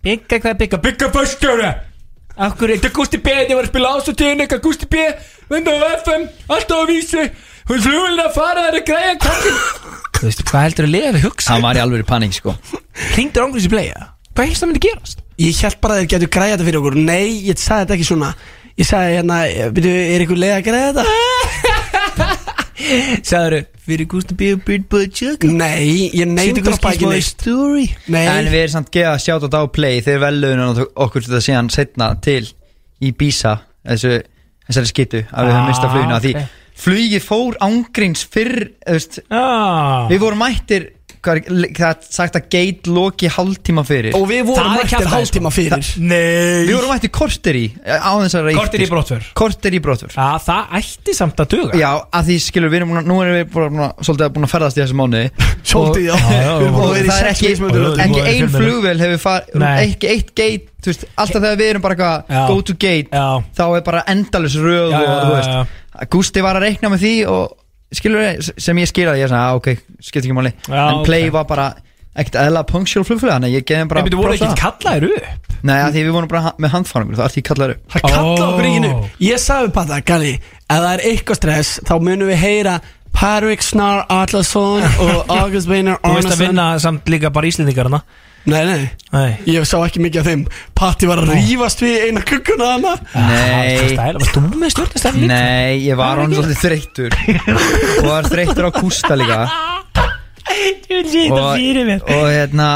[SPEAKER 2] Bygga, hvað er bygga? Bygga fyrstjóra Akkur, þetta er Gústi B, ég var að spila ásatíðin eitthvað Gústi B, vindu á FM, alltaf á vísi Hún flugulinn að fara, það er að græja kakkin Þú veist, hvað heldur að lega að hugsa?
[SPEAKER 5] hann var í alveg panik sko.
[SPEAKER 2] Hringdur ángrís í play, eða? hvað helst það myndi gerast?
[SPEAKER 3] Ég held bara að þeir getur græða þetta fyrir okkur Nei, ég sagði þetta ekki svona Ég sagði hérna, byrju, er ykkur leið að græða þetta?
[SPEAKER 2] Sæður, fyrir Gústi B, byrd búið tjöka
[SPEAKER 3] Nei, ég neyndi að spækja neitt
[SPEAKER 2] story
[SPEAKER 5] en
[SPEAKER 3] Nei,
[SPEAKER 5] við erum samt geða að sjáta þetta á play þeir velluðun okkur þetta síðan setna til í Bísa þessu, þessari skitu að við höfum mista
[SPEAKER 2] Ah,
[SPEAKER 5] flugina því
[SPEAKER 2] ok.
[SPEAKER 5] flugið fór ángríns fyrr þú veist,
[SPEAKER 2] ah.
[SPEAKER 5] við vorum mættir hvað er hvað er sagt að gate loki hálftíma fyrir
[SPEAKER 3] og við vorum
[SPEAKER 2] Það er
[SPEAKER 3] mættir
[SPEAKER 2] kjaftæði,
[SPEAKER 3] hálftíma fyrir
[SPEAKER 2] Nei
[SPEAKER 5] við vorum mættir korter í eh, á þess að
[SPEAKER 2] Kortir í brottför Ah,
[SPEAKER 5] korter í brotur
[SPEAKER 2] Já, það ætti samt að duga
[SPEAKER 5] Já, að því skilur við erum búin að, nú erum við bara búin að, svolítið að búin að ferðast í þessu mánuði
[SPEAKER 3] Svolítið, já.
[SPEAKER 5] Og-
[SPEAKER 3] Já,
[SPEAKER 5] (laughs)
[SPEAKER 3] já,
[SPEAKER 5] Og
[SPEAKER 3] við erum búin að vera í
[SPEAKER 5] það er
[SPEAKER 3] sex
[SPEAKER 5] ekki,
[SPEAKER 3] mismunandi
[SPEAKER 2] löndum.
[SPEAKER 5] ekki
[SPEAKER 2] Við erum búin að
[SPEAKER 5] ein
[SPEAKER 2] vera í
[SPEAKER 5] flugvél hefur farið,
[SPEAKER 2] Nei.
[SPEAKER 5] ekki eitt gate, þú veist, alltaf þegar við erum bara
[SPEAKER 2] Já.
[SPEAKER 5] eitthvað go to gate,
[SPEAKER 2] Já.
[SPEAKER 5] þá er bara endalus röð
[SPEAKER 2] Já,
[SPEAKER 5] og
[SPEAKER 2] já,
[SPEAKER 5] þú
[SPEAKER 2] já, já.
[SPEAKER 5] veist, Gústi var að reikna með því og skilur við, sem ég skilur ég er svona, "Ah, ok, skipt ekki máli,
[SPEAKER 2] Já,
[SPEAKER 5] en play
[SPEAKER 2] ok.
[SPEAKER 5] var bara ekkert eðla punctual flugflug, þannig að ég geði þeim bara
[SPEAKER 2] En byrju, voru ekki
[SPEAKER 5] props á það.
[SPEAKER 2] kallaðir upp?
[SPEAKER 5] Nei, að því við vorum bara ha- með handfárangur, það er því kallaður upp
[SPEAKER 3] Það kallaði
[SPEAKER 2] Ó.
[SPEAKER 3] okkur ekki nú Ég sagði bara það, Gali Ef það er eitthvað stress, þá munum við heyra Parvik Snar Atlasson og August Beinar
[SPEAKER 2] Þú veist að
[SPEAKER 3] Arnason
[SPEAKER 2] vinna samt líka bara íslendingarna
[SPEAKER 3] Nei, nei,
[SPEAKER 2] Nei
[SPEAKER 3] ég sá ekki mikið af þeim Patti var að rífast við eina kukkuna hana
[SPEAKER 5] Nei.
[SPEAKER 2] Varst þú með stjórnastæl líka?
[SPEAKER 5] Nei, ég var hann svolítið þreyttur og var þreyttur á kústa líka
[SPEAKER 2] (laughs) Ég sé þetta fyrir mér
[SPEAKER 5] og hérna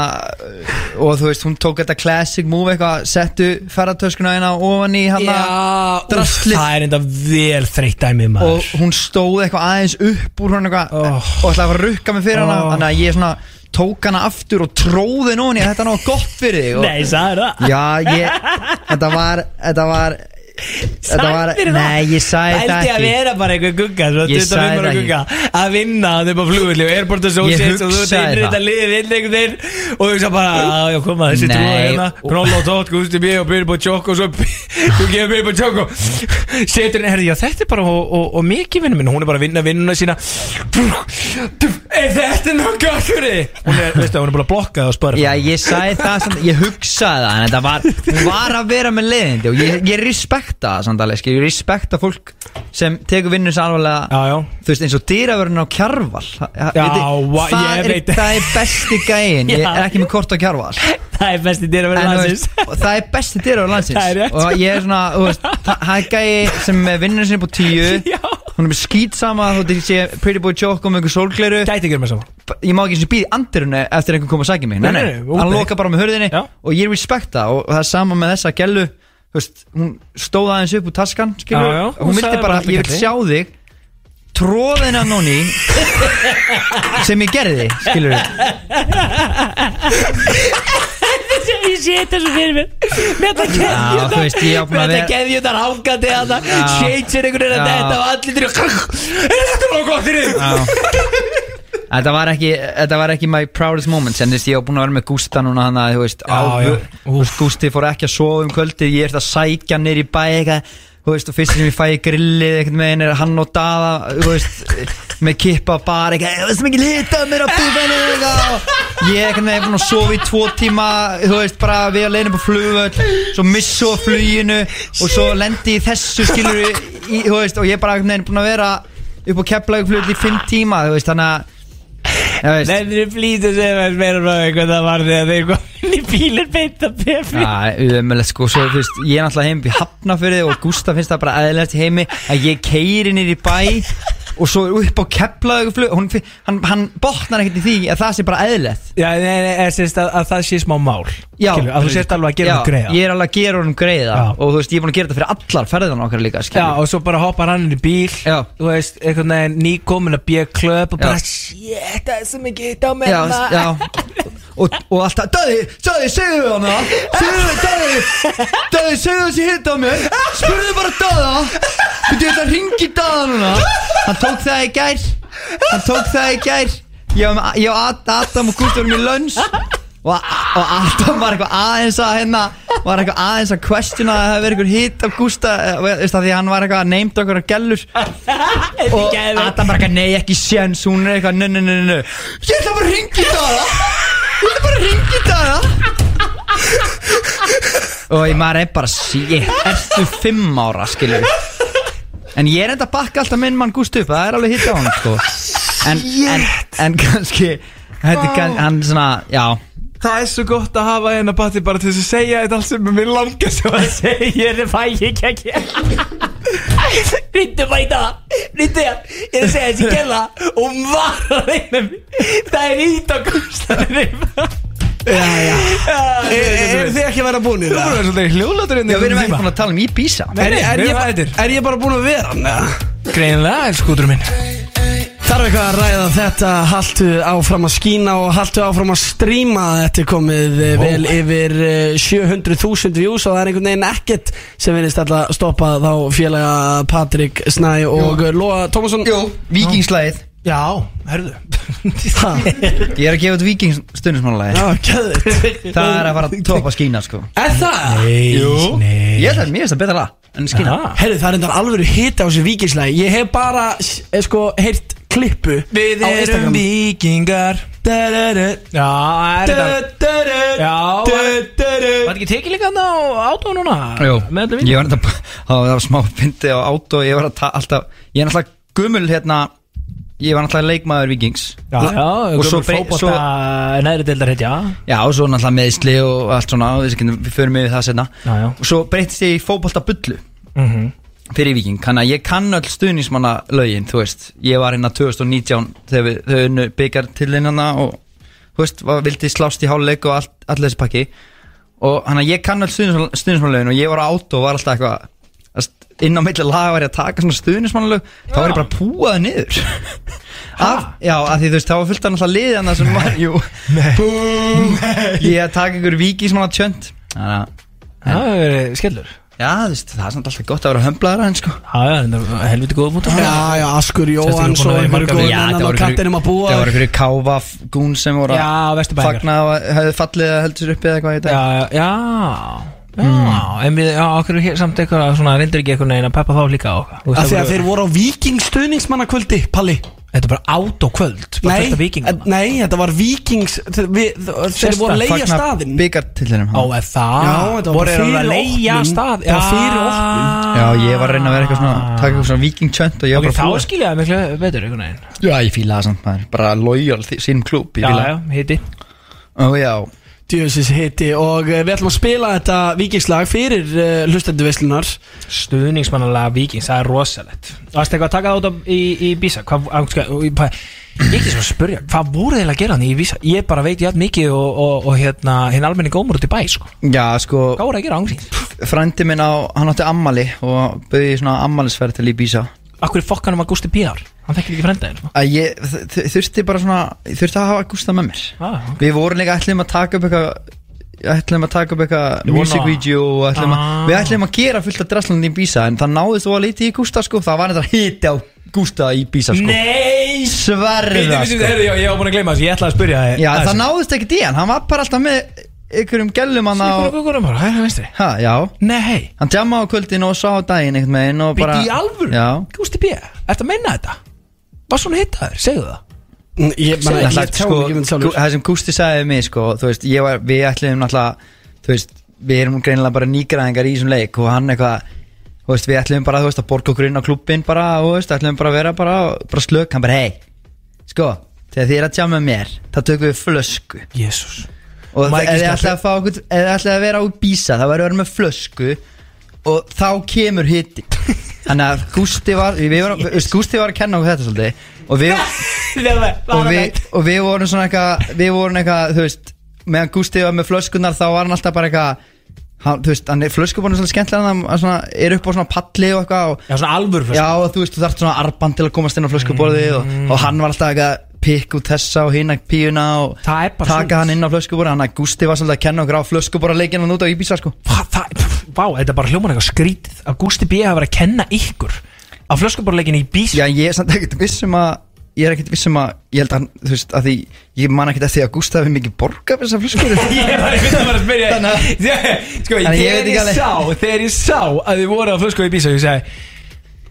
[SPEAKER 5] og þú veist, hún tók þetta classic move eitthvað, settu ferðartöskuna hérna ofan í hann
[SPEAKER 2] úff,
[SPEAKER 5] drastlið.
[SPEAKER 2] Það er enda vel þreytt dæmið
[SPEAKER 5] og
[SPEAKER 2] maður
[SPEAKER 5] hún stóð eitthvað aðeins upp úr hann eitthvað
[SPEAKER 2] Oh.
[SPEAKER 5] og ætlaði að fara að rukka mig fyrir hana
[SPEAKER 2] Oh.
[SPEAKER 5] þannig að ég svona tók hana aftur og tróði henni ofan í þetta er náttúrulega gott fyrir þig og,
[SPEAKER 2] Nei, sagði það
[SPEAKER 5] Já, ég, þetta var þetta var, þetta var
[SPEAKER 2] Sagðirðu það?
[SPEAKER 5] nei, ég sagði þetta
[SPEAKER 2] Pældi
[SPEAKER 5] ekki
[SPEAKER 2] að vera bara einhver gugga svo
[SPEAKER 5] Ég
[SPEAKER 2] 25
[SPEAKER 5] sagði
[SPEAKER 2] ára
[SPEAKER 5] það
[SPEAKER 2] gugga, Að vinna hann upp á flugulli og airport associates og þú ert
[SPEAKER 5] hugsaði
[SPEAKER 2] innrið þetta
[SPEAKER 5] það.
[SPEAKER 2] liðið inn einhvern veginn og þú hugsa bara "Á, já koma þessi
[SPEAKER 5] Nei,
[SPEAKER 2] trúa hérna
[SPEAKER 5] og-
[SPEAKER 2] Knolla og tótt, Gusti B (laughs) og Byrbo Tjók og svo þú gefur Byrbo Tjók og (laughs) setur henni, herri já þetta er bara og, og, og mikið vinnum minn, hún er bara að vinna vinnuna sína er þetta nokkuð akkur hún er, veistu hún er búin að blokka það og spara
[SPEAKER 5] Já, ég sagði það samt, ég hugsaði það en þetta var, hún var að vera með leiðindi og ég, ég respekta það samt alveg, skil, ég respekta fólk sem tekur vinnus alvarlega,
[SPEAKER 2] já, já
[SPEAKER 5] þú veist, eins og dýravörun á kjarval það,
[SPEAKER 2] Já,
[SPEAKER 5] veitir,
[SPEAKER 2] vá,
[SPEAKER 5] það,
[SPEAKER 2] ég
[SPEAKER 5] er,
[SPEAKER 2] veit.
[SPEAKER 5] það er besti gæin, ég
[SPEAKER 2] Já.
[SPEAKER 5] er ekki með kort á kjarval
[SPEAKER 2] það er besti dyr að vera
[SPEAKER 5] En, þú
[SPEAKER 2] landsins
[SPEAKER 5] veist, og það er besti dyrur á landsins
[SPEAKER 2] Það er rétt.
[SPEAKER 5] og ég er svona, þú veist, það það er gæi sem vinnur sinni på tíu
[SPEAKER 2] (laughs) (laughs) Já.
[SPEAKER 5] hún er með skýt sama, þú veist, ég sé pretty boy joke um einhver sólgleru
[SPEAKER 2] gæti ekki verið með saman
[SPEAKER 5] ég má ekki eins og býði andirinu eftir einhvern koma að sækja mig nei,
[SPEAKER 2] Nei,
[SPEAKER 5] nei,
[SPEAKER 2] nei, nei,
[SPEAKER 5] hann
[SPEAKER 2] óbei.
[SPEAKER 5] loka bara með hörðinni
[SPEAKER 2] Já.
[SPEAKER 5] og ég respekta og, og það er sama með þessa gellu þú veist, hún stóð aðeins upp úr taskan skilur,
[SPEAKER 2] Já, já,
[SPEAKER 5] hún
[SPEAKER 2] hún
[SPEAKER 5] vildi
[SPEAKER 2] sagði
[SPEAKER 5] bara,
[SPEAKER 2] bara,
[SPEAKER 5] ég vil
[SPEAKER 2] "Kalli."
[SPEAKER 5] sjá þig tróðin af núni
[SPEAKER 2] (laughs)
[SPEAKER 5] sem ég gerði, skilur við
[SPEAKER 11] Ég sé þetta svo fyrir mér Með þetta
[SPEAKER 5] Já, þú veist, ég á
[SPEAKER 11] geðjöndar
[SPEAKER 5] búin að
[SPEAKER 11] Með þetta
[SPEAKER 5] vera-
[SPEAKER 11] geðjöndar hangandi að það
[SPEAKER 5] Já.
[SPEAKER 11] Shades er einhvern veginn að
[SPEAKER 5] Já.
[SPEAKER 11] þetta Og allir til að Er þetta nóg gott fyrir þig?
[SPEAKER 5] Þetta var ekki, þetta var ekki my proudest moments En þú veist, ég var búin að vera með Gústa núna hann að, þú veist,
[SPEAKER 2] Já, já.
[SPEAKER 5] á, þú veist, Gústi fór ekki að sofa um kvöldið Ég ert að sækja hann niður í bæ eitthvað Þú veist, og fyrst sem ég fæ í grillið einhvern veginn er hann og daða, þú veist með kippa á bar, eitthvað, þú veist mikið lita mér á búfennu, eitthvað og ég einhvern veginn er búin að sofa í tvo tíma þú veist, bara við að leina på flugvöll svo missu á fluginu og svo lendi ég í þessu, skilur í, í, þú veist, og ég bara einhvern veginn búin að vera upp á keflaugflugvöll í fimm tíma, þú veist, þannig að
[SPEAKER 11] Nefnir flýta sem er meira frá því Hvað það var þegar þeir komin í bílinn Beint að befi
[SPEAKER 5] Já, umöðlega sko, svo þú veist, ég er náttúrulega heim í Hafnafyrði og Gústa finnst það bara aðeinlegt heimi að ég keiri niður í bæ og svo er upp á keplaðu flug, hún, fin- hann, hann botnar ekkert í því að það sé bara aðeinlegt
[SPEAKER 2] Já, nei, nei, er, sérst, að, að það sé smá mál
[SPEAKER 5] Já,
[SPEAKER 2] Skilur, Að þú sért alveg að gera
[SPEAKER 5] Já,
[SPEAKER 2] það greiða
[SPEAKER 5] Ég er alveg að gera honum greiða og þú veist, ég er búin að gera þetta fyrir allar ferðan okkar líka skilur.
[SPEAKER 2] Já, og svo bara hoppar hann inn í bíl Já. Þú veist, einhvern veginn nýkomin að bíja klöp og bara Shit, það er svo mikið hitt á mig
[SPEAKER 5] Já,
[SPEAKER 2] maður.
[SPEAKER 5] já Og, og alltaf, Dæði, Dæði, segðu hann það Segðu, Dæði, Dæði, segðu þessi hitt á mér Spurðu bara Dæða Þú veit að ringi Dæða núna Hann tók það í gær Hann tók það í gær Ég var með- ég og Ad- Adam og Gústi vorum í lönns og, og Adam var eitthvað aðeins að hérna var eitthvað aðeins að questiona að það hefði verið einhver hitt af Gústa eh, veist það því að hann var eitthvað að neymt okkur að gellur og Adam bara eitthvað nei ekki séns hún er eitthvað nö nö nö nö, nö Ég ætla bara að ringi Dara Ég ætla bara að ringi Dara og ég maður er bara shit, ertu fimm ára skilur en ég er enda að bakka alltaf minn mann Gúst upp það er alveg hitt á hann sko en, en, en kannski þetta, er kann, hann svona, já
[SPEAKER 2] Það er svo gott að hafa eina bati bara til þess að segja þetta allt sem mér langar svo að segja
[SPEAKER 11] Ég er fæ ekki ekki Rindu bara í það Rindu ég Ég er að segja þessi gæla Og hún var að reyna mig Það er ít á kústanum
[SPEAKER 3] Já, já
[SPEAKER 2] Eru
[SPEAKER 3] Eru þið ekki að vera búin í
[SPEAKER 2] Þú erum svolítið hljóðlátur inn í
[SPEAKER 5] Já, við erum
[SPEAKER 2] þessum
[SPEAKER 5] ekki
[SPEAKER 2] tíma.
[SPEAKER 5] búin að tala um í Písa
[SPEAKER 3] Er, er,
[SPEAKER 2] við erum
[SPEAKER 3] ég,
[SPEAKER 2] hættir.
[SPEAKER 3] er ég bara búin að vera hann? eða?
[SPEAKER 2] Greinlega, elskútur minn
[SPEAKER 3] Þarf eitthvað að ræða þetta Haltu áfram að skína og haltu áfram að stríma Þetta er komið oh. vel yfir eh, 700.000 views Og það er einhvern veginn ekkert sem verðist alltaf að stoppa Þá félaga Patrik Snæ og Lóa Tómasson
[SPEAKER 5] Jú, vikingslæðið
[SPEAKER 2] Já, herðu
[SPEAKER 5] ég er að gefa út vikingstundismannalagi
[SPEAKER 3] Já, gæðið
[SPEAKER 5] það er að fara að topa skína sko
[SPEAKER 3] Er það?
[SPEAKER 2] Nei,
[SPEAKER 5] Jú.
[SPEAKER 2] nei
[SPEAKER 5] ég ætla að mér finnst það betra lag en skína
[SPEAKER 2] Aha.
[SPEAKER 3] Herru, það er endar alveg hita á þessu vikingslægi Ég hef bara, eh, sko, heyrt klippu
[SPEAKER 2] Við
[SPEAKER 3] á
[SPEAKER 2] erum
[SPEAKER 3] Instagram.
[SPEAKER 2] vikingar
[SPEAKER 3] Da-da-da,
[SPEAKER 2] Já, er þetta
[SPEAKER 3] da-da-da,
[SPEAKER 2] Já, var
[SPEAKER 3] da-da-da.
[SPEAKER 2] var þetta ekki tekið líka þarna á átóð núna?
[SPEAKER 5] Jú,
[SPEAKER 2] Með þetta
[SPEAKER 5] ég var þetta það var smá fyndi á át og ég var að ta- alltaf ég er náttúrulega gummul hérna ég var náttúrulega leikmaður vikings
[SPEAKER 2] Já, já,
[SPEAKER 5] og svo, brey- svo
[SPEAKER 2] fókbóta neðri deildar hitt, já
[SPEAKER 5] já, og svo náttúrulega meðsli og allt svona og við, getum- við förum yfir það senna
[SPEAKER 2] Já, já.
[SPEAKER 5] og svo breytist ég í fótboltabullu
[SPEAKER 2] Mhm.
[SPEAKER 5] fyrir viking þannig að ég kann öll stuðnismanna lögin þú veist, ég var hérna 2019 þegar við, þau unnu byggar til hana og þú veist, var, vildi slást í háluleik og allt, allir þessi pakki og hann að ég kann öll stuðnismanna lögin og ég var á át og var alltaf eitthvað að st- inn á milli laga var ég að taka svona stuðnismanna lög þá var ég bara púað niður af, já, af því þú veist, þá var fullt af alltaf liðið hann sem var, jú Búm. ég að taka ykkur vikismanna tjönd þannig að
[SPEAKER 2] Það hefur verið skellur
[SPEAKER 5] Já, þú veist, það er samt alltaf gott að vera hömblaðar en sko
[SPEAKER 2] Já, já, þetta var helviti góða punktur
[SPEAKER 3] Já, já, Askur
[SPEAKER 2] Sérstaklega
[SPEAKER 3] Jóhann
[SPEAKER 2] búin
[SPEAKER 3] Svo
[SPEAKER 2] að vera í
[SPEAKER 3] einhverju
[SPEAKER 2] marga
[SPEAKER 3] góðan
[SPEAKER 2] vikur.
[SPEAKER 5] Já,
[SPEAKER 3] annan
[SPEAKER 5] þetta
[SPEAKER 3] á
[SPEAKER 5] voru
[SPEAKER 3] kattinum að búa
[SPEAKER 5] Það voru fyrir káfa gún sem voru
[SPEAKER 2] Já,
[SPEAKER 5] að
[SPEAKER 2] Vesturbæingar.
[SPEAKER 5] fagna að hefðu fallið að heldur uppi eða eitthvað í dag
[SPEAKER 2] Já, já Já, en við, já, okkur er hér samt eitthvað svona reyndir ekki eitthvað neginn að peppa þá líka á okkar Þú veist,
[SPEAKER 3] Af því
[SPEAKER 2] það
[SPEAKER 3] að þeir voru á vikingstuðningsmannakvöldi, Palli
[SPEAKER 2] Þetta er bara át og kvöld bara
[SPEAKER 3] Nei,
[SPEAKER 2] fullt af vikingum
[SPEAKER 3] eh, nei, þetta var vikings Þeir, við, þeir voru að leia staðin
[SPEAKER 5] byggartillinum
[SPEAKER 2] Á, er það?
[SPEAKER 3] Já, þetta
[SPEAKER 2] voru
[SPEAKER 3] var bara
[SPEAKER 2] þeir að
[SPEAKER 3] fyrir
[SPEAKER 2] leigja
[SPEAKER 3] opnun.
[SPEAKER 2] stað Ah.
[SPEAKER 3] Bara fyrir opnun.
[SPEAKER 5] Já, ég var að reyna að vera eitthvað svona Takk eitthvað svona vikingtjönd og ég
[SPEAKER 2] Ok,
[SPEAKER 5] var
[SPEAKER 2] þá
[SPEAKER 5] bara
[SPEAKER 2] skilja það miklu betur einhvern veginn
[SPEAKER 5] fúið Já, ég fíla það samt maður Bara lojal því- sínum klúb
[SPEAKER 2] Já,
[SPEAKER 5] Ég fíla
[SPEAKER 2] já, hitti
[SPEAKER 5] það Ó já
[SPEAKER 3] Djöfisins hitti Og eh, við ætlum að spila þetta vikingslag fyrir uh, hlustendu veislunar
[SPEAKER 2] Stuðningsmannalega vikings, það er rosalegt Varst eitthvað að taka það út á, í, í Bísa? Hvað, á, ska, og, í, hvað, ég ekki svo að spyrja Hvað voru þeir að gera hann í Bísa? Ég bara veit jætt mikið og, og, og hérna Hinn almenni gómur út í bæ, sko
[SPEAKER 5] Já, sko
[SPEAKER 2] Hvað voru að gera ángrín?
[SPEAKER 5] Frændi minn á, hann átti ammali Og bauði svona ammalisferð til Ibiza
[SPEAKER 2] Akkur er fokkanum að Gusti P.R. Hann þekkir ekki sko. frenda þér
[SPEAKER 5] að ég þ- þ- þurfti bara svona ég þurfti að hafa Gústa með mér
[SPEAKER 2] Ah,
[SPEAKER 5] við vorum líka ætlum að taka upp eitthvað ætlum að taka upp eitthvað
[SPEAKER 2] Ég vona
[SPEAKER 5] music
[SPEAKER 2] það.
[SPEAKER 5] video og ætlum að,
[SPEAKER 2] Ah.
[SPEAKER 5] við ætlum að gera fullt af drasslandi í Bísa en það náði þó að leiti í Gústa sko það var þetta hiti á Gústa í Bísa sko
[SPEAKER 2] Nei
[SPEAKER 5] Sverða
[SPEAKER 2] Bíddu, bíddu,
[SPEAKER 5] sko.
[SPEAKER 2] heyrðu, já, Ég var búin að gleyma þessu, ég ætlaði að spyrja þig
[SPEAKER 5] Já,
[SPEAKER 2] aðeins.
[SPEAKER 5] það náðist ekkert í hann, hann var bara alltaf með einhverjum gellum hann á
[SPEAKER 2] Sýkur og gurum bara, hæ, hæ, veistri
[SPEAKER 5] Ha, já
[SPEAKER 2] Nei
[SPEAKER 5] Hann djama á kvöldin og sá á daginn einhvern veginn og bara
[SPEAKER 2] Bíddu, í alvöru?
[SPEAKER 5] Já
[SPEAKER 2] Gusti P.R. Ertu að meina þetta? Var svona hittaður, segðu það
[SPEAKER 3] Mm, Ég, man,
[SPEAKER 5] Segðu
[SPEAKER 3] ég,
[SPEAKER 5] það,
[SPEAKER 3] ég tjáum ekki mynd
[SPEAKER 5] sko,
[SPEAKER 3] sjálfur
[SPEAKER 5] Gú- Það sem Gústi sagði við mig sko, þú veist, ég var, við ætluðum náttúrulega þú veist, við erum greinilega bara nýgræðingar í þessum leik og hann eitthvað þú veist, við ætluðum bara, þú veist, að borga okkur inn á klubbin bara, þú veist, ætluðum bara að vera bara, bara slök, hann bara, hei, sko þegar þið er að tjama með mér, það tökum við flösku
[SPEAKER 2] Jésús Maður
[SPEAKER 5] og það-
[SPEAKER 2] ekki
[SPEAKER 5] ef þið
[SPEAKER 2] skal-
[SPEAKER 5] ætlaði að fá okkur ef þið ætlaði að vera á bísa það væri að vera með flösku og þá kemur hitti þannig að Gústi var við vorum, yes. Gústi var að kenna okkur þetta svolítið og við, og við, og við vorum svona eitthvað við vorum eitthvað, þú veist meðan Gústi var með flöskunar þá var hann alltaf bara eitthvað hann, þú veist, hann er flöskubónu svolítið skemmtilega hann er svona, er upp á svona palli og eitthvað og,
[SPEAKER 2] Já, svona alvöru flösku.
[SPEAKER 5] Já, og þú veist, þú þarft svona arban til að komast inn á flöskubóði og, og hann var alltaf eitthvað pikk út þessa og hina píuna og taka
[SPEAKER 2] svoleiðis.
[SPEAKER 5] hann inn á flöskubóra hann að Gústi var svolítið að kenna okkur á flöskubóra leikinu út á Íbísa sko
[SPEAKER 2] Hvað, það, pff, vá, þetta er bara hljóman eitthvað skrítið Að Gusti B. hafa verið að kenna ykkur Á flöskuborleikin í bís
[SPEAKER 5] Já, ég er samt ekkert vissum að ég er ekkert vissum að, ég held að, hann, þú veist, að því ég man ekkert eftir því að Gústi hafi mikið borga fyrir þessar flöskur (laughs)
[SPEAKER 2] Ég var einmitt að vera að spyrja (laughs)
[SPEAKER 5] Þannig að-
[SPEAKER 2] Ég- Sko,
[SPEAKER 5] Þannig að
[SPEAKER 2] þegar
[SPEAKER 5] ég veit ekki
[SPEAKER 2] ég
[SPEAKER 5] alveg.
[SPEAKER 2] sá Þegar ég sá að þið voru á flösku í bísa Ég segi,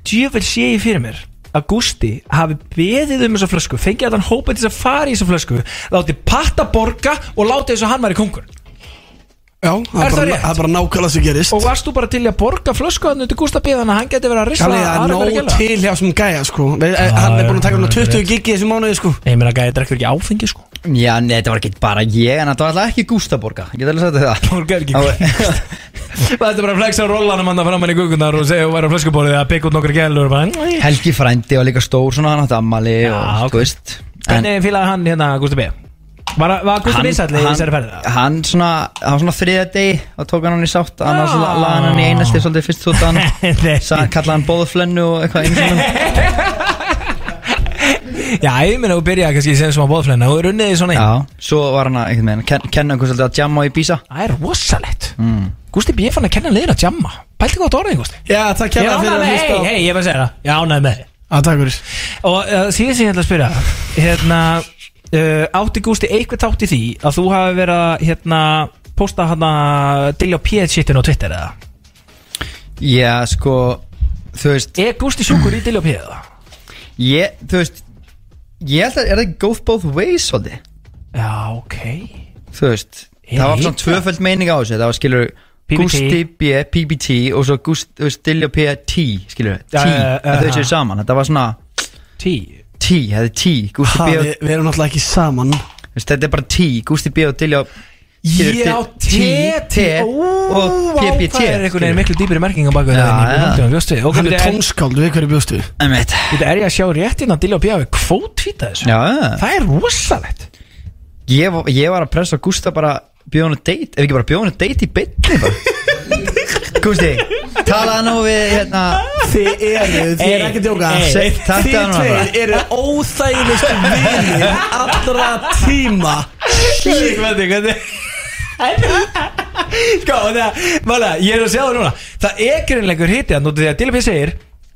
[SPEAKER 2] djöfell sé ég fyrir mér að Gústi hafi beðið um þessa flösku fengið allan hópa til þess að fara í þessa flösku látið patta borga og látið þess að hann væri kongur
[SPEAKER 3] Já, það
[SPEAKER 2] Er
[SPEAKER 3] er
[SPEAKER 2] það
[SPEAKER 3] bara-
[SPEAKER 2] rétt?
[SPEAKER 3] það er bara nákvæmlega sem gerist
[SPEAKER 2] og varst þú bara til í að borga flösku þannig til Gústa beðið hann að hann geti verið að risla
[SPEAKER 3] Þannig að
[SPEAKER 2] aðra
[SPEAKER 3] nóg
[SPEAKER 2] verið að gæla
[SPEAKER 3] til hjá sem gæja sko Við- eh, Hann er búin að taka hann 20 gigi þessi mánuði sko
[SPEAKER 2] Nei, ég meina gæði drekkur ekki áfengi sko
[SPEAKER 5] Já, nei, þetta var ekki bara ég en þetta var alltaf ekki Gústa borga ég get alveg sagt þér það
[SPEAKER 2] (laughs) Borgar ekki
[SPEAKER 5] Það var-
[SPEAKER 2] Þetta er bara að flexa rollanum hann fram hann í gugunar og segja að vera á flöskuborðið að byggja út nokkur gælur og bara, "Nei."
[SPEAKER 5] Helgi frændi var líka stór svona hann átti ammali og þú veist en
[SPEAKER 2] Hvernig fílaði hann hérna Gústi B? Var, var Gústi B sætli í þessari ferði?
[SPEAKER 5] hann svona, hann svona þriða degi og tók hann hann í sátt annars
[SPEAKER 2] Já.
[SPEAKER 5] laði hann hann í einasti svolítið fyrst þútt hann
[SPEAKER 2] (laughs)
[SPEAKER 5] kallaði hann bóðflennu og eitthvað einu svona
[SPEAKER 2] Já, ég meina þú byrjaði kannski sem sem að bóðflenna og runniði svona inn
[SPEAKER 5] Já, svo var hann að, einhvern veginn, ken, kenna okkur svolítið að jamma í bísa
[SPEAKER 2] Það er rosalegt Gústi B fann að kenna liðin að jamma Pælti gott orðið, Gústi
[SPEAKER 3] Já, það
[SPEAKER 2] Ég
[SPEAKER 3] kemur fyrir
[SPEAKER 2] ánæði
[SPEAKER 3] að
[SPEAKER 2] með,
[SPEAKER 3] hlusta
[SPEAKER 2] hei,
[SPEAKER 3] á-
[SPEAKER 2] hei, ég er bara að segja það Ég ánæði með þig
[SPEAKER 3] Já, takk fyrir
[SPEAKER 2] Og uh, síðan sem ég ætla að spyrja Hérna, uh, átti Gústi eitthvað þátt í því að þú hafi verið að hérna, posta hann að dilja P-shitin á Twitter eða?
[SPEAKER 5] Já, sko, þú veist
[SPEAKER 2] Er Gústi sjúkur í dilja P-eða?
[SPEAKER 5] ég, þú veist ég held að, er það ekki go both ways svolítið,
[SPEAKER 2] Já, ok
[SPEAKER 5] þú veist
[SPEAKER 2] Ég
[SPEAKER 5] það var
[SPEAKER 2] veit
[SPEAKER 5] svona
[SPEAKER 2] það.
[SPEAKER 5] tvöföld meining á þessu, það var skilur
[SPEAKER 2] PBT.
[SPEAKER 5] Gusti B, PBT og svo Gusti, Stilja P, T, skilur T,
[SPEAKER 2] Já, já, já,
[SPEAKER 5] að
[SPEAKER 2] já.
[SPEAKER 5] þau séu saman, þetta var svona
[SPEAKER 2] Tí
[SPEAKER 5] T, það er T, Gusti
[SPEAKER 3] Ha,
[SPEAKER 5] B
[SPEAKER 3] Við
[SPEAKER 5] og-
[SPEAKER 3] við erum náttúrulega ekki saman
[SPEAKER 5] þú veist, þetta er bara T, Gusti B og Dilja
[SPEAKER 2] Já, T, T
[SPEAKER 5] og PBT
[SPEAKER 2] Það er einhvern veginn miklu dýpiri merkingum baka
[SPEAKER 5] Já, já.
[SPEAKER 2] þetta
[SPEAKER 3] Hann er
[SPEAKER 2] tóns
[SPEAKER 3] tónskáld, við hverju bjóstu við?
[SPEAKER 5] Emmett
[SPEAKER 2] Þetta er ég að sjá rétt inn að Dilja og P hafi kvótvíta þessu
[SPEAKER 5] Já, já.
[SPEAKER 2] Það er rosalegt
[SPEAKER 5] ég, var- ég var að pressa Gústa bara bjóða hann að date, ef ekki bara bjóða hann að date í bytni
[SPEAKER 2] (laughs)
[SPEAKER 5] bara Gústi, talaði nú við hérna
[SPEAKER 3] Þið eru, þið
[SPEAKER 2] Ey,
[SPEAKER 3] eru ekki að djóka
[SPEAKER 2] ey.
[SPEAKER 3] Se-
[SPEAKER 5] Takk
[SPEAKER 3] Þið
[SPEAKER 5] það nú bara.
[SPEAKER 3] tveir eru óþægilegustu vinir allra tíma
[SPEAKER 2] Hvernig, hvernig (laughs) Sko, það, mála, ég er að sjá það núna Það er greinleikur hitti að nútið því að Dilja og P segir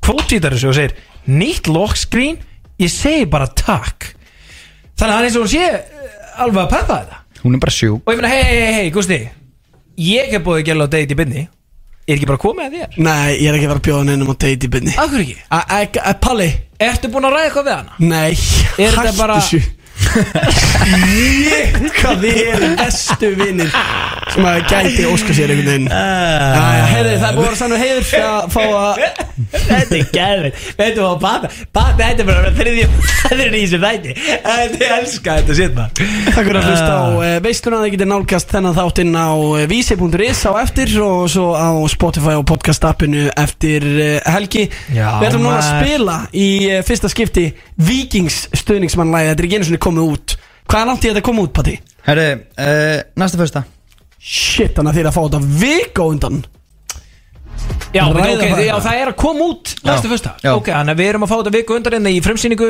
[SPEAKER 2] Kvótvítar þessu og segir Nýtt lockscreen, ég segi bara takk Þannig að hann er eins og hún sé eh, Alveg að peppa þetta
[SPEAKER 5] Hún er bara sjú
[SPEAKER 2] Og ég meina, hei, hei, hei, Gusti Ég hef búið að gæla á date í byrni Ég er ekki bara að koma að þér
[SPEAKER 3] Nei, ég er ekki að vera að bjóða neinum á date í byrni
[SPEAKER 2] Akkur ekki
[SPEAKER 3] Palli
[SPEAKER 2] Ertu búin að ræða eitthvað við hana?
[SPEAKER 3] Nei,
[SPEAKER 2] Er þetta
[SPEAKER 3] hættu
[SPEAKER 2] bara-
[SPEAKER 3] þessu Ég, hvað þið eru bestu vinnir sem að gæti óska sér einhvern veginn Jæja, heyrðu, Það er búið að vera sannu heiður fyrir að fá að
[SPEAKER 11] Þetta er gæðveit Veitum við á Bata Bata, þetta er bara þriðja maðurinn í (laughs) þessu þætti Þetta er elska þetta sér maður Ah.
[SPEAKER 3] Takk fyrir að hlusta á
[SPEAKER 2] Ah.
[SPEAKER 3] uh, veisluna Þið getur nálgast þennan þáttinn á eh, vísi.is á eftir og svo á Spotify og podcast appinu eftir eh, helgi
[SPEAKER 2] Já,
[SPEAKER 3] Við ætlum núna að
[SPEAKER 2] maður.
[SPEAKER 3] spila í eh, fyrsta skipti Víkings stuðningsmannlæði Þetta er ekki einu svona komið út Hvað er langt í þetta að koma út, Patti?
[SPEAKER 5] Herri, uh, næsta fyrsta
[SPEAKER 3] Shit, þannig að þið er að fá þetta vika á undan
[SPEAKER 2] Já,
[SPEAKER 3] Ræða
[SPEAKER 2] ok, já,
[SPEAKER 3] bara þetta.
[SPEAKER 2] það er að koma út næstu fyrsta
[SPEAKER 3] já.
[SPEAKER 2] Ok, þannig að við erum að fá þetta viku undan hérna í frumsýningu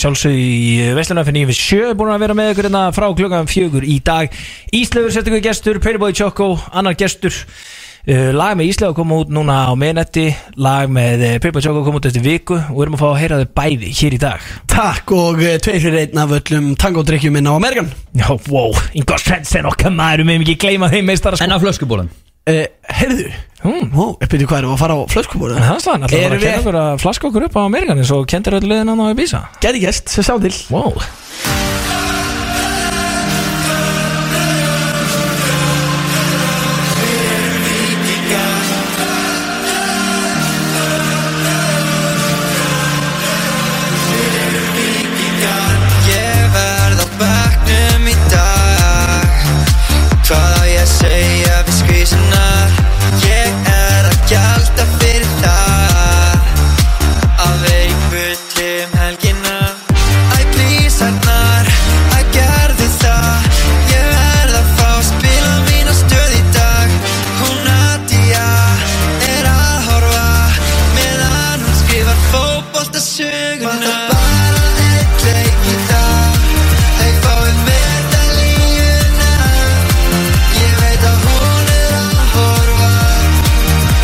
[SPEAKER 2] Sjálfsög í eh, Vestlunarfinn Ífis 7 Búin að vera með ykkur hérna frá klukkan fjögur í dag Íslefur sérstökur gestur, Pöyriboy Choco, annar gestur uh, Lag með Íslefur koma út núna á miðnetti Lag með Pöyriboy Choco koma út eftir viku Og við erum að fá að heyra þau bæði hér í dag
[SPEAKER 3] Takk og eh, tveir fyrir einn af öllum tangodrykkjum minn á Amerikan
[SPEAKER 2] Já, wow, Ingvar Svensson okkar maður Við erum ekki gleyma þeim meistara sko. En á flöskubólan
[SPEAKER 3] eh, Heyrðu, mm. ó, uppbyrðu hvað erum við að fara á flöskubóru
[SPEAKER 2] Það er slæðan, alltaf bara
[SPEAKER 3] Erum
[SPEAKER 2] að kenna
[SPEAKER 3] við
[SPEAKER 2] okkur að flaska okkur upp á Amerikanis og kendir öll liðin hann á Ibiza
[SPEAKER 3] Gæti gæst, sem sá til
[SPEAKER 2] Wow
[SPEAKER 5] Ég verð á bekknum í dag Hvað á ég að segja við skvísunar Ég er að gjalda fyrir það Að vera í fulli um helgina Æ, please, Arnar, æ, gerðu það Ég verð að fá að spila mína stöð í dag Hún Nadia er að horfa Meðan hún skrifar fótboltasöguna Vantar bara einn leik í dag Þeir fái medalíuna Ég veit að hún er að horfa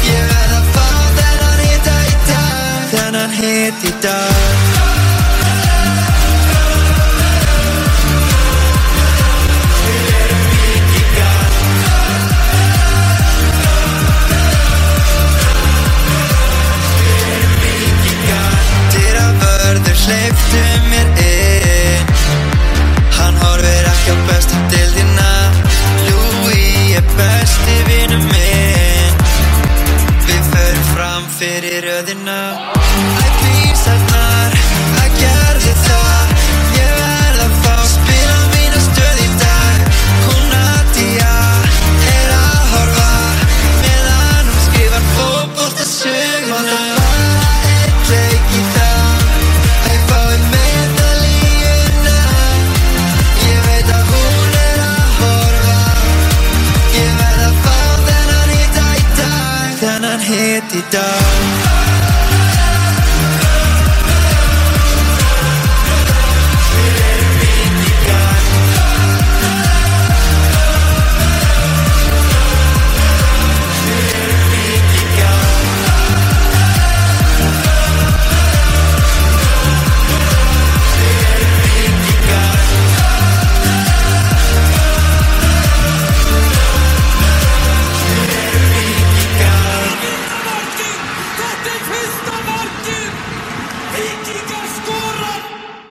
[SPEAKER 5] Ég verð að fá þennan hita í dag Þennan hita í dag